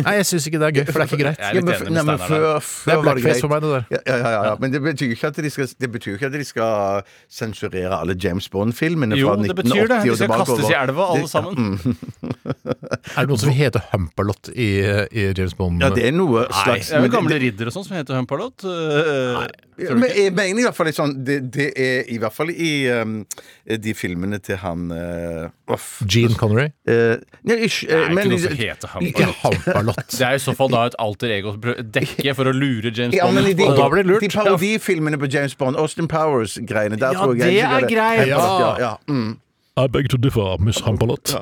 Speaker 4: Nei, jeg syns ikke det er gøy, for det er ikke greit.
Speaker 6: Jeg er
Speaker 5: Ja,
Speaker 6: litt
Speaker 5: men,
Speaker 6: enig
Speaker 5: nei, men
Speaker 6: med Steinar.
Speaker 5: før,
Speaker 4: Det
Speaker 5: før
Speaker 4: er
Speaker 5: var det
Speaker 4: blackface for meg,
Speaker 5: greit.
Speaker 4: det der.
Speaker 5: Ja, ja, ja, ja. Men det betyr ikke at de skal, det betyr ikke at de skal sensurere alle James Bond-filmene
Speaker 6: Jo,
Speaker 5: fra 1980
Speaker 6: det betyr det. De
Speaker 5: og
Speaker 6: skal
Speaker 5: tilbake
Speaker 6: kastes i
Speaker 5: over.
Speaker 6: elva, alle
Speaker 5: Det-
Speaker 4: Mm.
Speaker 6: sammen.
Speaker 4: Er det noen som heter Humperlot i, i James Bond?
Speaker 5: Ja, det er noe slags
Speaker 6: Det er jo
Speaker 5: men det-
Speaker 6: gamle ridder og sånn som heter Humperlot. Eh,
Speaker 5: Ja, Men jeg mener i hvert fall litt sånn Det, det er i hvert fall i um, de filmene til han uh, Uff.
Speaker 4: Gene Connery?
Speaker 5: Eh, nei, ikke, eh,
Speaker 6: Det er
Speaker 5: men-
Speaker 6: ikke noe som heter
Speaker 4: Ikke
Speaker 6: Humperlot.
Speaker 4: Humperlot.
Speaker 6: Det er i så fall da et alter ego dekke for å lure James
Speaker 5: ja,
Speaker 6: Bond.
Speaker 5: men i de,
Speaker 6: ut på-
Speaker 4: Og da blir det lurt.
Speaker 5: de parodifilmene på James Bond, Austin Powers-greiene der
Speaker 6: Ja,
Speaker 5: tror jeg
Speaker 6: det
Speaker 5: jeg
Speaker 6: er
Speaker 5: liker
Speaker 6: greit.
Speaker 5: Ja, ja, ja. Mm.
Speaker 1: I beg to differ, Miss Hampalot.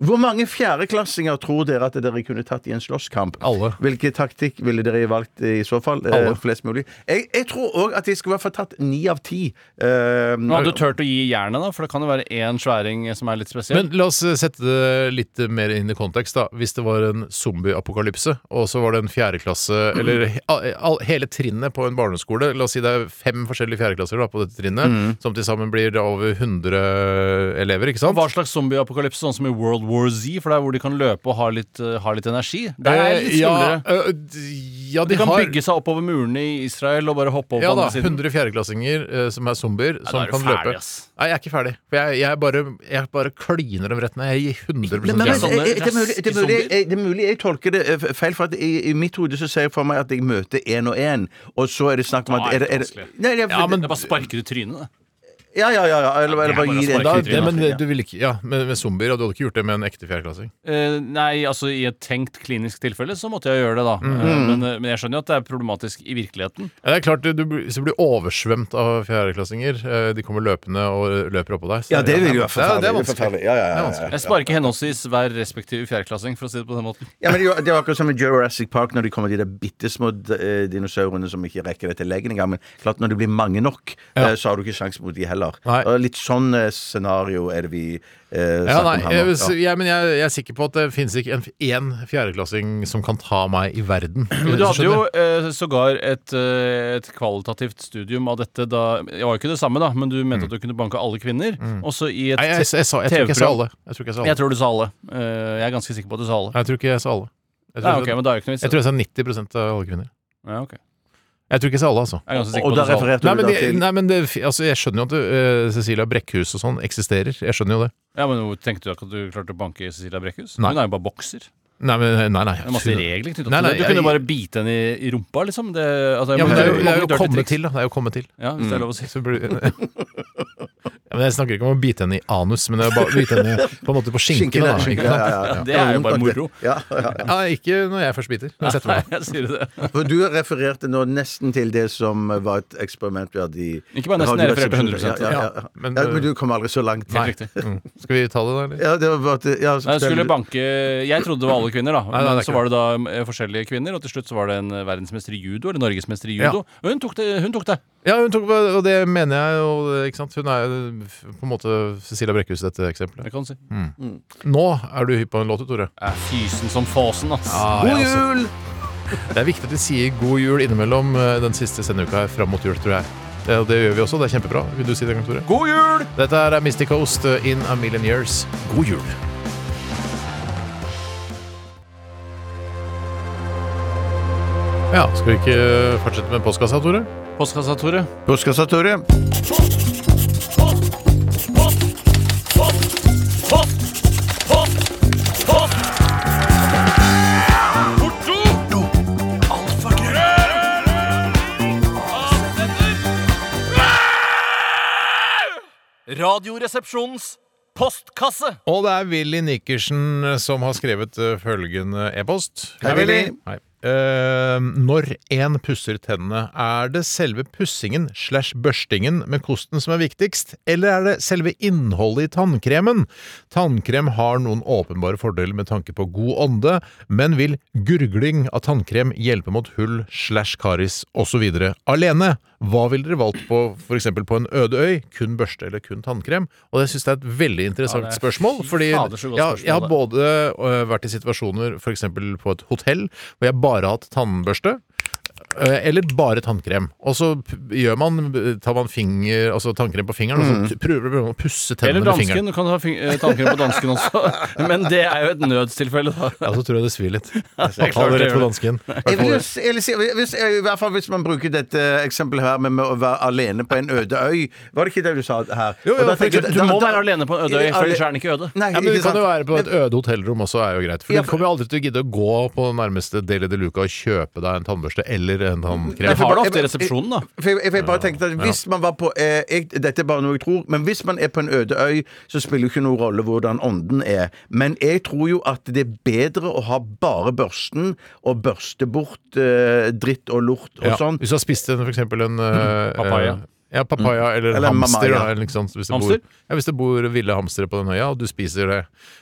Speaker 5: Hvor mange fjerdeklassinger tror dere at dere kunne tatt i en slåsskamp?
Speaker 4: Alle.
Speaker 5: Hvilken taktikk ville dere valgt i så fall? Eh, flest mulig. Jeg, jeg tror òg at de skulle i hvert fall tatt ni av ti. Eh,
Speaker 6: Men hadde du turt å gi jernet, da? For det kan jo være én sværing som er litt spesiell.
Speaker 4: Men la oss eh, sette det litt mer inn i kontekst. da Hvis det var en zombieapokalypse, og så var det en fjerdeklasse Eller he- al- al- hele trinnet på en barneskole La oss si det er fem forskjellige fjerdeklasser da på dette trinnet,
Speaker 6: Mm.
Speaker 4: som til sammen blir da over 100 elever, ikke sant?
Speaker 6: hva slags zombieapokalypse, sånn som i World War Z, for det er hvor de kan løpe og ha litt, eh, ha litt energi? Der er det
Speaker 4: Eh,
Speaker 6: litt skumlere.
Speaker 4: Ja, eh, d- ja,
Speaker 6: De
Speaker 4: de,
Speaker 6: kan
Speaker 4: har
Speaker 6: bygge seg oppover murene i Israel og bare hoppe over
Speaker 4: ja
Speaker 6: på
Speaker 4: da,
Speaker 6: andre siden.
Speaker 4: 100 fjerdeklassinger eh, som er zombier, som
Speaker 6: da er du
Speaker 4: kan
Speaker 6: ferdig,
Speaker 4: løpe.
Speaker 6: ass.
Speaker 4: Nei, jeg er ikke ferdig. For jeg, jeg, bare, jeg bare kliner dem rett ned. Jeg gir 100
Speaker 5: Men, men, men,
Speaker 6: Ja, sånne
Speaker 5: eh, eh, det, er mulig,
Speaker 6: raske
Speaker 5: det, er mulig,
Speaker 6: zombier.
Speaker 5: eh, det er mulig jeg tolker det eh, feil, for at i, i mitt hode så ser jeg for meg at jeg møter én og én, og så er det snakk om
Speaker 6: Da
Speaker 5: at er det,
Speaker 6: er det
Speaker 5: er det,
Speaker 6: vanskelig.
Speaker 5: nei, det er-
Speaker 6: Ja, men det bare sparker i trynet, det.
Speaker 5: ja, ja, ja, ja, eller, eller
Speaker 6: det
Speaker 5: bare
Speaker 6: er bare
Speaker 5: gi det
Speaker 6: å
Speaker 5: en
Speaker 4: da,
Speaker 6: sparke i
Speaker 4: det,
Speaker 6: trynet.
Speaker 4: men det- du vil ikke Ja, med, med zombier. Og du hadde ikke gjort det med en ekte fjerdeklassing.
Speaker 6: Eh, nei, altså i et tenkt klinisk tilfelle så måtte jeg gjøre det, da.
Speaker 4: Mm.
Speaker 6: Eh, men, eh, men jeg skjønner jo at det er problematisk i virkeligheten.
Speaker 4: Ja, det er klart, du, du, blir- hvis du blir oversvømt av fjerdeklassinger, eh, de kommer løpende og løper oppå deg så-
Speaker 5: Ja, det vil jo være
Speaker 4: det er- det er
Speaker 5: forferdelig.
Speaker 4: vanskelig.
Speaker 5: forferdelig. Ja, ja,
Speaker 4: Det er
Speaker 5: ja, ja.
Speaker 4: vanskelig.
Speaker 6: Jeg sparker henholdsvis hver respektive fjerdeklassing, for å si det på den måten.
Speaker 5: Ja, men det er jo- det er jo akkurat som i Jurassic Park, når de kommer de der bitte små eh, dinosaurene som ikke rekker det til legen engang. Men klart, når det blir mange nok, eh, så har du ikke sjanse mot de heller.
Speaker 4: Nei.
Speaker 5: Og litt sånn eh, scenario er det vi eh,
Speaker 4: Ja,
Speaker 5: snakker
Speaker 4: nei,
Speaker 5: om her
Speaker 4: jeg,
Speaker 5: nå.
Speaker 4: hvis- ja, men jeg, jeg er sikker på at det finnes ikke en- én fjerdeklassing som kan ta meg i verden.
Speaker 6: Men du hadde
Speaker 4: Skjønner?
Speaker 6: jo eh, sågar et, eh, et kvalitativt studium av dette da Det var jo ikke det samme, da, men du mente at du kunne banke alle kvinner. Også i et
Speaker 4: Mm. Nei, jeg, jeg, jeg, sa- jeg tror ikke jeg sa alle. Jeg tror ikke jeg sa alle.
Speaker 6: Jeg tror du sa alle. Eh, jeg er ganske sikker på at du sa alle.
Speaker 4: Jeg tror ikke jeg sa alle. Jeg tror,
Speaker 6: Nei, ok, men da er jo ikke noe vits.
Speaker 4: jeg, tror jeg sa 90 av alle kvinner.
Speaker 6: Ja, ok.
Speaker 4: Jeg tror ikke jeg sa alle, altså.
Speaker 6: Jeg er ganske
Speaker 5: Og-
Speaker 6: sikker
Speaker 5: og
Speaker 6: på
Speaker 5: da
Speaker 6: at du sa alle.
Speaker 5: refererte
Speaker 4: Nei,
Speaker 5: du
Speaker 4: men,
Speaker 5: da
Speaker 4: det,
Speaker 5: til
Speaker 4: nei, men det, altså, jeg skjønner jo at eh, Cecilia Brekkhus og sånn eksisterer. Jeg skjønner jo det.
Speaker 6: Ja, men hvor Tenkte du ikke at du klarte å banke Cecilia Brekkhus?
Speaker 4: Nei.
Speaker 6: Hun er jo bare bokser. Det
Speaker 4: Nei, men, nei, nei.
Speaker 6: er masse regler knyttet
Speaker 4: Nei, nei,
Speaker 6: til det. Du
Speaker 4: jeg-
Speaker 6: kunne bare bite henne i, i rumpa, liksom. Det, altså,
Speaker 4: Ja, men det er jo,
Speaker 6: mange
Speaker 4: det er jo
Speaker 6: dirty
Speaker 4: kommet Mm.
Speaker 6: tricks.
Speaker 4: til, da. Det er jo kommet til.
Speaker 6: Ja, hvis det er lov å si.
Speaker 4: Så blir, ja, men men Jeg snakker ikke om å bite henne i anus, men det er bare å bite henne på en måte på skinken.
Speaker 5: Skinkene,
Speaker 4: Da,
Speaker 5: skinkene,
Speaker 4: ikke sant?
Speaker 5: ja, ja, ja.
Speaker 6: Det er jo bare moro.
Speaker 5: Ja, ja.
Speaker 4: Ja, ikke når jeg først biter. Når jeg setter
Speaker 6: Nei,
Speaker 4: meg.
Speaker 6: jeg sier det.
Speaker 5: For du refererte nå nesten til det som var et eksperiment vi hadde i
Speaker 6: Ikke bare nesten, jeg refererte 100%.
Speaker 5: Ja, ja, ja.
Speaker 4: Ja, men,
Speaker 5: Men, ja, men du kom aldri så langt.
Speaker 4: Nei.
Speaker 6: riktig.
Speaker 4: Mm. Skal vi ta det, da? Eller?
Speaker 5: Ja, det var bare at ja,
Speaker 6: Nei, Jeg skulle banke Jeg trodde det var alle kvinner, da.
Speaker 4: nei, det er
Speaker 6: Men
Speaker 4: ikke
Speaker 6: så var det da eh, forskjellige kvinner, og til slutt så var det en eh, verdensmester i judo, eller norgesmester i
Speaker 4: Ja.
Speaker 6: judo. Og hun tok det! Hun tok det.
Speaker 4: Ja, hun tok, og det mener jeg. Og, ikke sant? Hun er jo på en måte Cecilia Brekkhus, dette eksempelet.
Speaker 6: Det kan du si.
Speaker 4: Nå er du hypp på en låt, Tore.
Speaker 6: Jeg er fysen som fåsen, ass.
Speaker 4: God jul! Det er viktig at vi sier god jul innimellom eh, den siste sendeuka her fram mot jul, tror jeg. Eh, Og det gjør vi også. Det er kjempebra. Vil du si det en gang, Tore?
Speaker 6: God jul!
Speaker 4: Dette er Mystic Host in a million years. God jul! Ja, skal vi ikke fortsette med postkassa, Tore?
Speaker 6: Postkassa, Tore.
Speaker 5: Postkassa, Tore.
Speaker 6: Radioresepsjonens postkasse.
Speaker 4: Og det er Willy Nikkersen som har skrevet eh, følgende e-post.
Speaker 5: Hei, Willy.
Speaker 4: Hei. Eh, når én pusser tennene, er det selve pussingen slash børstingen med kosten som er viktigst, eller er det selve innholdet i tannkremen? Tannkrem har noen åpenbare fordeler med tanke på god ånde, men vil gurgling av tannkrem hjelpe mot hull slash karis osv. alene? Hva ville dere valgt på f.eks. på en øde øy? Kun børste eller kun tannkrem? Og jeg syns det er et veldig interessant
Speaker 6: Ja, det er
Speaker 4: spørsmål,
Speaker 6: fy
Speaker 4: fordi
Speaker 6: fader, så godt
Speaker 4: ja, jeg har
Speaker 6: spørsmål, det.
Speaker 4: både ø, vært i situasjoner f.eks. på et hotell hvor jeg bare har hatt tannbørste. ø, Eller bare tannkrem. Og så p- gjør man, tar man finger, altså tannkrem på fingeren og så t- prøver prøver man å pusse
Speaker 6: Eller
Speaker 4: tennene med
Speaker 6: dansken.
Speaker 4: fingeren.
Speaker 6: Du kan ha fing- eh, tannkrem på dansken også. Men det er jo et nødstilfelle, da.
Speaker 4: Ja, så tror jeg det svir litt.
Speaker 6: er klart
Speaker 4: Ta det
Speaker 6: det
Speaker 4: rett på
Speaker 6: gjør
Speaker 4: dansken.
Speaker 5: Jeg vil jo si- eller si- hvis, I hvert fall hvis man bruker dette eksempelet her med, med å være alene på en øde øy. Var det ikke det du sa her?
Speaker 4: Jo, jo,
Speaker 5: Og da
Speaker 4: for
Speaker 5: tenker jeg-
Speaker 6: Du
Speaker 5: da-
Speaker 6: må
Speaker 5: da-
Speaker 6: være alene på en øde øy, for ellers er den ikke øde.
Speaker 5: Nei,
Speaker 4: Ja, men Du
Speaker 5: ikke
Speaker 4: kan jo
Speaker 5: sant?
Speaker 4: være på et øde hotellrom også, er jo greit. For
Speaker 5: Ja,
Speaker 4: Du
Speaker 5: for-
Speaker 4: kommer jo aldri til å gidde å gå på den nærmeste Deli de Luca og kjøpe deg en tannbørste eller en
Speaker 6: Vi
Speaker 4: tannkrem.
Speaker 6: har
Speaker 5: jeg-
Speaker 6: det ofte i
Speaker 5: jeg-
Speaker 6: resepsjonen, da.
Speaker 5: For jeg, for jeg bare tenkte at Hvis man var på eh, jeg, Dette er bare noe jeg tror, men hvis man er på en øde øy, så spiller jo ikke noe rolle hvordan ånden er. Men jeg tror jo at det er bedre å ha bare børsten og børste bort eh, dritt og lort og
Speaker 4: Ja,
Speaker 5: sånn.
Speaker 4: Hvis du har spist en, for eksempel en eh,
Speaker 6: Mm. Papaya. Mm.
Speaker 4: eh, Ja, papaya eller,
Speaker 5: Eller
Speaker 4: en hamster.
Speaker 5: mamaya.
Speaker 4: Da, eller, ikke sant? Hvis, det
Speaker 6: Hamster?
Speaker 4: Bor, ja, hvis det bor ville hamstere på den øya, og du spiser det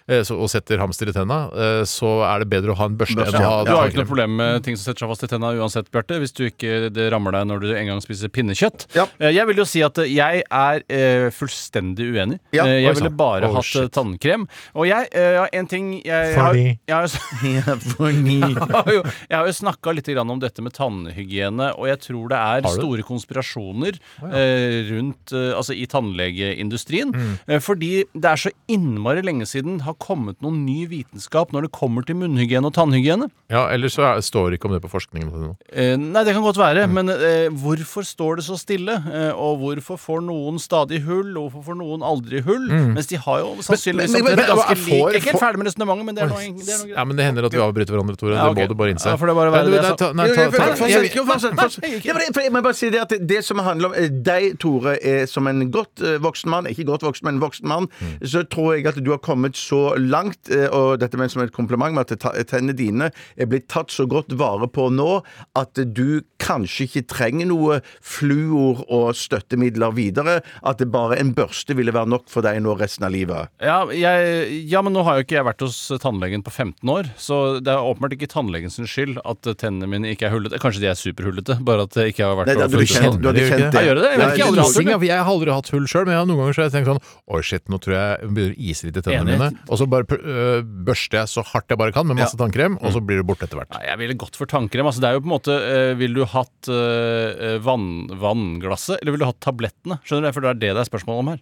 Speaker 4: eh, så, og setter hamster i tenna, eh, så er det bedre å ha en børste enn å ha
Speaker 6: Du har jo ikke
Speaker 4: tannkrem.
Speaker 6: noe problem med ting som setter seg fast i tenna uansett, Bjarte. Hvis du ikke det rammer deg når du en gang spiser pinnekjøtt.
Speaker 5: Ja.
Speaker 6: Eh, Jeg vil jo si at eh, jeg er eh, fullstendig uenig.
Speaker 5: Ja.
Speaker 6: Eh,
Speaker 4: Oi,
Speaker 6: Jeg ville
Speaker 4: sant.
Speaker 6: bare
Speaker 4: Oh,
Speaker 6: hatt eh,
Speaker 4: shit.
Speaker 6: tannkrem. Og jeg eh, har en ting jeg har-
Speaker 4: Fordi?
Speaker 6: jeg har jo-
Speaker 5: Ja, for ni.
Speaker 6: Jeg har jo, jeg har jo snakka litt grann om dette med tannhygiene, og jeg tror det
Speaker 4: Har
Speaker 6: er
Speaker 4: du?
Speaker 6: store konspirasjoner eh, rundt eh, Altså i tannlegeindustrien.
Speaker 4: Mm.
Speaker 6: Eh, fordi det er så innmari lenge siden det har kommet noen ny vitenskap når det kommer til munnhygiene og tannhygiene.
Speaker 4: Ja, ellers så er, står det ikke om det på forskningen. eller noe.
Speaker 6: Eh, nei, det kan godt være, men eh, hvorfor står det så stille? Eh, og hvorfor får noen stadig hull, og hvorfor får noen aldri hull? Mens de har jo sannsynligvis
Speaker 4: men- men-
Speaker 6: omtrent
Speaker 4: men-
Speaker 6: ganske
Speaker 4: men-
Speaker 6: lik Jeg er ikke
Speaker 4: får-
Speaker 6: helt ferdig med resonnementet, men det er noe, det er noe greit.
Speaker 4: Ja, men det hender at vi avbryter hverandre, Tore.
Speaker 6: Ja, ok.
Speaker 4: Det må du bare innse.
Speaker 6: Ja, for det er bare å være
Speaker 4: Nei, du,
Speaker 6: det
Speaker 4: nei,
Speaker 6: jeg sa.
Speaker 4: ta- nei, ta- ta-
Speaker 5: Fortsett,
Speaker 4: jeg-
Speaker 5: jo, fortsett, fortsett. Ja, men jeg- for jeg må bare si det at det- det som handler om eh, deg, Tore, er som en godt eh, voksen mann, ikke godt voksen, men voksen mann,
Speaker 6: Mm.
Speaker 5: så tror jeg at du har kommet så langt, eh, og dette mener jeg som et kompliment, med at ta- tennene dine er blitt tatt så godt vare på nå at du kanskje ikke trenger noe fluor og støttemidler videre, at det bare en børste ville være nok for deg nå resten av livet.
Speaker 6: Ja, jeg, ja, men nå har jo ikke jeg vært hos tannlegen på 15 år, så det er åpenbart ikke tannlegens skyld at tennene mine ikke er hullete. Kanskje de er superhullete, bare at jeg ikke har vært
Speaker 5: Nei, da,
Speaker 6: og
Speaker 5: du, hadde
Speaker 6: funnet
Speaker 5: kjent, du hadde
Speaker 4: Gjør ikke
Speaker 5: kjent
Speaker 4: det?
Speaker 5: det.
Speaker 6: Ja, gjør det det? Jeg vet
Speaker 5: Nei,
Speaker 6: ikke, jeg
Speaker 5: du-
Speaker 6: aldri hatt
Speaker 4: Ting, ja, for jeg har aldri hatt hull sjøl, men jeg har noen ganger så har jeg tenkt sånn Oi, shit, nå tror jeg jeg begynner å ise litt i tennene
Speaker 6: Enig.
Speaker 4: mine. Og så bare pr- øh, børster jeg så hardt jeg bare kan med masse tannkrem, og
Speaker 6: Mm.
Speaker 4: så blir det borte etter hvert.
Speaker 6: Nei, jeg ville gått for tannkrem. Altså, det er jo på en måte eh, Vil du hatt eh, vann, vannglasset, eller vil du hatt tablettene? Skjønner du? For det er det det er spørsmål om her.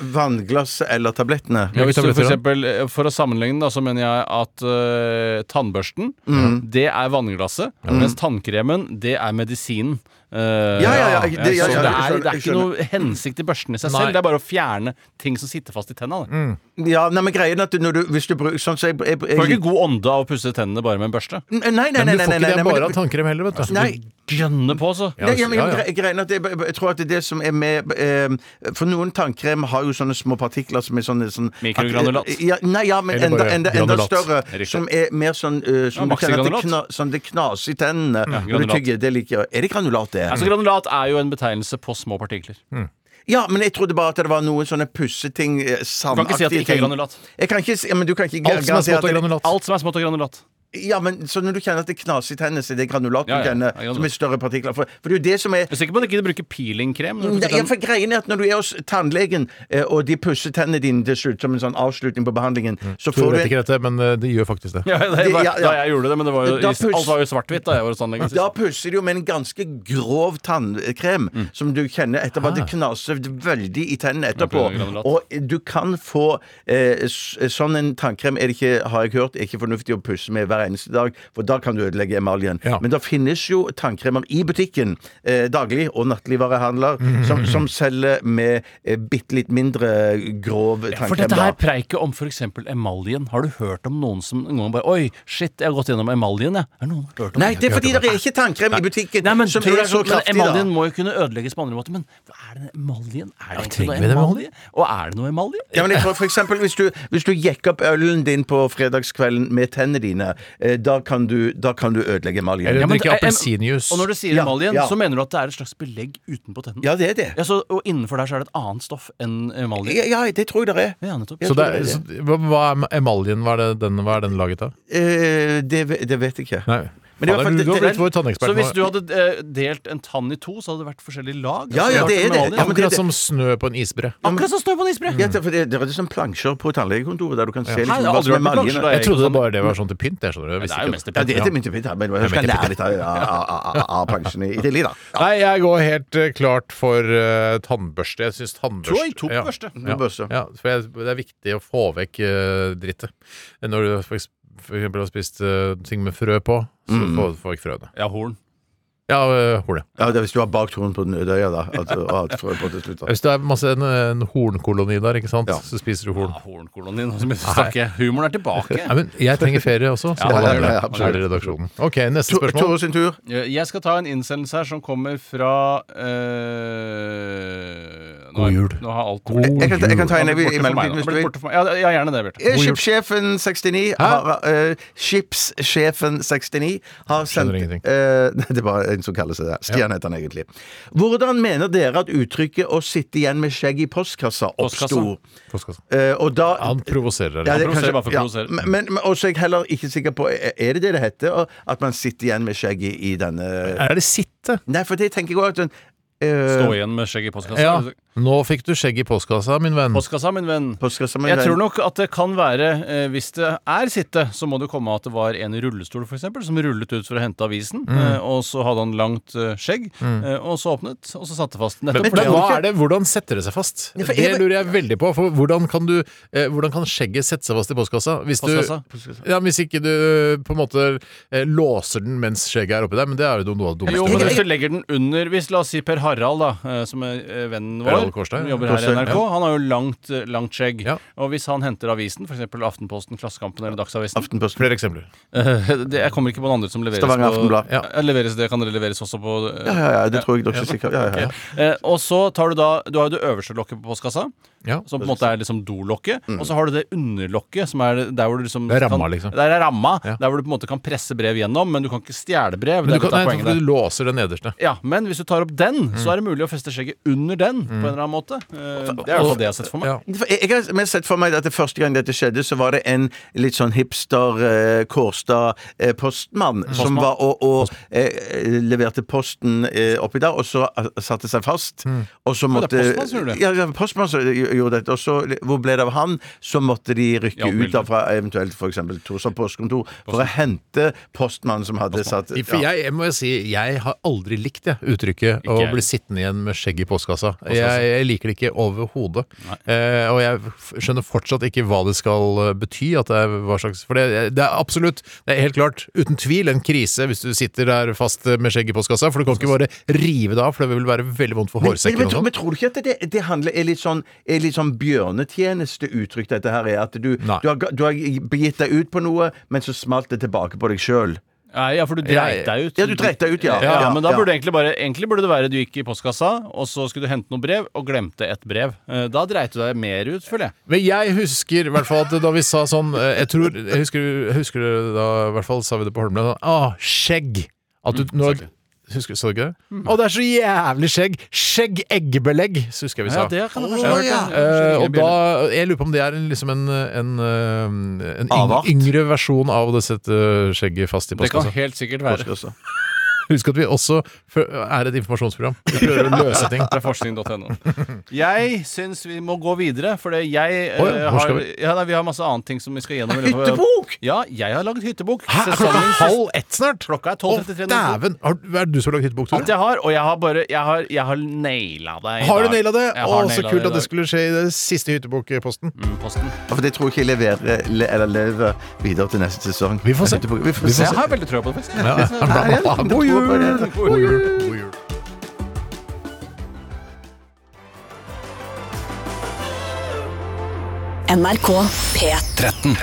Speaker 5: Vannglass eller tablettene?
Speaker 4: Ja,
Speaker 6: hvis du for,
Speaker 4: tabletter, da.
Speaker 6: eksempel, eh, for å sammenligne, da, så mener jeg at eh, tannbørsten, det er vannglasset, mens tannkremen, det er medisinen. Eh,
Speaker 5: Ja, ja, ja, det- ja, ja,
Speaker 6: så det,
Speaker 5: jeg skjønner,
Speaker 6: er, det er
Speaker 5: jeg
Speaker 6: ikke noe hensikt i børsten i seg selv.
Speaker 4: Nei.
Speaker 6: Det er bare å fjerne ting som sitter fast i tenna. det.
Speaker 5: Ja, nei, men greien er at når du, hvis du bruker Sånn som jeg, jeg, jeg,
Speaker 6: Du får ikke god ånde av å pusse tennene bare med en børste.
Speaker 5: Nei, nei, nei.
Speaker 4: Men
Speaker 5: nei,
Speaker 4: du
Speaker 5: nei,
Speaker 4: får ikke
Speaker 5: nei,
Speaker 4: det
Speaker 5: nei,
Speaker 4: bare
Speaker 5: men-
Speaker 4: av tannkrem heller, vet du.
Speaker 5: Nei.
Speaker 6: Gønne på, altså.
Speaker 5: Nei, ja, men
Speaker 4: ja, ja.
Speaker 5: gre- greien er at jeg, jeg tror at det, er det som er med eh, For noen tannkrem har jo sånne små partikler som er sånne sånn,
Speaker 6: Mikrogranulat.
Speaker 5: At- Ja, nei, ja, men
Speaker 4: Eller
Speaker 5: enda,
Speaker 4: bare
Speaker 5: enda, enda
Speaker 4: granulat.
Speaker 5: større.
Speaker 6: Riktig.
Speaker 5: Som er mer sånn eh, som,
Speaker 6: Ja,
Speaker 5: du kjenner at det kna,
Speaker 6: maxigranulat.
Speaker 5: sånn det knaser i tennene når du
Speaker 6: granulat.
Speaker 5: tygger. Det liker jeg. Er det granulat, det?
Speaker 6: Altså, granulat er jo en betegnelse på små partikler.
Speaker 5: Ja, men jeg trodde bare at det var noen sånne pusseting eh,
Speaker 6: Du kan ikke si at
Speaker 5: Sandaktige
Speaker 6: det ikke er
Speaker 5: ting.
Speaker 6: granulat.
Speaker 5: Jeg kan ikke si ja, Men du kan ikke
Speaker 4: Alt som er
Speaker 5: garantere at
Speaker 4: smått og
Speaker 5: det-
Speaker 4: granulat.
Speaker 6: Alt som er smått og granulat.
Speaker 5: Ja, men så når du kjenner at det knaser i tennene, så er det granulat
Speaker 6: Ja,
Speaker 5: du
Speaker 6: ja,
Speaker 5: kjenner,
Speaker 6: ja, granulat.
Speaker 5: som er større partikler. For, for det er jo det som er
Speaker 6: Jeg er sikker på at du ikke bruker peelingkrem. når
Speaker 5: Nei,
Speaker 6: du pusser
Speaker 5: Mm, ja,
Speaker 6: tennene.
Speaker 5: for greien er at Når du er hos tannlegen, eh, og de pusser tennene dine til slutt som en sånn avslutning på behandlingen, så
Speaker 4: Mm. Du
Speaker 5: får du
Speaker 4: vet
Speaker 5: en,
Speaker 4: ikke dette, men eh, de gjør faktisk det.
Speaker 6: Ja, det
Speaker 5: Det-
Speaker 6: var,
Speaker 5: ja, ja.
Speaker 6: Da jeg gjorde det, men det var jo,
Speaker 5: Da puss-
Speaker 6: alt var jo svart-hvitt da jeg var hos tannlegen sist.
Speaker 5: Da pusser de jo med en ganske grov tannkrem
Speaker 6: Mm.
Speaker 5: som du kjenner
Speaker 6: Ah.
Speaker 5: etterpå. Det knaser veldig i tennene etterpå.
Speaker 6: Jeg prøver granulat.
Speaker 5: Og du kan få eh, s- sånn en tannkrem er det ikke, har jeg hørt, er ikke fornuftig å pusse med hver eneste dag, for da kan du ødelegge emaljen.
Speaker 4: Ja.
Speaker 5: Men det finnes jo tannkremer i butikken, eh, daglig og nattligvarehandler,
Speaker 6: Mm,
Speaker 5: som, som selger med eh, bitte litt mindre grov tannkrem.
Speaker 6: For dette
Speaker 5: da.
Speaker 6: her preiket om f.eks. emaljen. Har du hørt om noen som noen gang bare Oi, shit, jeg har gått gjennom emaljen, jeg. Er det noen som har hørt om
Speaker 5: Nei, det er fordi det er ikke tannkrem i butikken
Speaker 6: Nei, men,
Speaker 5: som
Speaker 6: tror
Speaker 5: er
Speaker 6: jeg,
Speaker 5: så
Speaker 6: sånn- men
Speaker 5: kraftig. da.
Speaker 6: Emaljen må jo kunne ødelegges på andre måter. Men hva er den emaljen? Er det egentlig
Speaker 4: trenger vi det
Speaker 6: noe
Speaker 4: emalje?
Speaker 6: emalje? Og er det noe emalje?
Speaker 5: Ja, men jeg tror for eksempel, hvis du, hvis du jekker opp ølen din på fredagskvelden med tennene dine, eh, da kan du, da kan du ødelegge emaljen.
Speaker 4: Eller
Speaker 6: Ja, men
Speaker 4: drikke
Speaker 6: det er-
Speaker 4: appelsinjuice.
Speaker 6: Og når du sier
Speaker 5: Ja,
Speaker 6: emaljen,
Speaker 5: ja.
Speaker 6: så mener du at det er et slags belegg utenpå tennene?
Speaker 5: Ja, det er det.
Speaker 6: Ja, så, og innenfor der så er det et annet stoff enn emalje?
Speaker 5: Ja, ja, det tror jeg det er.
Speaker 6: Ja, nettopp.
Speaker 4: Så, det er, så hva, hva er emaljen? Hva er, det, den, hva er den laget av?
Speaker 5: Eh, det, ve- det vet jeg ikke.
Speaker 4: Nei.
Speaker 5: Men det er i hvert fall-
Speaker 4: Fader, du har
Speaker 5: det-
Speaker 4: blitt vår tannekspert
Speaker 6: Så
Speaker 4: nå.
Speaker 6: hvis du hadde eh, delt en tann i to, så hadde det vært forskjellige lag?
Speaker 5: Ja,
Speaker 6: Altså,
Speaker 5: ja,
Speaker 6: har
Speaker 5: det er det.
Speaker 6: vært emalje.
Speaker 5: Ja, men det-
Speaker 4: Akkurat som snø på en isbre.
Speaker 6: Akkurat sånn. som snø på en isbre!
Speaker 5: Ja, det, er for det, det er sånn plansjer på tannlegekontoret der du kan se
Speaker 6: Nei,
Speaker 5: liksom,
Speaker 6: det har
Speaker 5: hva som er
Speaker 6: aldri vært noen plansjer
Speaker 5: emaljen.
Speaker 6: der.
Speaker 4: Jeg trodde bare det var sånn til pynt. Jeg skjønner det.
Speaker 6: Det
Speaker 4: visste
Speaker 6: er jo
Speaker 4: ikke
Speaker 6: mest
Speaker 4: det.
Speaker 6: i
Speaker 5: Ja, det er
Speaker 6: pynten,
Speaker 5: til mynte pynt, men jeg skal lære litt av- av av- av- av plansjene i tillegg, da.
Speaker 4: Nei, jeg går helt eh, klart for eh, tannbørste. Jeg syns tannbørste
Speaker 6: Tror jeg tok børste.
Speaker 4: Ja.
Speaker 5: Børste.
Speaker 4: Ja, for jeg, det er viktig å få vekk eh, drittet. Når du for eks- for eksempel har spist eh, ting med frø på, så få, få vekk frøene.
Speaker 6: Ja, horn.
Speaker 4: Ja, eh, hornet.
Speaker 5: Ja, det er Hvis du har bakt horn på den ødøya, da. At, og at frø på til slutt, da.
Speaker 4: Hvis det er masse en, en hornkoloni der, ikke sant,
Speaker 5: Ja.
Speaker 4: så spiser du horn.
Speaker 6: Ja, hornkolonien. nå skal vi snakke. Humoren er tilbake.
Speaker 4: Nei, men jeg trenger ferie også, så
Speaker 6: Ja,
Speaker 4: da
Speaker 6: ja,
Speaker 4: er det,
Speaker 5: ja,
Speaker 4: da er det redaksjonen. Ok, neste spørsmål.
Speaker 5: Tore sin tur.
Speaker 6: Eh, Jeg skal ta en innsendelse her som kommer fra eh, nå,
Speaker 4: God jul.
Speaker 6: Nå har alt
Speaker 5: Jeg kan, ta- jeg kan ta en i
Speaker 6: Han er borte for meg nå.
Speaker 5: mellomtiden
Speaker 6: Han
Speaker 5: hvis
Speaker 6: er
Speaker 5: du
Speaker 6: blitt
Speaker 5: vil.
Speaker 6: borte for meg. Ja, ja, gjerne det, Bjarte.
Speaker 5: Eh, Skipssjefen 69 har, eh, Skipssjefen 69 har sendt
Speaker 4: ingenting.
Speaker 5: eh, nei, Det er bare en som kaller seg det. Stian heter han egentlig. Hvordan mener dere at uttrykket 'å sitte igjen med skjegg i postkassa' oppsto?
Speaker 4: Postkassa.
Speaker 5: Eh, og da
Speaker 4: Han provoserer
Speaker 5: Ja,
Speaker 4: deg.
Speaker 5: det er
Speaker 6: Han provoserer
Speaker 5: kanskje-
Speaker 6: bare for å provosere.
Speaker 5: men, men, men også er jeg heller ikke sikker på Er det det det heter? At man sitter igjen med skjegg i, i denne
Speaker 4: Er det sitte?
Speaker 5: Nei, for det tenker jeg òg at den, eh,
Speaker 6: Stå igjen med skjegg i postkassa. Mm.
Speaker 4: Ja. Nå fikk du skjegg i postkassa, min venn.
Speaker 6: Postkassa, min venn.
Speaker 5: Postkassa med
Speaker 6: Jeg
Speaker 5: den-
Speaker 6: tror nok at det kan være, eh, hvis det er sitte, så må det komme at det var en i rullestol for eksempel, som rullet ut for å hente avisen,
Speaker 4: Mm.
Speaker 6: eh, og så hadde han langt eh, skjegg, eh, og så åpnet, og så satte fast. Nettopp
Speaker 4: Men
Speaker 6: fordi
Speaker 4: hva
Speaker 6: han-
Speaker 4: er det, hvordan setter det seg fast?
Speaker 5: for
Speaker 4: Det
Speaker 5: jeg-
Speaker 4: lurer jeg veldig på. For hvordan kan, du, eh, hvordan kan skjegget sette seg fast i postkassa? Hvis, du,
Speaker 6: Postkassa.
Speaker 4: ja, men hvis ikke du eh, på en måte eh, låser den mens skjegget er oppi der, men det er jo noe av det
Speaker 6: Jo,
Speaker 4: dummeste.
Speaker 6: men
Speaker 4: jeg
Speaker 6: hvis
Speaker 4: vet.
Speaker 6: du legger den under Hvis la oss si Per Harald, da, eh, som er eh, vennen
Speaker 4: Per Harald
Speaker 6: vår,
Speaker 4: Kårstad,
Speaker 6: som
Speaker 4: ja.
Speaker 6: jobber her i
Speaker 4: Kårstad,
Speaker 6: NRK,
Speaker 4: ja.
Speaker 6: han har jo langt, eh, langt skjegg.
Speaker 4: Ja.
Speaker 6: Og hvis han henter avisen, f.eks. Aftenposten, Klassekampen eller Dagsavisen
Speaker 5: Aftenposten.
Speaker 4: Flere eksempler.
Speaker 6: eh, det, Jeg kommer ikke på noen andre som leveres
Speaker 5: Stavanger
Speaker 6: på
Speaker 5: Aftenblad.
Speaker 4: Ja.
Speaker 6: Eh, leveres, Det kan leveres også på eh,
Speaker 5: Ja, ja, ja, det tror jeg dere er sikre ja, ja, ja.
Speaker 6: eh, Og så tar du da Du har jo det øverste lokket på postkassa,
Speaker 4: Ja.
Speaker 6: som på en måte er liksom dolokket, og så har du det underlokket, som er der hvor du liksom
Speaker 4: Mm. Det er ramma,
Speaker 6: kan-
Speaker 4: liksom.
Speaker 6: Der er ramma,
Speaker 4: Ja.
Speaker 6: der hvor du på en måte kan presse brev gjennom, men du kan ikke stjele brev.
Speaker 4: Men
Speaker 6: det
Speaker 4: du kan,
Speaker 6: er litt
Speaker 4: nei,
Speaker 6: av poenget der.
Speaker 4: for du låser den nederste.
Speaker 6: Ja, men hvis du tar opp den, så er det mulig å feste skjegget under den på en eller annen måte. Eh, Det er i hvert fall det jeg har sett for meg.
Speaker 4: Ja.
Speaker 5: For Jeg jeg har mest sett for meg at det første gang dette skjedde, så var det en litt sånn hipster eh, Kårstad-postmann som var og, og eh, eh, leverte posten eh, oppi der, og så eh, satte seg fast. Og så
Speaker 6: Mm. det er
Speaker 5: måtte
Speaker 6: postmann som gjorde det?
Speaker 5: Ja, ja, postmann som gjorde dette. Og så, hvor ble det av han? Så måtte de rykke
Speaker 6: Ja,
Speaker 5: ut da fra eventuelt f.eks. Torshov postkontor for å hente postmannen som hadde satt
Speaker 4: For
Speaker 5: ja.
Speaker 4: jeg, jeg må jo si, jeg har aldri likt det uttrykket
Speaker 6: Ikke
Speaker 4: å
Speaker 6: jeg.
Speaker 4: bli sittende igjen med skjegg i postkassa. Jeg, jeg liker det ikke overhodet. Eh, og jeg f- skjønner fortsatt ikke hva det skal eh, bety. At det er hva slags, for det, det er absolutt, det er helt klart, uten tvil en krise hvis du sitter der fast eh, med skjegg i postkassa. For du kan ikke bare rive det av, for det vil være veldig vondt for
Speaker 5: Men, men,
Speaker 4: hårsekken.
Speaker 5: tror-
Speaker 4: og
Speaker 5: men
Speaker 4: sånn.
Speaker 5: tror du ikke at det, det handler, er litt sånn, er litt sånn bjørnetjenesteuttrykk, dette her? Er at du, du,
Speaker 4: Nei.
Speaker 5: har, ga- du har begitt deg ut på noe, men så smalt det tilbake på deg sjøl?
Speaker 6: Nei, ja, for du dreit deg ut.
Speaker 5: Ja, du dreit deg ut, ja.
Speaker 6: Ja,
Speaker 5: Ja,
Speaker 6: men da
Speaker 5: ja.
Speaker 6: burde egentlig bare Egentlig burde det være du gikk i postkassa, og så skulle du hente noen brev, og glemte et brev. Eh, Da dreit du deg mer ut, føler jeg.
Speaker 4: Men jeg husker i hvert fall at da vi sa sånn eh, Jeg tror, jeg husker, jeg husker det da i hvert fall sa vi det på Holmlia. Sånn, ah, skjegg! At du
Speaker 6: Mm,
Speaker 4: når, husker, Sa du ikke det? Å, det er så jævlig skjegg! Skjegg-eggebelegg, så husker jeg vi sa.
Speaker 6: Ja, det kan jeg
Speaker 4: Å,
Speaker 6: forstå.
Speaker 4: ja. Eh, og da, Jeg lurer på om det er en- liksom en, en, eh, en yng,
Speaker 5: Avart.
Speaker 4: yngre versjon av å sette skjegget fast i
Speaker 6: Det kan
Speaker 4: postkassa.
Speaker 6: helt sikkert være.
Speaker 4: Husk at vi også fø- er et informasjonsprogram. Vi prøver å løse ting.
Speaker 6: Fra forskning.no. Jeg syns vi må gå videre, for det jeg eh,
Speaker 4: Oi, hvor
Speaker 6: har
Speaker 4: skal
Speaker 6: vi?
Speaker 4: vi?
Speaker 6: Ja, nei, vi har masse annet ting som vi skal gjennom. i løpet av-
Speaker 5: Hyttebok!
Speaker 6: Ja, jeg har laget hyttebok.
Speaker 4: Hæ, er klokka
Speaker 6: Sesongens-
Speaker 4: halv ett snart?
Speaker 6: Klokka er
Speaker 4: Å,
Speaker 6: 12.33 nå.
Speaker 4: dæven! Har- Er det du som har lagd hyttebok, Tore?
Speaker 6: At jeg har, og jeg har bare Jeg har, jeg har naila det i
Speaker 4: Har du
Speaker 6: dag.
Speaker 4: naila det?
Speaker 6: Jeg
Speaker 4: Å,
Speaker 6: har
Speaker 4: så
Speaker 6: naila
Speaker 4: kult
Speaker 6: i
Speaker 4: at det
Speaker 6: dag.
Speaker 4: skulle skje i den siste hyttebokposten.
Speaker 6: Mm, posten.
Speaker 5: Ja, For det tror jeg ikke jeg leverer, le, eller lever videre til neste sesong.
Speaker 4: Vi får se.
Speaker 5: Vi får
Speaker 4: Vi får
Speaker 5: se.
Speaker 6: Jeg har veldig trua på det, faktisk.
Speaker 4: Ja, ja. God jul! God jul! God jul.
Speaker 7: NRK P13.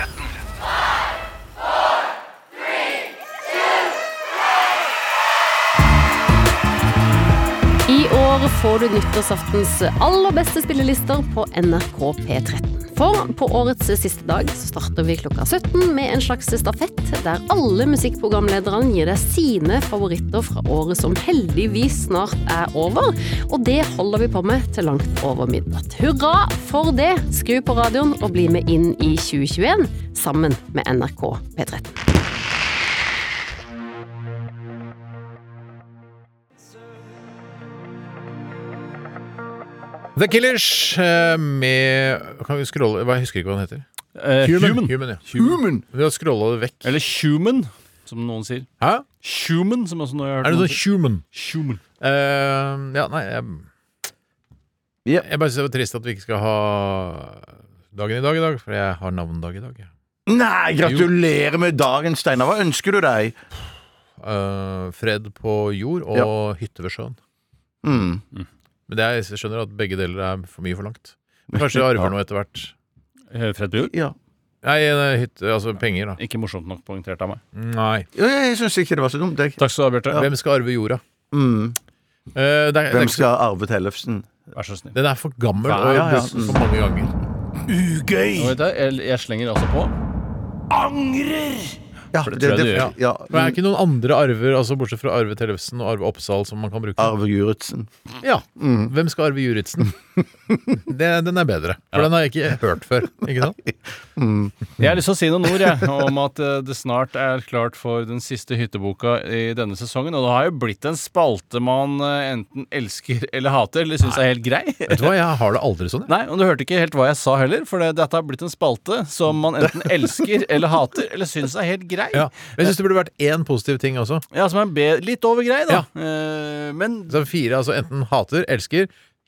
Speaker 10: I år får du nyttårsaftens aller beste spillelister på NRK P13. For på årets siste dag så starter vi klokka 17 med en slags stafett der alle musikkprogramlederne gir deg sine favoritter fra året som heldigvis snart er over. Og det holder vi på med til langt over midnatt. Hurra for det! Skru på radioen og bli med inn i 2021 sammen med NRK P13.
Speaker 4: The Killers eh, med Kan vi scrolle Hva- Jeg husker ikke hva den heter.
Speaker 6: Eh, human.
Speaker 4: Human, ja. Vi har scrolla det vekk.
Speaker 6: Eller human, som noen sier.
Speaker 4: Hæ?
Speaker 6: Human, som også nå har hørt
Speaker 4: Er det
Speaker 6: noen
Speaker 4: sånn
Speaker 6: si.
Speaker 4: human?
Speaker 6: Human.
Speaker 4: Eh, ja, nei jeg,
Speaker 5: Ja.
Speaker 4: jeg bare syns det var trist at vi ikke skal ha dagen i dag i dag, for jeg har navnedag i dag. Ja.
Speaker 5: Nei, gratulerer med dagen, Steinar. Hva ønsker du deg?
Speaker 4: Eh, fred på jord og hytte ved sjøen.
Speaker 5: Mm.
Speaker 4: Men det er, jeg skjønner at begge deler er for mye forlangt. Men kanskje jeg arver noe etter hvert.
Speaker 6: Eh, Fred Bjur?
Speaker 5: Ja.
Speaker 4: Nei, nei, hytte, altså penger, da.
Speaker 6: Ikke morsomt nok poengtert av meg.
Speaker 4: Nei.
Speaker 5: Jo, Jeg, jeg syns ikke det var så dumt, jeg.
Speaker 6: Takk skal du ha, Bjarte.
Speaker 4: Hvem skal arve jorda?
Speaker 5: Mm.
Speaker 4: Eh, det er, det er,
Speaker 5: Hvem
Speaker 4: ikke så-
Speaker 5: skal arve Tellefsen?
Speaker 6: Vær så snill.
Speaker 4: den er for gammel
Speaker 6: Ja,
Speaker 4: og
Speaker 5: ja, ja.
Speaker 4: best for mange ganger.
Speaker 6: Nå vet jeg, jeg, jeg slenger altså på.
Speaker 5: Ja,
Speaker 6: det tror jeg du gjør.
Speaker 5: ja. Mm,
Speaker 4: Men er det ikke noen andre arver, altså bortsett fra Arve Tellefsen og Arve Oppsal, som man kan bruke?
Speaker 5: Arve Juritzen.
Speaker 4: Ja.
Speaker 5: Mm.
Speaker 4: Hvem skal arve Juritzen? det, den er bedre, for den har jeg ikke hørt før. Ikke sant?
Speaker 6: Jeg har lyst til å si noen ord jeg, om at eh, det snart er klart for den siste hytteboka i denne sesongen. Og det har jo blitt en spalte man eh, enten elsker eller hater, eller syns er helt grei.
Speaker 4: Vet du hva, jeg har det aldri sånn. jeg.
Speaker 6: Nei, og du hørte ikke helt hva jeg sa heller, for det, dette har blitt en spalte som man enten elsker eller hater, eller syns er helt grei.
Speaker 4: Ja. Men jeg syns det burde vært én positiv ting også.
Speaker 6: Ja, som er en be litt over grei, da. Eh, men
Speaker 4: Så fire, altså enten hater, elsker,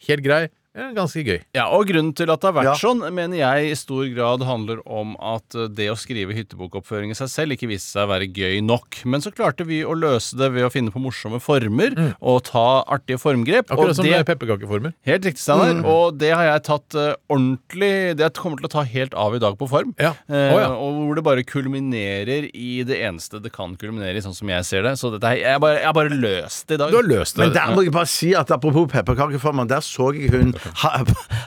Speaker 4: helt grei, eller ganske gøy.
Speaker 6: Ja, og grunnen til at det har vært
Speaker 5: Ja.
Speaker 6: sånn, mener jeg i stor grad handler om at eh, det å skrive hyttebokoppføring i seg selv ikke viste seg å være gøy nok. Men så klarte vi å løse det ved å finne på morsomme former og ta artige
Speaker 4: Mm.
Speaker 6: formgrep.
Speaker 4: Akkurat
Speaker 6: og
Speaker 4: som
Speaker 6: det,
Speaker 4: det... pepperkakeformer.
Speaker 6: helt riktig, Steinar. Og det har jeg tatt eh, ordentlig Det kommer til å ta helt av i dag på form.
Speaker 4: Ja.
Speaker 6: Eh,
Speaker 4: Å, ja.
Speaker 6: Og hvor det bare kulminerer i det eneste det kan kulminere i, sånn som jeg ser det. Så dette, her- jeg, har bare, jeg har bare løst det i dag.
Speaker 4: Du har løst det.
Speaker 5: Men der må jeg bare si at apropos pepperkakeformen, der så jeg hun ha,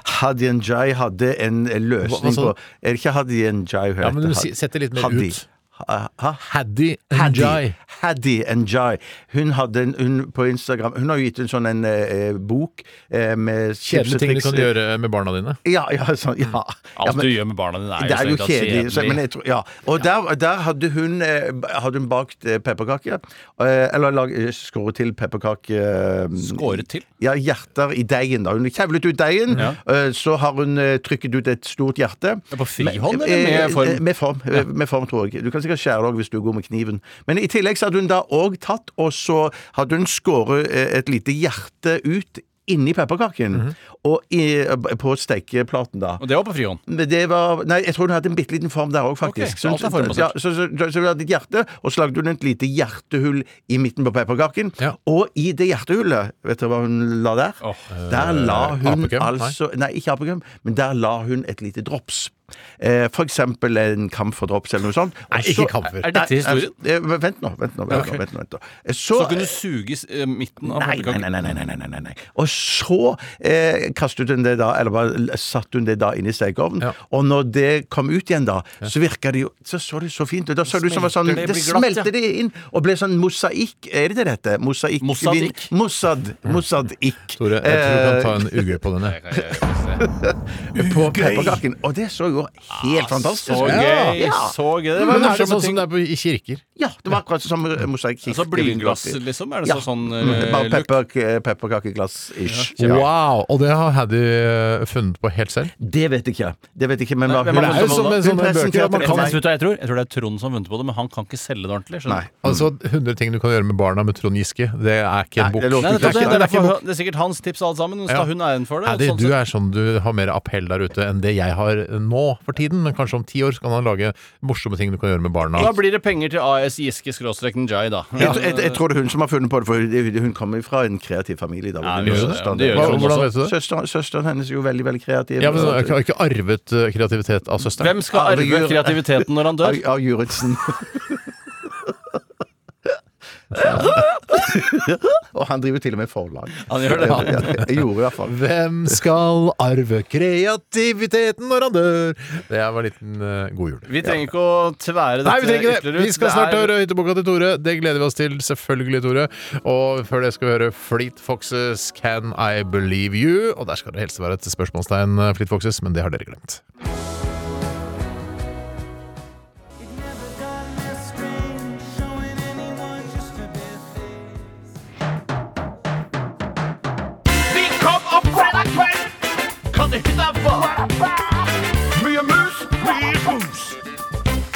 Speaker 5: Hadia Njai hadde en
Speaker 4: Hva- hva
Speaker 5: løsning
Speaker 4: sa du?
Speaker 5: på Er det ikke Hadia Njai hun
Speaker 4: Ja, men du
Speaker 5: heter?
Speaker 4: si- setter litt mer
Speaker 5: Hadi.
Speaker 4: ut.
Speaker 5: Ha- ha?
Speaker 4: Haddy
Speaker 5: Haddy
Speaker 4: Njai.
Speaker 5: Haddy Njai. Hun hadde en, hun på Instagram Hun har jo gitt en sånn en, eh, bok eh, med
Speaker 4: Kjedelige ting du
Speaker 5: tips og
Speaker 4: kan gjøre
Speaker 5: triks.
Speaker 4: Mm. med barna dine.
Speaker 5: Ja, ja, sånn, ja. ja
Speaker 6: Alt du gjør med barna dine, er jo,
Speaker 5: det er jo
Speaker 6: strengt tatt
Speaker 5: kjedelig. Så, men jeg tror, ja. Og der, der hadde hun eh, Hadde hun bakt eh, pepperkaker. Eh, eller lag, eh, skåret til pepperkake eh,
Speaker 6: Skåret til?
Speaker 5: Ja, hjerter i deigen. da Hun kjevlet ut deigen,
Speaker 6: Ja.
Speaker 5: eh, så har hun eh, trykket ut et stort hjerte.
Speaker 6: På frihånd,
Speaker 5: Men-
Speaker 6: eller med
Speaker 5: eh,
Speaker 6: form?
Speaker 5: eh, Med form, eh, med form tror jeg. Du kan sikkert skjære deg hvis du går med kniven. Men i tillegg så hadde hun da òg tatt, og så hadde hun skåret eh, et lite hjerte ut inni pepperkaken. Og i, eh, på stekeplaten, da.
Speaker 6: Mhm. Og det var på frihånd.
Speaker 5: Men det var Nei, jeg tror hun hadde en bitte liten form der òg, faktisk.
Speaker 6: Ok, så alt er formbassert.
Speaker 5: ja, så, så, så, så hun hadde et hjerte, og så lagde hun et lite hjertehull i midten på pepperkaken. Og i det hjertehullet, vet dere hva hun la der? Der la
Speaker 6: eh,
Speaker 5: hun
Speaker 4: Apekøm? Nei.
Speaker 5: altså Nei, ikke apekøm, men der la hun et lite drops. Eh, for eksempel en kamferdrops eller noe sånt. Og
Speaker 4: Nei, ikke
Speaker 5: så-
Speaker 4: kamfer.
Speaker 6: Er dette historien?
Speaker 5: Nei, eh, Vent nå, vent nå. Vent nå, vent nå, vent nå. Eh,
Speaker 6: Så kunne du suge i s- eh, midten av
Speaker 5: Nei, nei,
Speaker 6: pepperkaken.
Speaker 5: nei, nei, nei, nei, nei, nei, nei. Og så eh, kastet hun det da, eller bare l- satte hun det da inn i stekeovnen.
Speaker 4: Ja.
Speaker 5: Og når det kom ut igjen da, så virka det jo Så så det så fint ut. Da så det ut som det var sånn
Speaker 6: Smelter det,
Speaker 5: Det
Speaker 6: blir glatt,
Speaker 5: smelte det inn og ble sånn mosaikk. Er det det dette? Mosaikk?
Speaker 6: Mosaddikk.
Speaker 5: Mossad. Mossadikk. Eh,
Speaker 4: Tore, jeg tror du kan ta en ugøy på denne.
Speaker 5: På pepperkaken. Og det så jo helt fantastisk
Speaker 6: Så
Speaker 5: ut.
Speaker 6: gøy!
Speaker 5: Ja.
Speaker 6: Så gøy. Det var
Speaker 4: Men er det
Speaker 6: morsomme
Speaker 4: sånn som
Speaker 6: ting.
Speaker 4: det er på, i kirker?
Speaker 5: ja, det var akkurat som eh, mosaikk.
Speaker 6: Altså blyglass, liksom? Er det
Speaker 5: Ja.
Speaker 6: så sånn
Speaker 5: Mm, Bare
Speaker 6: eh, look?
Speaker 5: pepper, pepperkakeglass-ish.
Speaker 4: Wow! Og det har Haddy eh, funnet på helt selv?
Speaker 5: Det vet jeg ikke. Det vet jeg ikke, men hva-
Speaker 6: hvem har
Speaker 5: hun-
Speaker 4: funnet på det? Sånne
Speaker 5: hun
Speaker 4: bøker,
Speaker 5: presenterte
Speaker 4: at man
Speaker 5: det
Speaker 4: kan-
Speaker 5: for meg.
Speaker 6: Vet du hva jeg tror? Jeg tror det er Trond som har vunnet på det, men han kan ikke selge det ordentlig. skjønner du?
Speaker 5: Nei.
Speaker 4: Altså, 100 ting du kan gjøre med barna med Trond Giske, det er ikke
Speaker 5: Nei,
Speaker 4: en bok.
Speaker 5: det låter
Speaker 6: Nei,
Speaker 5: ikke. ikke-
Speaker 6: nettopp det, det, er
Speaker 5: det er ikke
Speaker 6: derfor- det er sikkert hans tips alle sammen. Hun
Speaker 4: Ja.
Speaker 6: skal hun æren for det.
Speaker 4: Haddy,
Speaker 6: sånn
Speaker 4: du
Speaker 6: sett.
Speaker 4: er sånn du har mer appell der ute enn det jeg har nå for tiden, men kanskje om ti år så kan han lage morsomme ting du kan gjøre med barna.
Speaker 6: Da blir det penger til AS Giske skråstrek Njai, da.
Speaker 5: Jeg, jeg, jeg tror det er hun som har funnet på det, for hun- hun kommer fra en kreativ familie. Da,
Speaker 6: Ja, det gjør det. Det gjør
Speaker 4: Hva,
Speaker 6: Trond
Speaker 4: hvordan
Speaker 6: også.
Speaker 4: vet du det?
Speaker 5: Søsteren, søsteren hennes er jo veldig veldig kreativ.
Speaker 4: Ja, men Har ikke- har ikke arvet eh, kreativitet av søsteren?
Speaker 6: Hvem skal arve
Speaker 5: Herregud.
Speaker 6: kreativiteten når han
Speaker 5: av,
Speaker 6: dør?
Speaker 5: av Juritzen. og han driver til og med forlag.
Speaker 6: Han gjør det.
Speaker 5: Ja, jeg gjorde i hvert fall.
Speaker 4: Hvem skal arve kreativiteten når han dør? Det var en liten eh, god jul.
Speaker 6: Vi trenger ikke å tvære dette
Speaker 4: Nei, vi trenger ikke det!
Speaker 6: ytterligere ut.
Speaker 4: Vi skal snart
Speaker 6: er-
Speaker 4: høre hytteboka til Tore. Det gleder vi oss til, selvfølgelig, Tore. Og før det skal vi høre Fleet Foxes Can I Believe You? Og der skal det helst være et spørsmålstegn, eh, Fleet Foxes, men det har dere glemt.
Speaker 3: Vi kom opp fredag kveld, kan det hytta var Mye mus, mye bus.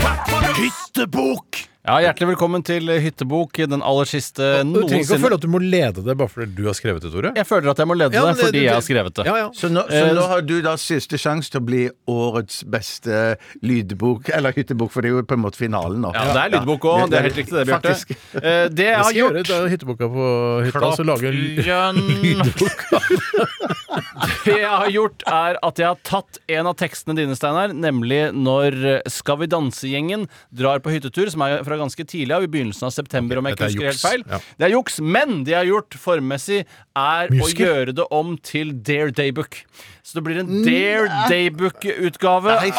Speaker 3: Takk for oss. Hyttebok!
Speaker 6: Ja, Hjertelig velkommen til eh, Hyttebok, den aller siste
Speaker 4: Du trenger ikke å
Speaker 6: noensinne.
Speaker 4: føle at du må lede det bare fordi du har skrevet det, Tore.
Speaker 6: Jeg føler at jeg må lede
Speaker 4: Ja, men
Speaker 6: det fordi
Speaker 4: det-
Speaker 6: jeg har skrevet det.
Speaker 4: Ja, ja.
Speaker 5: Så nå, så nå har du da siste sjanse til å bli årets beste lydbok, eller hyttebok, for det er jo på en måte finalen nå.
Speaker 6: Ja, det er lydbok òg. Det er helt riktig, det, Bjarte.
Speaker 5: Faktisk.
Speaker 6: Eh, Det jeg
Speaker 4: Jeg
Speaker 6: har
Speaker 4: skal gjøre
Speaker 6: gjort
Speaker 4: det, hytteboka på hytta, så altså lage en ly-
Speaker 6: Klapplønn. Det jeg har gjort, er at jeg har tatt en av tekstene dine, Steinar, nemlig når Skal vi danse-gjengen drar på hyttetur, som er fra ganske tidlig av, i begynnelsen av september, om jeg ikke
Speaker 4: Dette er
Speaker 6: husker helt
Speaker 4: juks.
Speaker 6: feil.
Speaker 4: Ja.
Speaker 6: Det er juks, men det jeg har gjort formmessig, er å
Speaker 4: Musiker?
Speaker 6: gjøre det om til Dare Daybook. Så det blir en Dare Daybook-utgave av denne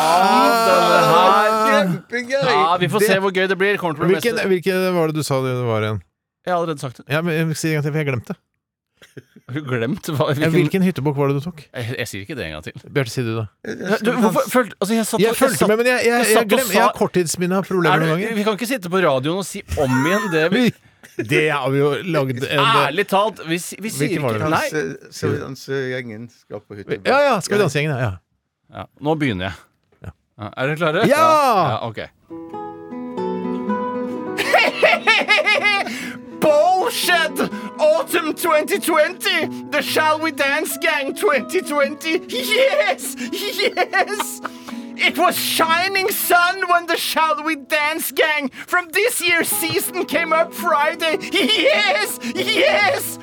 Speaker 6: her.
Speaker 5: Kjempegøy!
Speaker 6: Ja, vi får se hvor gøy det blir. Kommer til å bli
Speaker 4: Hvilken,
Speaker 6: mest
Speaker 4: hvilken var det du sa det var igjen?
Speaker 6: Jeg har allerede sagt det.
Speaker 4: Ja, men jeg- Si det en gang til, for jeg glemte.
Speaker 6: Har du glemt hva,
Speaker 4: Ja,
Speaker 6: hvilken
Speaker 4: hvilken hyttebok var det du tok?
Speaker 6: jeg, jeg sier ikke det en gang til.
Speaker 4: Bjarte, si du det.
Speaker 6: Du, hvorfor, følte, altså jeg satt, og-
Speaker 4: Jeg fulgte
Speaker 6: satt-
Speaker 4: med, men jeg, jeg,
Speaker 6: jeg
Speaker 4: jeg,
Speaker 6: satt og
Speaker 4: glem,
Speaker 6: sa-
Speaker 4: jeg har korttidsminne av problemer
Speaker 6: er
Speaker 4: noen
Speaker 6: du,
Speaker 4: ganger.
Speaker 6: Vi kan ikke sitte på radioen og si om igjen det vi
Speaker 4: Det har vi jo lagd en
Speaker 6: Ærlig talt, vi, si- vi sier
Speaker 4: Hvilken var
Speaker 6: ikke
Speaker 4: det?
Speaker 6: Nei.
Speaker 5: Skal vi danse eh, gjengen skal på hyttebok?
Speaker 4: Ja, ja, Skal vi danse gjengen, ja.
Speaker 6: Ja, nå begynner jeg. Ja, Er dere klare?
Speaker 4: Ja!
Speaker 6: ja ok.
Speaker 3: Bullshit! Autumn 2020! The Shall We Dance Gang 2020! Yes! Yes! It was shining sun when the Shall We Dance Gang from this year's season came up Friday. Yes! Yes!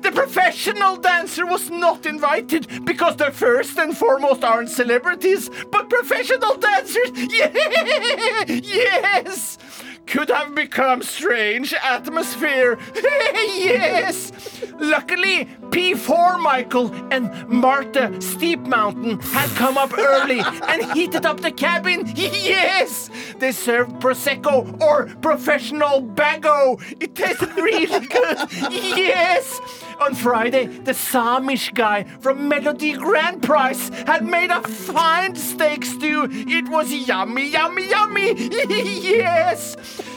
Speaker 3: The professional dancer was not invited because they first and foremost aren't celebrities, but professional dancers, yeah, yes, could have become strange atmosphere. yes. Luckily, P4 Michael and Martha Steep Mountain had come up early and heated up the cabin. Yes. They served prosecco or professional bago. It tasted really good. Yes. On Friday, the Samish guy from Melody Grand Prize had made a fine steak stew. It was yummy, yummy, yummy. yes.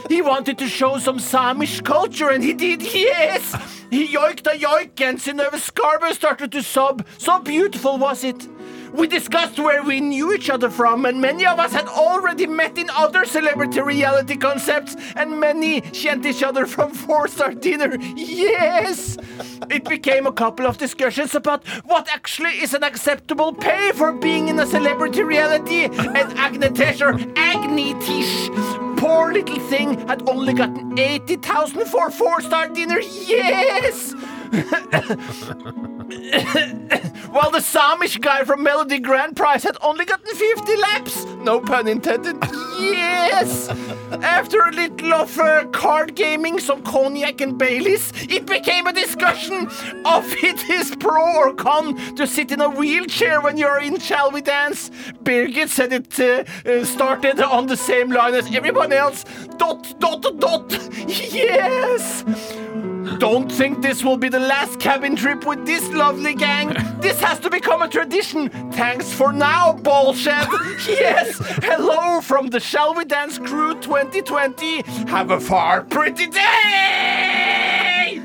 Speaker 3: He wanted to show some Samish culture, and he did. Yes. He yoiked a yoik, and Synnøve Skarbo started to sob. So beautiful was it. We discussed where we knew each other from, and many of us had already met in other celebrity reality concepts, and many kjent each other from Four Star Dinner. Yes! It became a couple of discussions about what actually is an acceptable pay for being in a celebrity reality, and Agnetesh or Agnitish poor little thing had only gotten 80,000 for four star dinner. Yes! While the Samish guy from Melody Grand Prize had only gotten 50 laps. No pun intended. Yes! After a little of uh, card gaming, some cognac and Baileys, it became a discussion of it is pro or con to sit in a wheelchair when you're in Shall We Dance. Birgit said it uh, uh, started on the same line as everyone else. Dot, dot, dot. Yes! Don't think this will be the last cabin trip with this lovely gang. This has to become a tradition. Thanks for now, Bullshed. yes, hello from the Shall We Dance Crew 2020. Have a far pretty day!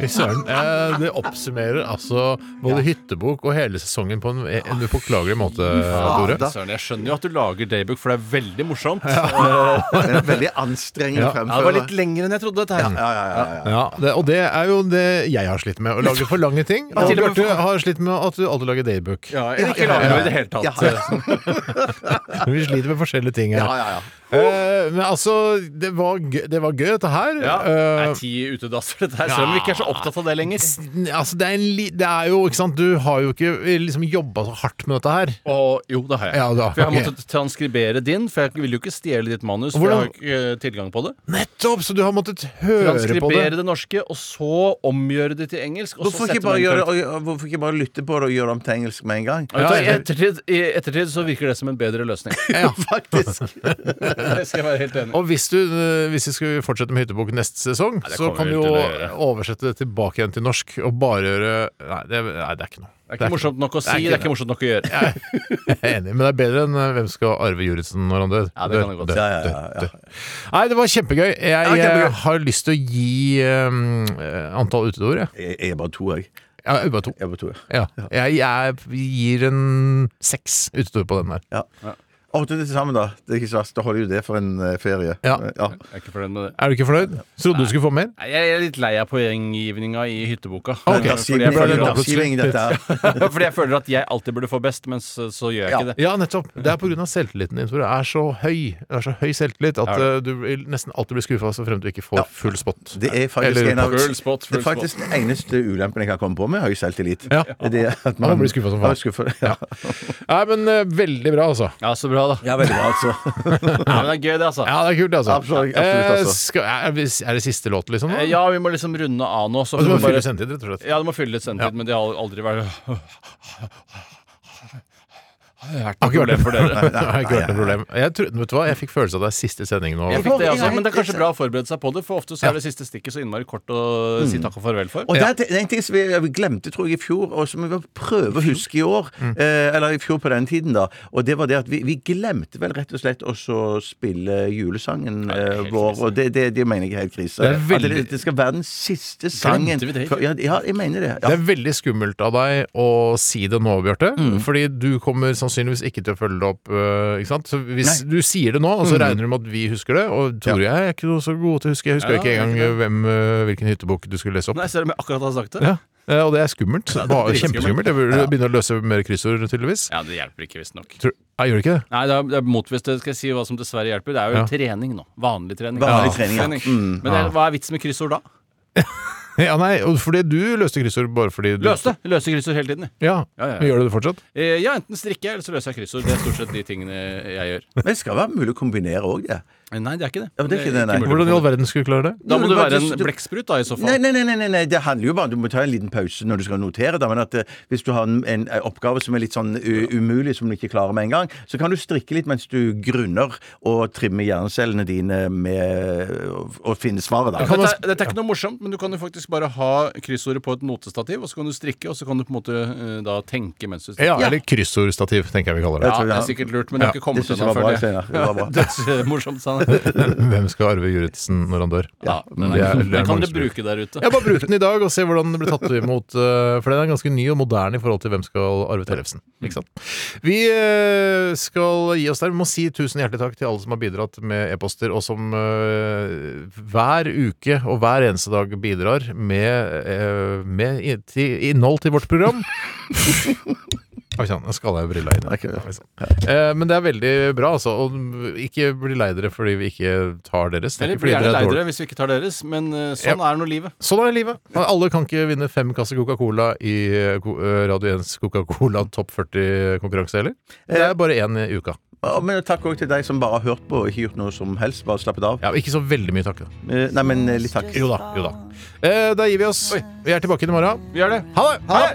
Speaker 4: Fy søren. Eh, det oppsummerer altså både hyttebok og hele sesongen på en, en upåklagelig måte, Tore.
Speaker 6: Søren, jeg skjønner jo at du lager daybook, for det er veldig morsomt.
Speaker 5: Men en veldig anstrengende
Speaker 4: Ja,
Speaker 6: Ja, det var
Speaker 5: fremføring.
Speaker 6: litt lengre enn jeg trodde. dette her
Speaker 4: Ja, det, og det er jo det jeg har slitt med. Å lage for lange ting. Og
Speaker 6: til og med
Speaker 4: Bjarte har slitt med at du alltid lager daybook.
Speaker 6: Ja, eller ikke lager noe i det hele tatt.
Speaker 4: Men vi sliter med forskjellige ting her. Eh, men altså, det var, gøy, det var gøy, dette her.
Speaker 6: Ja, det
Speaker 4: Eh,
Speaker 6: er ti utedasser, dette her, selv om vi ikke er så opptatt av det lenger.
Speaker 4: altså, det er, en li det er jo, ikke sant, du har jo ikke liksom jobba så hardt med dette her.
Speaker 6: Og, jo, det har jeg.
Speaker 4: Ja, du har-
Speaker 6: for jeg har
Speaker 4: ok.
Speaker 6: måttet transkribere din, for jeg ville jo ikke stjele ditt manus.
Speaker 4: Hvordan-
Speaker 6: For jeg har jo ikke eh, tilgang på det
Speaker 4: Nettopp! Så du har måttet høre på det.
Speaker 6: Transkribere det norske, og så omgjøre det til engelsk. Og
Speaker 5: Hvorfor
Speaker 6: så
Speaker 5: ikke,
Speaker 6: sette
Speaker 5: bare
Speaker 6: meg i
Speaker 5: gjøre,
Speaker 6: karakter.
Speaker 5: og- og hvorfor ikke bare lytte på det og gjøre det om til engelsk med en gang?
Speaker 6: Ja, I
Speaker 4: eller-
Speaker 6: ettertid, I ettertid så virker det som en bedre løsning.
Speaker 5: Faktisk.
Speaker 6: Det skal jeg være helt enig i.
Speaker 4: Og hvis du, eh, hvis du skulle fortsette med Hyttebok neste sesong,
Speaker 6: det
Speaker 4: så
Speaker 6: kommer
Speaker 4: kan
Speaker 6: vi
Speaker 4: du jo
Speaker 6: til å gjøre.
Speaker 4: oversette det tilbake igjen til norsk og bare gjøre Nei, det, nei, det er ikke noe.
Speaker 6: Det er ikke morsomt nok å si, det er ikke morsomt nok å gjøre.
Speaker 4: Jeg er enig, men det er bedre enn eh, hvem skal arve Juritzen når han dør.
Speaker 6: Ja, det kan jeg godt si.
Speaker 4: Dør, dør, dør. Nei, det var kjempegøy. Jeg
Speaker 5: kjempegøy.
Speaker 4: eh, har lyst til å gi eh, antall utedoer, jeg.
Speaker 5: Jeg jeg er bare to, jeg.
Speaker 4: Ja, bare to.
Speaker 5: Jeg er bare to, jeg.
Speaker 4: Ja. Jeg, jeg gir en seks utedoer på den der.
Speaker 5: Ja. Åtte til sammen, da. Det er ikke så verst. Da holder jo det for en eh, ferie.
Speaker 4: Ja.
Speaker 6: Jeg er ikke fornøyd med det.
Speaker 4: Er du ikke fornøyd? Trodde du skulle få mer?
Speaker 6: Nei, Jeg er litt lei av poenggivninga i hytteboka.
Speaker 4: Ok,
Speaker 6: fordi,
Speaker 5: Dagsgivning,
Speaker 6: jeg
Speaker 4: ble det
Speaker 6: føler
Speaker 4: da.
Speaker 6: at,
Speaker 5: dagsgivning, dette her.
Speaker 6: fordi jeg føler at jeg alltid burde få best, men så, så gjør jeg
Speaker 5: Ja.
Speaker 6: ikke det.
Speaker 4: Ja, nettopp. Det er pga. selvtilliten din, Tore. Det er så høy Det er så høy selvtillit at eh, du vil nesten alltid blir skuffa så frem til du ikke får full spot.
Speaker 5: Det er faktisk
Speaker 4: Eller-
Speaker 5: en av
Speaker 6: Full spot, full
Speaker 5: Det er faktisk den eneste ulempen jeg kan komme på med høy selvtillit.
Speaker 4: Ja.
Speaker 5: Det er at
Speaker 4: Man blir skuffet som faen.
Speaker 5: Ja, skuffet, ja.
Speaker 4: Nei, men eh, veldig bra, altså.
Speaker 6: Ja, så bra, da.
Speaker 5: ja, veldig bra, altså.
Speaker 6: Nei, men det er gøy, det, altså.
Speaker 4: Ja, det er kult, altså.
Speaker 5: Absolutt- absolutt, altså.
Speaker 4: Eh, skal, er, vi- er det siste låt, liksom?
Speaker 6: Eh, Ja, vi må liksom runde av nå. Så
Speaker 4: Og så må vi
Speaker 6: får vi bare-
Speaker 4: fylle sendetid, rett og slett.
Speaker 6: Ja, du må fylle litt sendtid, men det har aldri vært Har
Speaker 4: Har ikke vært
Speaker 6: problem for dere.
Speaker 4: Nei, har ikke vært noe problem. Jeg tror, vet du hva, jeg fikk følelse av det er siste sending nå.
Speaker 6: Jeg fikk det
Speaker 5: Ja,
Speaker 6: også,
Speaker 5: jeg-
Speaker 6: men det er kanskje bra å forberede seg på det, for ofte så er det siste stikket så innmari kort å
Speaker 4: Mm.
Speaker 6: si takk og farvel for.
Speaker 5: Og det er- det er en ting som vi vi glemte tror jeg, i fjor, og som vi må prøve å huske i år. Eh, eller i fjor på den tiden, da. Og det var det at vi, vi glemte vel rett og slett også å spille julesangen eh, vår. Og det, det, det mener jeg er helt krise.
Speaker 4: Det er veldig-
Speaker 5: At det, det skal være den siste sangen
Speaker 6: vi det?
Speaker 5: før- Ja, ja, jeg mener det. Ja.
Speaker 4: Det er veldig skummelt av deg å si det nå, Bjarte.
Speaker 6: Mm.
Speaker 4: Fordi du kommer sannsynligvis ikke til å følge det opp. øh, Ikke sant? Så hvis du sier det nå, og
Speaker 6: Mm.
Speaker 4: så regner du med at vi husker det, og Tore og jeg er ikke så gode til å huske Jeg husker
Speaker 6: Ja,
Speaker 4: ikke
Speaker 6: jeg er
Speaker 4: engang
Speaker 6: ikke
Speaker 4: hvem, øh, hvilken hyttebok du skulle lese opp.
Speaker 6: Nei, ser du om jeg akkurat har sagt det?
Speaker 4: Ja. Eh, Og det er skummelt. Bare
Speaker 6: dritskummelt.
Speaker 4: Kjempeskummelt. Jeg burde begynne å løse mer kryssord, tydeligvis.
Speaker 6: Ja, det hjelper ikke, visstnok.
Speaker 4: Tror- Nei, gjør det ikke det?
Speaker 6: Nei, det er, det er motvist. Det skal jeg si hva som dessverre hjelper. Det er jo
Speaker 4: Ja.
Speaker 6: trening nå. Vanlig trening.
Speaker 5: Vanlig
Speaker 6: Ja.
Speaker 5: trening, ja.
Speaker 6: Men det, er- hva er vitsen med kryssord da?
Speaker 4: Ja, nei, og fordi du løste kryssord bare fordi du
Speaker 6: Løste! Løse kryssord hele tiden.
Speaker 4: Ja,
Speaker 6: Ja, ja, ja.
Speaker 4: Men Gjør du det fortsatt?
Speaker 6: Eh, Ja, enten strikker jeg, eller så løser jeg kryssord. Det er stort sett de tingene jeg gjør.
Speaker 5: Men det skal være mulig å kombinere òg, det.
Speaker 6: Eh, Nei, det er ikke det.
Speaker 5: Ja, men det er ikke det, nei.
Speaker 6: mulig.
Speaker 4: Hvordan i all verden skulle du klare det?
Speaker 6: Da må
Speaker 5: Du
Speaker 6: du
Speaker 5: bare-
Speaker 6: være en
Speaker 5: du-
Speaker 6: blekksprut, da, i så fall.
Speaker 5: Nei, nei, nei, nei, nei, nei, det handler jo bare Du må ta en liten pause når du skal notere. Da, men at eh, Hvis du har en, en eh, oppgave som er litt sånn u umulig, som du ikke klarer med en gang, så kan du strikke litt mens du grunner og trimme hjernecellene dine med å finne svaret. da
Speaker 4: Kan man
Speaker 6: Dette, er- dette er ikke noe morsomt, men du kan jo faktisk bare ha kryssordet på et notestativ, og så kan du strikke, og så kan du på en måte eh, da tenke mens du
Speaker 4: Ja,
Speaker 6: strikker.
Speaker 4: eller kryssordstativ, tenker jeg vi kaller det.
Speaker 6: Ja,
Speaker 5: tror jeg
Speaker 6: det
Speaker 5: har-
Speaker 6: er sikkert lurt, men det har ikke
Speaker 5: Det
Speaker 6: kommet
Speaker 5: syns
Speaker 6: ennå,
Speaker 5: jeg var bra,
Speaker 6: føler jeg.
Speaker 5: Steinar. Det var bra.
Speaker 6: Dødsmorsomt, sa han.
Speaker 4: Hvem skal arve Juritzen når han dør?
Speaker 6: Ja, den,
Speaker 4: Det
Speaker 6: er,
Speaker 4: er- det er
Speaker 6: den kan
Speaker 4: mange
Speaker 6: du
Speaker 4: som lurer.
Speaker 6: bruke der ute.
Speaker 4: Jeg bare brukte den i dag og se hvordan den ble tatt imot. eh, For den er ganske ny og moderne i forhold til hvem skal arve Tellefsen. Ikke sant? Vi eh, skal gi oss der. Vi må si tusen hjertelig takk til alle som har bidratt med e-poster, og som eh, hver uke og hver eneste dag bidrar med, eh, med i- til innhold til vårt program. Oi sann, jeg skada jo brilla i det. Oi, sann. Eh, Men det er veldig bra, altså. Og ikke bli lei dere fordi vi ikke tar deres. Det er
Speaker 6: Eller
Speaker 4: ikke
Speaker 6: blir
Speaker 4: fordi
Speaker 6: gjerne
Speaker 4: dere er
Speaker 6: lei
Speaker 4: dårlige.
Speaker 6: dere hvis vi ikke tar deres, men eh, sånn
Speaker 4: Ja.
Speaker 6: er nå livet.
Speaker 4: Sånn er livet. Alle kan ikke vinne fem kasser Coca-Cola i eh, Ko- eh, Radio 1s Coca-Cola Topp 40-konkurranse heller. Det
Speaker 6: Eh.
Speaker 4: er bare én i uka.
Speaker 5: Å, Men takk òg til deg som bare har hørt på og ikke gjort noe som helst. Bare slappet av.
Speaker 4: Ja, ikke så veldig mye takk, da.
Speaker 5: Eh, Nei, men eh, litt takk.
Speaker 4: Jo da. jo da eh, Da gir vi oss. Vi er tilbake i morgen.
Speaker 6: Vi gjør det.
Speaker 4: Ha det!
Speaker 6: Ha det!